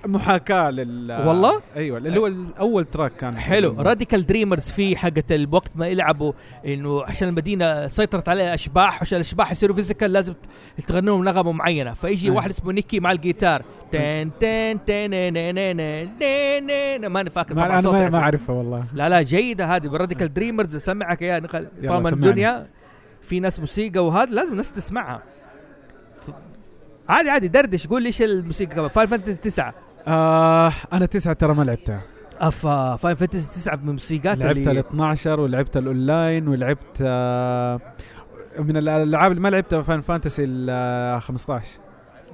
Speaker 15: محاكاه لل
Speaker 1: والله؟
Speaker 15: ايوه اللي هو الاول تراك كان
Speaker 1: حلو راديكال دريمرز في حقه الوقت ما يلعبوا انه عشان المدينه سيطرت عليها اشباح عشان الاشباح يصيروا فيزيكال لازم تغنوا لهم نغمه معينه فيجي
Speaker 15: أيوة.
Speaker 1: واحد اسمه نيكي مع الجيتار تن تن تن نن- نن- نن- نن- نن- ماني فاكر
Speaker 15: ما
Speaker 1: طبعاً
Speaker 15: انا
Speaker 1: صوتي
Speaker 15: ما- ما
Speaker 1: عفوا.
Speaker 15: اعرفها والله
Speaker 1: لا لا جيده هذه بالراديكال دريمرز اسمعك يا نخل
Speaker 15: يلا
Speaker 1: طالما
Speaker 15: سمعني.
Speaker 1: الدنيا في ناس موسيقى وهذا لازم الناس تسمعها ف- عادي عادي دردش قول ايش الموسيقى كمان فاين فانتسي 9
Speaker 15: آه انا تسعة ترى ما لعبتها
Speaker 1: افا فاين فانتسي 9 من موسيقات
Speaker 15: لعبت ال
Speaker 1: اللي
Speaker 15: 12 ولعبت الاونلاين ولعبت آه من الالعاب اللي ما لعبتها فان فانتسي ال آه، 15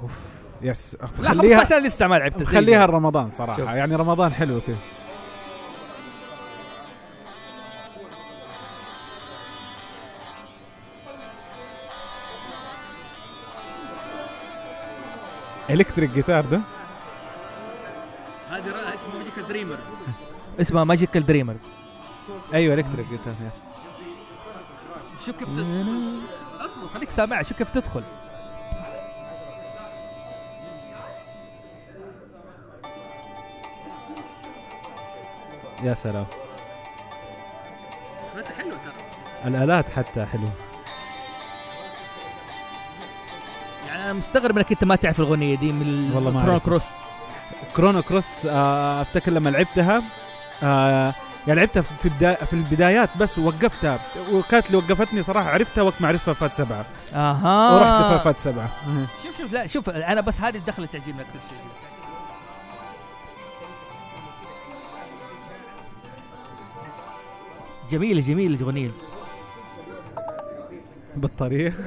Speaker 15: اوف يس
Speaker 1: لا 15 أنا لسه ما لعبتها زي
Speaker 15: خليها
Speaker 1: زي.
Speaker 15: رمضان صراحه
Speaker 1: شوف.
Speaker 15: يعني رمضان حلو كذا الكتريك جيتار ده
Speaker 1: هذه اسمه ماجيكال دريمرز
Speaker 15: اسمها ماجيكال دريمرز ايوه الكتريك جيتار يس
Speaker 1: شوف كيف تدخل اصبر خليك سامع شوف كيف تدخل
Speaker 15: يا سلام
Speaker 1: حلو ترى
Speaker 15: الالات حتى حلوه
Speaker 1: يعني انا مستغرب انك انت ما تعرف الاغنيه دي من
Speaker 15: والله ما
Speaker 1: كرونو
Speaker 15: أعرف.
Speaker 1: كروس
Speaker 15: كرونو كروس آه افتكر لما لعبتها آه يعني لعبتها في بدا في البدايات بس وقفتها وكانت اللي وقفتني صراحه عرفتها وقت ما عرفت فات سبعه
Speaker 1: اها
Speaker 15: ورحت فات سبعه مه.
Speaker 1: آه. شوف شوف لا شوف انا بس هذه الدخله تعجبني اكثر شيء جميله جميله جميل
Speaker 15: بالطريق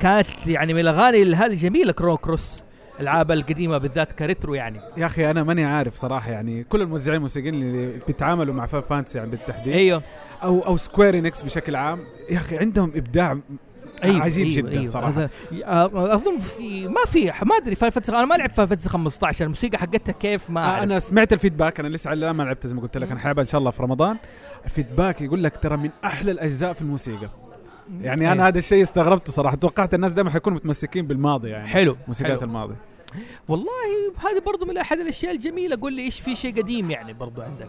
Speaker 1: كانت يعني من الاغاني اللي هذه جميله كرونو كروس العاب القديمه بالذات كريترو يعني
Speaker 15: يا اخي انا ماني عارف صراحه يعني كل الموزعين الموسيقيين اللي بيتعاملوا مع فان فانتسي يعني بالتحديد
Speaker 1: ايوه
Speaker 15: او او سكوير انكس بشكل عام يا اخي عندهم ابداع
Speaker 1: ايوه
Speaker 15: عجيب
Speaker 1: أيوة
Speaker 15: جدا
Speaker 1: أيوة
Speaker 15: صراحه
Speaker 1: هذا- آه، اظن في ما في ما ادري فاين فانتسي انا ما لعبت فاين فانتسي 15 الموسيقى حقتها كيف ما
Speaker 15: آه
Speaker 1: أعرف.
Speaker 15: انا سمعت الفيدباك انا لسه على- ما لعبت زي ما قلت لك انا حلعبها ان شاء الله في رمضان الفيدباك يقول لك ترى من احلى الاجزاء في الموسيقى يعني انا
Speaker 1: أيوة.
Speaker 15: هذا الشيء استغربته صراحه توقعت الناس دائما حيكونوا متمسكين بالماضي يعني
Speaker 1: حلو،
Speaker 15: موسيقات
Speaker 1: حلو.
Speaker 15: الماضي
Speaker 1: والله هذه برضو من احد الاشياء الجميله قول لي ايش في شيء قديم يعني برضو عندك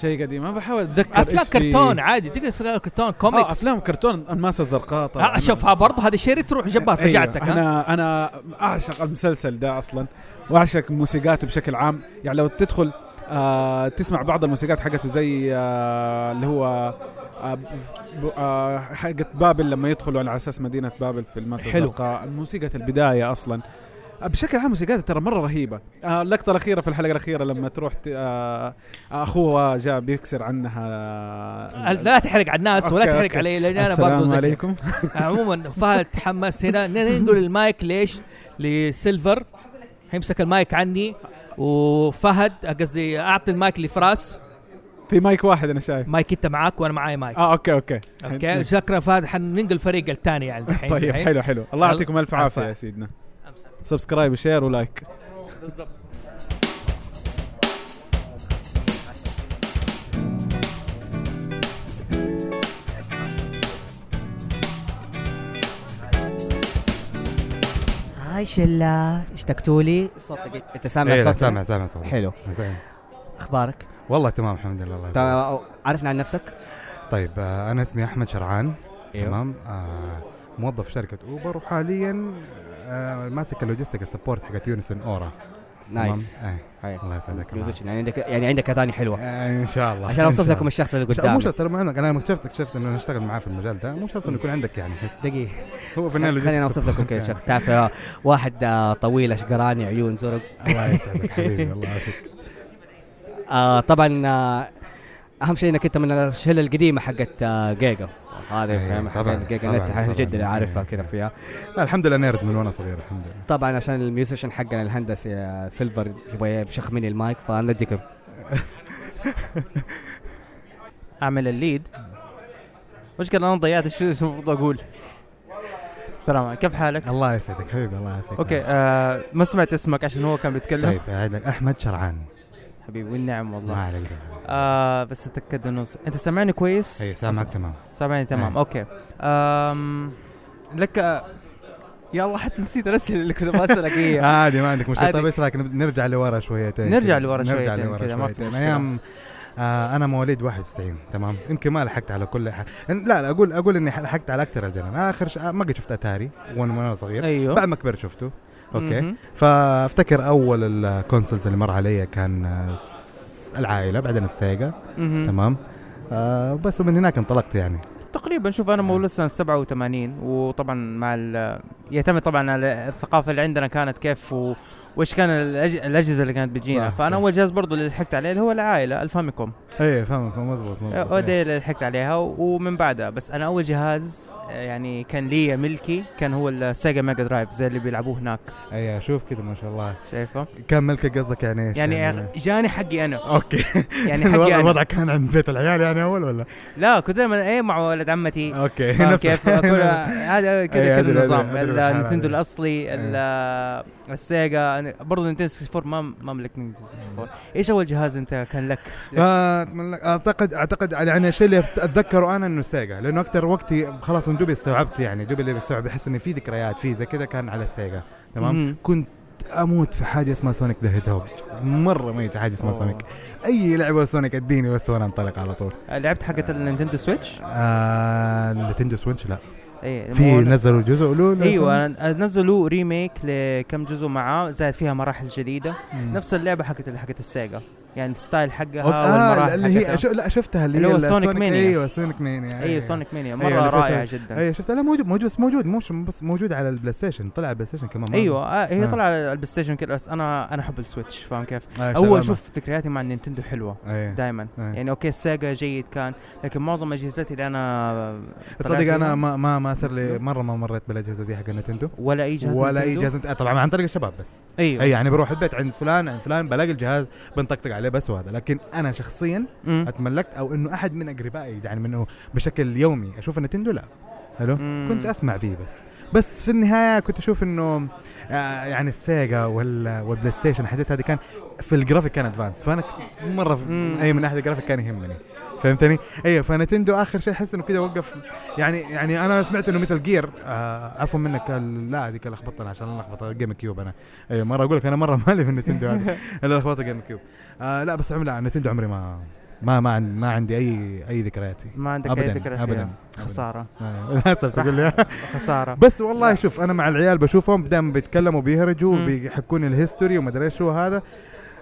Speaker 15: شيء قديم انا بحاول اتذكر
Speaker 1: افلام
Speaker 15: إيش في-
Speaker 1: كرتون عادي تقدر افلام كرتون
Speaker 15: اه
Speaker 1: كوميكس
Speaker 15: افلام كرتون الماسه الزرقاء طبعا
Speaker 1: آه شوفها برضو هذا شيء تروح جنبها فجعتك
Speaker 15: أيوة.
Speaker 1: ها
Speaker 15: انا انا اعشق المسلسل ده اصلا واعشق موسيقاته بشكل عام يعني لو تدخل آه تسمع بعض الموسيقات حقته زي آه اللي هو آه ب- ب- آه حقت بابل لما يدخلوا على اساس مدينه بابل في المسجد
Speaker 1: حلو.
Speaker 15: الزرقاء موسيقى البدايه اصلا آه، بشكل عام موسيقاته ترى مره رهيبه آه، اللقطه الاخيره في الحلقه الاخيره لما تروح ت- آه، آه، اخوها جاء بيكسر عنها آه،
Speaker 1: لا تحرق على الناس ولا
Speaker 15: أوكي،
Speaker 1: تحرق
Speaker 15: أوكي.
Speaker 1: علي لان انا برضو
Speaker 15: السلام
Speaker 1: زي-
Speaker 15: عليكم
Speaker 1: عموما فهد تحمس هنا ن- ننقل المايك ليش لسيلفر هيمسك المايك عني وفهد قصدي اعطي المايك لفراس
Speaker 15: في مايك واحد انا شايف
Speaker 1: مايك انت معاك وانا معاي مايك
Speaker 15: اه اوكي اوكي
Speaker 1: اوكي شكرا فهد حننقل الفريق الثاني يعني الحين
Speaker 15: طيب
Speaker 1: الحين.
Speaker 15: حلو حلو الله يعطيكم الف عافيه
Speaker 1: عفا.
Speaker 15: يا سيدنا سبسكرايب وشير ولايك
Speaker 7: هاي شلة اشتقتوا لي صوتك انت سامع
Speaker 16: إيه، لا،
Speaker 7: صوتنا؟
Speaker 16: سامع سامع صوتك
Speaker 7: حلو
Speaker 16: زين.
Speaker 7: اخبارك؟
Speaker 16: والله تمام الحمد لله الله يسلمك.
Speaker 7: تمام، عرفنا عن نفسك؟
Speaker 16: طيب آه، انا اسمي احمد شرعان
Speaker 7: أيوه.
Speaker 16: تمام آه، موظف شركه اوبر وحاليا آه، ماسك اللوجيستيك السبورت حقت يونسون اورا تمام؟
Speaker 7: نايس.
Speaker 16: إيه.
Speaker 7: هاي.
Speaker 16: الله يسعدك الله.
Speaker 7: Position. يعني عندك يعني عندك اغاني حلوه
Speaker 16: آه، ان شاء الله
Speaker 7: عشان
Speaker 16: إن
Speaker 7: اوصف
Speaker 16: شاء
Speaker 7: لكم
Speaker 16: الله.
Speaker 7: الشخص اللي
Speaker 16: إن شاء الله. مو
Speaker 7: قدامي
Speaker 16: شرط ترى ما عندك. انا اكتشفت اكتشفت انه اشتغل معاه في المجال ده مو شرط انه يكون عندك يعني حس
Speaker 7: دقيقه
Speaker 16: هو في النهايه
Speaker 7: خليني اوصف لكم كيف شخص تعرف آه، واحد آه، طويل اشقراني عيون زرق
Speaker 16: الله يسعدك حبيبي، الله يعافيك.
Speaker 7: آه طبعا آه اهم شيء انك انت من الشله القديمه حقت آه، جيجا هذه
Speaker 16: أيوة،
Speaker 7: فاهم
Speaker 16: طبعاً،
Speaker 7: حقت جيجا
Speaker 16: طبعاً،
Speaker 7: نت اهل
Speaker 16: طبعاً. إيه.
Speaker 7: جده اللي عارفها كذا فيها
Speaker 16: لا الحمد لله نيرد من وانا صغير الحمد لله
Speaker 7: طبعا عشان الميوزيشن حقنا الهندسي آه، سيلفر يبغى يبشخ مني المايك فانا اديكم
Speaker 2: اعمل الليد مشكلة انا ضيعت شو شو المفروض اقول السلام عليكم كيف حالك؟
Speaker 16: الله يسعدك حبيبي الله يعافيك
Speaker 2: اوكي آه ما سمعت اسمك عشان هو كان بيتكلم
Speaker 16: طيب آه، احمد شرعان
Speaker 2: حبيبي والنعم والله
Speaker 16: ما عليك زحمة.
Speaker 2: آه بس اتاكد انه س- انت سامعني كويس؟
Speaker 16: أي، سامعك تمام.
Speaker 2: سامعني تمام
Speaker 16: أي.
Speaker 2: اوكي آم لك آه، يا الله حتى نسيت الاسئله اللي كنت بسالك اياها
Speaker 16: عادي ما عندك مشكله
Speaker 2: إيه. عادي.
Speaker 16: طيب ايش رايك نب- نرجع لورا شويتين
Speaker 2: نرجع
Speaker 16: كده.
Speaker 2: لورا
Speaker 16: نرجع
Speaker 2: شويتين
Speaker 16: لورا
Speaker 2: كده، ما في
Speaker 16: شويتين.
Speaker 2: مشكلة.
Speaker 16: ايام آه انا مواليد 91 تمام يمكن ما لحقت على كل ح... لا لا اقول اقول اني لحقت على اكثر الجنان اخر ش... آه، ما قد شفت اتاري وانا وأنا صغير
Speaker 2: أيوه.
Speaker 16: بعد ما كبرت شفته اوكي
Speaker 2: مهم.
Speaker 16: فافتكر اول الكونسلز اللي مر علي كان آه، س- العائله بعدين السيجا
Speaker 2: مهم.
Speaker 16: تمام آه بس من هناك انطلقت يعني
Speaker 2: تقريبا شوف انا مولود سنه 87 وطبعا مع ال- يعتمد طبعا على الثقافه اللي عندنا كانت كيف و... وايش كان الأج... الاجهزه اللي كانت بتجينا
Speaker 16: صح،
Speaker 2: فانا
Speaker 16: صح.
Speaker 2: اول جهاز برضو اللي لحقت عليه اللي هو العائله الفاميكوم
Speaker 16: ايه فاهمك مزبوط مزبوط
Speaker 2: اودي اللي لحقت عليها و- ومن بعدها بس انا اول جهاز آه، يعني كان لي ملكي كان هو السيجا ميجا درايف زي اللي بيلعبوه هناك
Speaker 16: اي شوف كده ما شاء الله
Speaker 2: شايفه
Speaker 16: كان ملكك قصدك يعني ايش؟
Speaker 2: يعني أخ- جاني حقي انا
Speaker 16: اوكي
Speaker 2: يعني
Speaker 16: الوضع-
Speaker 2: حقي
Speaker 16: الوضع
Speaker 2: انا
Speaker 16: كان عند بيت العيال يعني اول ولا؟
Speaker 2: لا كنت دائما ايه مع ولد عمتي
Speaker 16: اوكي
Speaker 2: فاهم
Speaker 16: نفس-
Speaker 2: كيف كل- هذا كذا
Speaker 16: إيه، أدري-
Speaker 2: كذا
Speaker 16: أدري-
Speaker 2: النظام
Speaker 16: أدري بالحالة
Speaker 2: النتندو
Speaker 16: هذه. إيه.
Speaker 2: الاصلي ال- السيجا أنا- برضو نينتندو 64 ما ما ملكت نينتندو 64 ايش اول جهاز انت كان لك؟
Speaker 16: ما آه، أتمنى لك- اعتقد اعتقد يعني الشيء اللي أفت- اتذكره انا انه سيجا لانه اكثر وقتي خلاص من دوبي استوعبت يعني دوبي اللي بستوعب احس ان في ذكريات في زي كذا كان على السيجا
Speaker 2: مم.
Speaker 16: تمام كنت اموت في حاجه اسمها سونيك ذا هيد هوج مره ميت في حاجه اسمها
Speaker 2: أوه. آه،
Speaker 16: سونيك اي لعبه سونيك اديني بس وانا انطلق على طول
Speaker 2: لعبت حقت النينتندو سويتش؟
Speaker 16: آه نتندو سويتش لا
Speaker 2: إيه،
Speaker 16: في
Speaker 2: مو-
Speaker 16: نزلوا جزء له
Speaker 2: ايوه أنا- نزلوا ريميك لكم جزء معاه زائد فيها مراحل جديده
Speaker 16: مم.
Speaker 2: نفس اللعبه حقت حقت السيجا يعني الستايل حقها
Speaker 16: أوك- آه
Speaker 2: والمراحل
Speaker 16: اللي هي
Speaker 2: حقتها.
Speaker 16: شو لا شفتها اللي,
Speaker 2: اللي
Speaker 16: هي
Speaker 2: هو
Speaker 16: ال-
Speaker 2: سونيك مانيا
Speaker 16: ايوه سونيك مانيا
Speaker 2: ايوه سونيك مانيا
Speaker 16: أيوة،
Speaker 2: مره
Speaker 16: أنا شفتها.
Speaker 2: رائعه جدا
Speaker 16: ايوه شفتها لا موجود موجود بس موجود مش بس موجود على البلاي ستيشن طلع بلاي ستيشن كمان مرة.
Speaker 2: ايوه آه هي
Speaker 16: آه.
Speaker 2: طلع على البلاي ستيشن كده بس انا انا احب السويتش فاهم كيف؟
Speaker 16: آه، شبابة.
Speaker 2: اول شوف ذكرياتي مع النينتندو حلوه
Speaker 16: أيه.
Speaker 2: دائما
Speaker 16: أيه.
Speaker 2: يعني اوكي السيجا جيد كان لكن معظم اجهزتي اللي انا طلعت
Speaker 16: تصدق انا
Speaker 2: منها-
Speaker 16: ما ما ما صار لي مره ما مريت بالاجهزه دي حق نتندو
Speaker 2: ولا اي جهاز
Speaker 16: ولا اي
Speaker 2: نينتندو؟
Speaker 16: جهاز نت- آه، طبعا عن طريق الشباب بس
Speaker 2: أيوة.
Speaker 16: اي يعني بروح البيت عند فلان عند فلان بلاقي الجهاز بنطقطق عليه بس وهذا لكن انا شخصيا
Speaker 2: مم.
Speaker 16: اتملكت او انه احد من اقربائي يعني منه بشكل يومي اشوف نتندو لا حلو
Speaker 2: مم.
Speaker 16: كنت اسمع فيه بس بس في النهايه كنت اشوف انه آه، يعني السيجا وال والبلاي ستيشن الحاجات هذه كان في الجرافيك كان ادفانس فانا ك- مره في اي من ناحيه الجرافيك كان يهمني فهمتني؟ ايوه فنتندو اخر شيء احس انه كذا وقف يعني يعني انا سمعت انه مثل جير آه عفوا منك ال- لا هذيك لخبطتنا عشان لخبطت جيم كيوب انا ايوه مره اقول لك انا مره مالي في النتندو هذه انا لخبطت جيم كيوب آه لا بس عم- لا نتندو عمري ما ما ما, عن- ما عندي اي اي ذكريات فيه
Speaker 2: ما عندك أي
Speaker 16: ابدا
Speaker 2: ذكرى فيها.
Speaker 16: ابدا
Speaker 2: خسارة.
Speaker 16: آه، للاسف تقول لي
Speaker 2: خسارة.
Speaker 16: بس والله شوف انا مع العيال بشوفهم دائما بيتكلموا بيهرجوا
Speaker 2: مم.
Speaker 16: بيحكوني الهيستوري وما ادري شو هذا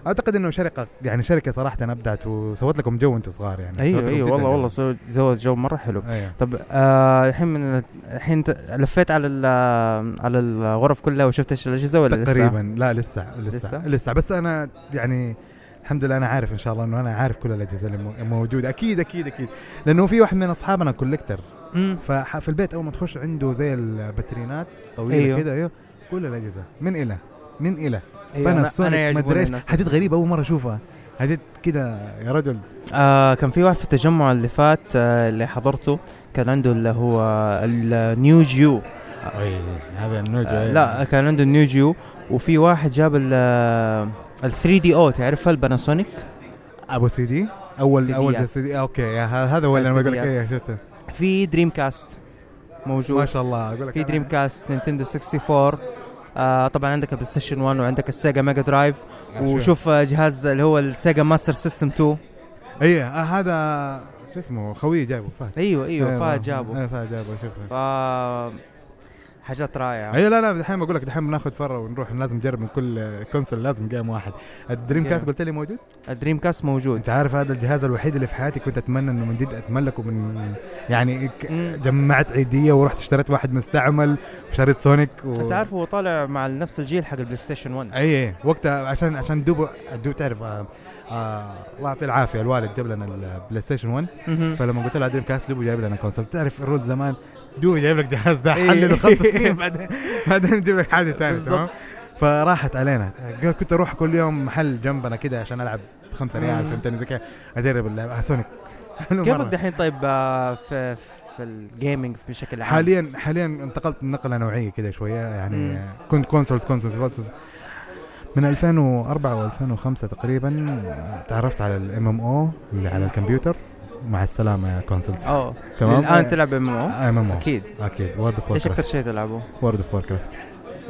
Speaker 16: اعتقد انه شركه يعني شركه صراحه ابدعت وسوت لكم جو وانتم صغار يعني سوت
Speaker 2: ايوه
Speaker 16: لكم
Speaker 2: ايوه
Speaker 16: جداً
Speaker 2: والله
Speaker 16: جو.
Speaker 2: والله سو- سوى جو مره حلو
Speaker 16: أيوة.
Speaker 2: طب آه، الحين من الحين ت- لفيت على ال- على الغرف كلها وشفت ايش الاجهزه ولا لسه؟
Speaker 16: تقريبا يعني. لا لسه لسه لسه, لسه بس انا يعني الحمد لله انا عارف ان شاء الله انه انا عارف كل الاجهزه اللي مو- موجوده اكيد اكيد اكيد لانه في واحد من اصحابنا كوليكتر ففي البيت اول ما تخش عنده زي الباترينات طويله
Speaker 2: أيوه.
Speaker 16: أيوه. كده ايوه كل الاجهزه من الى من الى
Speaker 2: أيوه، أنا- أنا
Speaker 16: فانا سونيك ما
Speaker 2: يعجبوني
Speaker 16: ادري ايش
Speaker 2: الناس.
Speaker 16: حاجات غريبه اول مره اشوفها حاجات كده يا رجل
Speaker 2: آه كان في واحد في التجمع اللي فات آه اللي حضرته كان عنده اللي هو النيو جيو
Speaker 16: أي، هذا النيو جيو،
Speaker 2: آه
Speaker 16: أي.
Speaker 2: لا كان عنده النيو جيو وفي واحد جاب ال آه، ال 3 دي او تعرفها الباناسونيك
Speaker 16: ابو سي دي اول
Speaker 2: CD
Speaker 16: اول
Speaker 2: يعني.
Speaker 16: سي دي اوكي يا ه- هذا هو اللي انا بقول لك
Speaker 2: السيديات.
Speaker 16: ايه شفته
Speaker 2: في دريم كاست موجود
Speaker 16: ما شاء الله، إيه. أقول لك
Speaker 2: في
Speaker 16: أنا-
Speaker 2: دريم كاست نينتندو 64 آه طبعا عندك البلاي ستيشن 1 وعندك السيجا ميجا درايف
Speaker 16: أشوف.
Speaker 2: وشوف آه، جهاز اللي هو السيجا ماستر سيستم 2
Speaker 16: ايه آه، هذا شو اسمه خويه جايبه فهد
Speaker 2: ايوه ايوه فهد
Speaker 16: ايه
Speaker 2: جابه
Speaker 16: فهد جابه شوفه
Speaker 2: ف حاجات رائعه
Speaker 16: اي لا لا دحين بقول لك دحين بناخذ فره ونروح لازم نجرب من كل كونسل لازم جيم واحد الدريم كاست قلت لي موجود؟
Speaker 2: الدريم كاست موجود
Speaker 16: انت عارف هذا الجهاز الوحيد اللي في حياتي كنت اتمنى انه من جد اتملكه من يعني ك- جمعت عيديه ورحت اشتريت واحد مستعمل وشريت سونيك و...
Speaker 2: انت عارف هو طالع مع نفس الجيل حق البلاي ستيشن 1
Speaker 16: اي اي إيه، وقتها عشان عشان دوب دوب تعرف آه آه الله يعطيه العافيه الوالد جاب لنا البلاي ستيشن 1
Speaker 2: مهم.
Speaker 16: فلما قلت له على دريم كاست دوب جايب لنا كونسول تعرف الرول زمان دوب جايب لك جهاز ده
Speaker 2: إيه.
Speaker 16: حلله خمس سنين بعدين بعدين يجيب لك حاجه ثانيه
Speaker 2: بالظبط.
Speaker 16: تمام فراحت علينا قال كنت اروح كل يوم محل جنبنا كده عشان العب خمسة ريال
Speaker 2: مم.
Speaker 16: فهمتني زي كده اجرب اللعبه آه، سونيك حلو
Speaker 2: كيف
Speaker 16: مرة.
Speaker 2: الدحين طيب آه، في في الجيمنج بشكل عام
Speaker 16: حاليا حاليا انتقلت نقله نوعيه كده شويه يعني
Speaker 2: مم.
Speaker 16: كنت كونسولز كونسولز كونسولز من 2004 و2005 تقريبا تعرفت على الام ام او اللي على الكمبيوتر مع السلامه يا آه، كونسلز
Speaker 6: أوه.
Speaker 2: الآن تلعب MMO؟
Speaker 16: ام ام او
Speaker 2: أكيد.
Speaker 16: اكيد وورد اوف
Speaker 2: إيش أكثر شيء تلعبه؟
Speaker 16: وورد اوف وور كرافت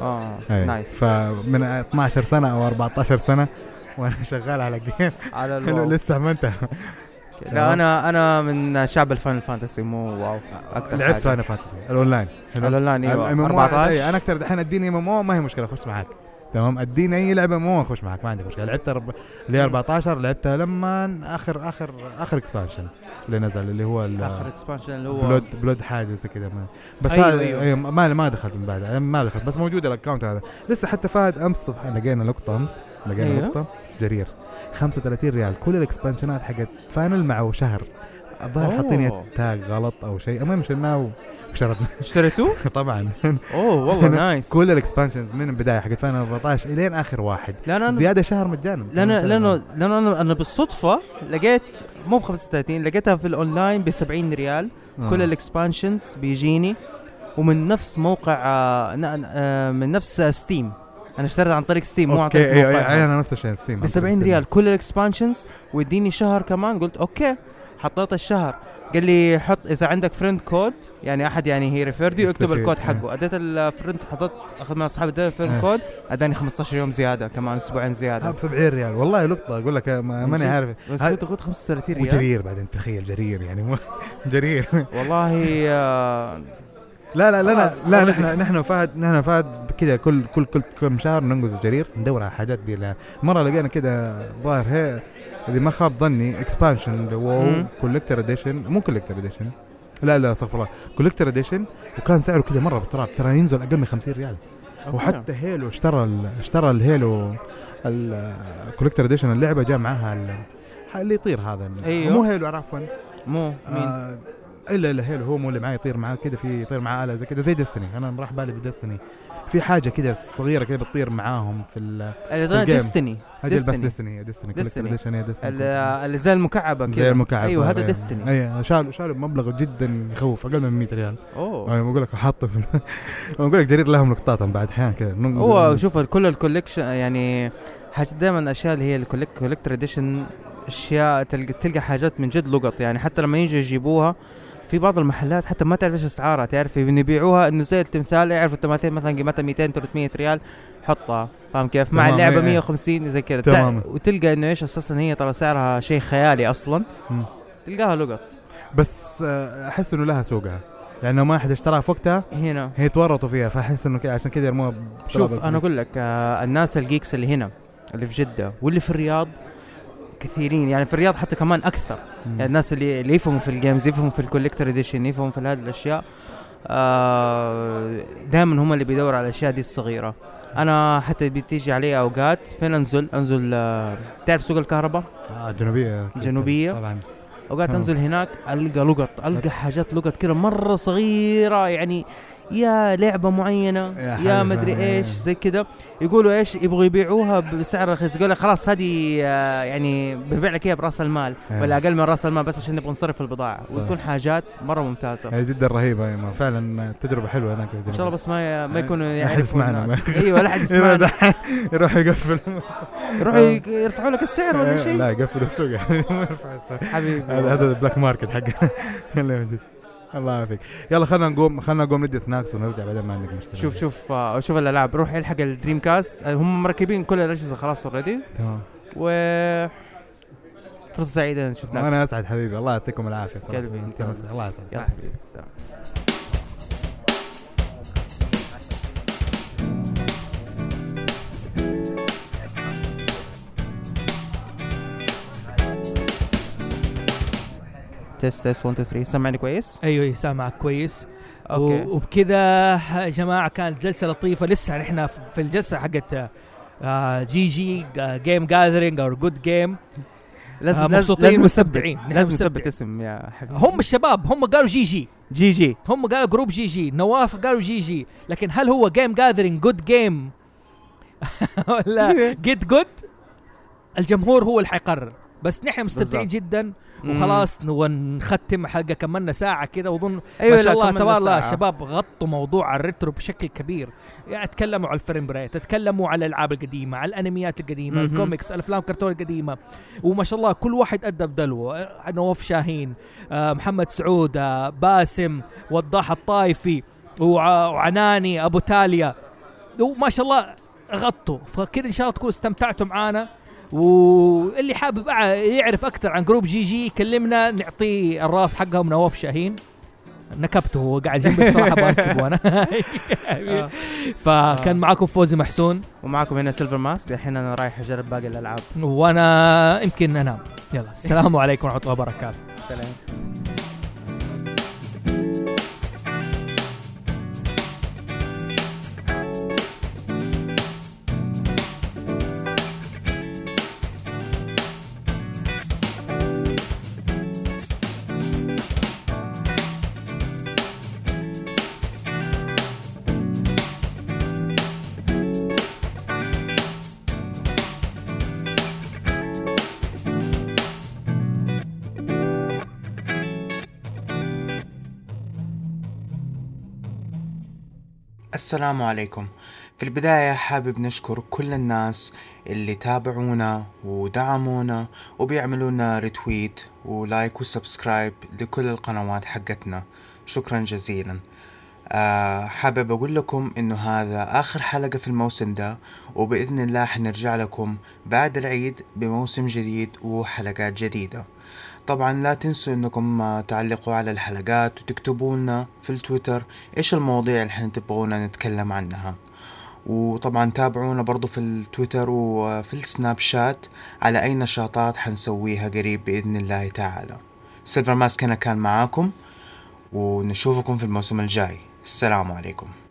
Speaker 2: اه
Speaker 16: أيوة.
Speaker 2: نايس
Speaker 16: فمن 12 سنه او 14 سنه وانا شغال على جيم
Speaker 2: على الواو.
Speaker 16: لسه ما انتهى
Speaker 2: لا
Speaker 16: نعم.
Speaker 2: انا انا من شعب الفاينل فانتسي مو واو أكثر
Speaker 16: لعبت
Speaker 2: حاجة.
Speaker 16: فاينل فانتسي الاونلاين حلو؟
Speaker 2: الاونلاين ايوه
Speaker 16: ال MMO
Speaker 2: 14.
Speaker 16: أي، انا اكثر دحين اديني ام ام او ما هي مشكله اخش معاك تمام اديني اي لعبه مو اخش معاك ما عندي مشكله لعبت رب... اللي هي 14 لعبتها لما اخر اخر اخر اكسبانشن اللي نزل اللي هو ال-
Speaker 2: آخر expansion اللي هو-
Speaker 16: بلود بلود حاجه زي كذا ما- بس
Speaker 2: أيوة،
Speaker 16: أيوة هذا
Speaker 2: أيوة.
Speaker 16: أيوة. أيوة ما ما دخلت من بعد ما دخلت بس موجود الاكونت هذا لسه حتى فهد امس الصبح لقينا لقطه امس لقينا
Speaker 2: أيوة.
Speaker 16: أيوة. لقطه في جرير 35 ريال كل الاكسبانشنات حقت فاينل مع شهر الظاهر
Speaker 2: أوه.
Speaker 16: حاطين تاج غلط او شيء المهم شلناه وشربنا
Speaker 2: اشتريتوه؟
Speaker 16: طبعا
Speaker 2: اوه والله نايس
Speaker 16: كل الاكسبانشنز من البدايه حقت فاينل 14 الين اخر واحد
Speaker 2: لا، لا، أنا-
Speaker 16: زياده شهر مجانا
Speaker 2: لانه لانه لانه انا انا بالصدفه لقيت مو ب 35 لقيتها في الاونلاين ب 70 ريال
Speaker 16: آه.
Speaker 2: كل الاكسبانشنز بيجيني ومن نفس موقع آه، ن- آه، من نفس ستيم انا اشتريت عن طريق ستيم مو عن
Speaker 16: اوكي
Speaker 2: طريق
Speaker 16: أيوة،
Speaker 2: موقع.
Speaker 16: أيوة، انا نفس الشيء ستيم
Speaker 2: ب 70 ريال كل الاكسبانشنز ويديني شهر كمان قلت اوكي حطيت الشهر قال لي حط اذا عندك فريند كود يعني احد يعني هي ريفيرد يو اكتب
Speaker 16: يستفيد،
Speaker 2: الكود
Speaker 16: آه.
Speaker 2: حقه اديت الفريند حطيت اخذ من اصحابي اديت
Speaker 16: آه.
Speaker 2: الفريند كود اداني 15 يوم زياده كمان اسبوعين زياده
Speaker 16: آه، ب 70 ريال والله لقطه اقول لك آه، ما-
Speaker 2: من
Speaker 16: ماني
Speaker 2: جد؟
Speaker 16: عارف
Speaker 2: بس
Speaker 16: هذا-
Speaker 2: كنت قلت 35 ريال.
Speaker 16: وجرير بعدين تخيل جرير يعني مو جرير
Speaker 2: والله آه،
Speaker 16: لا لا لا
Speaker 2: خلاص،
Speaker 16: لا
Speaker 2: already.
Speaker 16: نحن نحن فهد نحن فهد كذا كل كل كل كم شهر ننقز الجرير ندور على الحاجات دي لها. مره لقينا كذا ظاهر هي اذا ما خاب ظني اكسبانشن واو
Speaker 2: مم.
Speaker 16: كولكتر اديشن مو كولكتر اديشن لا لا استغفر الله كولكتر اديشن وكان سعره كذا مره بالتراب ترى ينزل اقل من 50 ريال
Speaker 2: أوكي.
Speaker 16: وحتى هيلو اشترى ال- اشترى الهيلو الكولكتر اديشن اللعبه جاء معاها ال- اللي يطير هذا
Speaker 2: ايوه
Speaker 16: مو هيلو عفوا
Speaker 2: مو مين
Speaker 16: آه الا الا هيلو هو مو اللي معاه يطير معاه كذا في يطير معاه اله زي كذا زي ديستني انا راح بالي بديستني في حاجه كذا صغيره كده بتطير معاهم في ال
Speaker 2: اللي ديستني
Speaker 16: هذه بس ديستني ديستني ديستني
Speaker 2: اللي زي المكعبه كذا
Speaker 16: زي المكعب
Speaker 2: ايوه هذا
Speaker 16: أيوة.
Speaker 2: ديستني
Speaker 16: ايوه شالوا شالوا بمبلغ جدا يخوف اقل من 100 ريال
Speaker 2: أوه.
Speaker 16: انا بقول لك حاطه في بقول لك جرير لهم لقطات بعد احيانا كذا
Speaker 2: هو شوف كل الكوليكشن يعني حاجة دائما الاشياء اللي هي الكوليكتر اديشن اشياء تلقى, تلقى حاجات من جد لقط يعني حتى لما يجي يجيبوها في بعض المحلات حتى ما تعرف ايش اسعارها تعرف إن يبيعوها انه زي التمثال يعرفوا التماثيل مثلا قيمتها 200 300 ريال حطها فاهم كيف مع
Speaker 16: تمام،
Speaker 2: اللعبه
Speaker 16: إيه، إيه.
Speaker 2: 150 زي كذا
Speaker 16: تماما.
Speaker 2: تع- وتلقى انه ايش اساسا هي ترى سعرها شيء خيالي اصلا
Speaker 16: مم.
Speaker 2: تلقاها لقط
Speaker 16: بس آه، احس انه لها سوقها يعني لو ما احد اشتراها في وقتها
Speaker 2: هنا.
Speaker 16: هي تورطوا فيها فاحس انه كده عشان كذا يرموها بتراب
Speaker 2: شوف
Speaker 16: الفلوس.
Speaker 2: انا اقول لك آه الناس الجيكس اللي هنا اللي في جده واللي في الرياض كثيرين يعني في الرياض حتى كمان اكثر
Speaker 16: مم.
Speaker 2: يعني الناس اللي اللي يفهموا في الجيمز يفهموا في الكوليكتر اديشن يفهموا في هذه الاشياء آه دائما هم اللي بيدوروا على الاشياء دي الصغيره انا حتى بتيجي علي اوقات فين انزل انزل آه تعرف سوق الكهرباء
Speaker 16: آه، جنوبية أكيد،
Speaker 2: جنوبيه
Speaker 16: طبعاً.
Speaker 2: اوقات
Speaker 16: آه.
Speaker 2: انزل هناك القى لقط القى حاجات لقط كده مره صغيره يعني يا لعبه معينه
Speaker 16: يا
Speaker 2: يا
Speaker 16: حبيبي،
Speaker 2: مدري
Speaker 16: إيه.
Speaker 2: ايش زي كده يقولوا ايش يبغوا يبيعوها بسعر رخيص يقول لك خلاص هذه آه، يعني ببيع لك اياها براس المال
Speaker 16: إيه.
Speaker 2: ولا اقل من راس المال بس عشان نبغى نصرف البضاعه
Speaker 16: صح.
Speaker 2: وتكون حاجات مره ممتازه
Speaker 16: هي جدا رهيبه أيوة. فعلا تجربه حلوه هناك
Speaker 2: ان شاء الله بس ما ما يكونوا
Speaker 16: لا
Speaker 2: يعرفوا
Speaker 16: حد يسمعنا
Speaker 2: الناس. ايوه لا حد يسمعنا
Speaker 16: يروح يقفل آه. أيوه،
Speaker 2: يروحوا يق- يرفعوا لك السعر ولا شيء
Speaker 16: لا يقفل السوق يعني ما يرفع السعر
Speaker 2: حبيبي
Speaker 16: هذا هذا البلاك ماركت حقنا الله يهديك. الله يعافيك يلا خلينا نقوم خلينا نقوم ندي سناكس ونرجع بعدين ما عندك مشكله
Speaker 2: شوف شوف آه، شوف الالعاب روح الحق الدريم كاست آه، هم مركبين كل الاجهزه خلاص اوريدي
Speaker 16: تمام.
Speaker 2: و فرصه سعيده شفناك
Speaker 16: انا اسعد حبيبي الله يعطيكم العافيه صراحة.
Speaker 2: قلبي انت
Speaker 16: استانست. الله يسعدك
Speaker 2: يلا حبيبي سلام. تست تست 1 2 3 سمعني كويس؟
Speaker 1: ايوه سامعك كويس
Speaker 2: أوكي.
Speaker 1: أوكي. وبكذا يا جماعه كانت جلسه لطيفه لسه نحن في الجلسه حقت آه، جي جي جيم جاذرينج او جود جيم
Speaker 2: لازم- لازم-
Speaker 1: آه، مبسوطين
Speaker 2: لازم
Speaker 1: مستبدعين
Speaker 2: نثبت-
Speaker 1: نحن
Speaker 2: لازم
Speaker 1: مستبدعين.
Speaker 2: نثبت اسم يا حبيبي.
Speaker 1: هم الشباب هم قالوا جي جي
Speaker 2: جي جي
Speaker 1: هم قالوا جروب جي جي نواف قالوا جي جي لكن هل هو جيم جاذرينج جود جيم ولا جيت جود الجمهور هو اللي حيقرر بس نحن مستمتعين
Speaker 2: بالظبط.
Speaker 1: جدا وخلاص نبغى نختم حلقه كملنا ساعه كده واظن
Speaker 6: أيوة
Speaker 1: ما
Speaker 6: لا،
Speaker 1: شاء الله
Speaker 6: كملنا
Speaker 1: تبارك الله
Speaker 6: ساعة.
Speaker 1: الشباب غطوا موضوع الريترو بشكل كبير يعني تكلموا على الفريم ريت تكلموا على الالعاب القديمه على الانميات القديمه
Speaker 6: مهم.
Speaker 1: الكوميكس الافلام الكرتون القديمه وما شاء الله كل واحد ادى بدلوه آه، نواف شاهين آه، محمد سعود آه، باسم وضاح الطائفي وع- وعناني ابو تاليا وما شاء الله غطوا فكده ان شاء الله تكونوا استمتعتوا معانا واللي حابب أع- يعرف اكثر عن جروب جي جي كلمنا نعطيه الراس حقهم نواف شاهين نكبته هو قاعد جنبي بصراحه بركب وانا
Speaker 2: آه.
Speaker 1: فكان معاكم فوزي محسون
Speaker 6: ومعكم هنا سيلفر ماسك الحين انا رايح اجرب باقي الالعاب
Speaker 1: وانا يمكن انام يلا السلام عليكم ورحمه الله وبركاته
Speaker 6: سلام
Speaker 17: السلام عليكم في البداية حابب نشكر كل الناس اللي تابعونا ودعمونا وبيعملوا لنا ريتويت ولايك وسبسكرايب لكل القنوات حقتنا شكرا جزيلا آه حابب أقول لكم إنه هذا آخر حلقة في الموسم ده وبإذن الله حنرجع لكم بعد العيد بموسم جديد وحلقات جديدة طبعا لا تنسوا انكم آه، تعلقوا على الحلقات وتكتبوا لنا في التويتر ايش المواضيع اللي احنا تبغونا نتكلم عنها وطبعا تابعونا برضو في التويتر وفي السناب شات على اي نشاطات حنسويها قريب باذن الله تعالى سيلفر ماسك انا كان معاكم ونشوفكم في الموسم الجاي السلام عليكم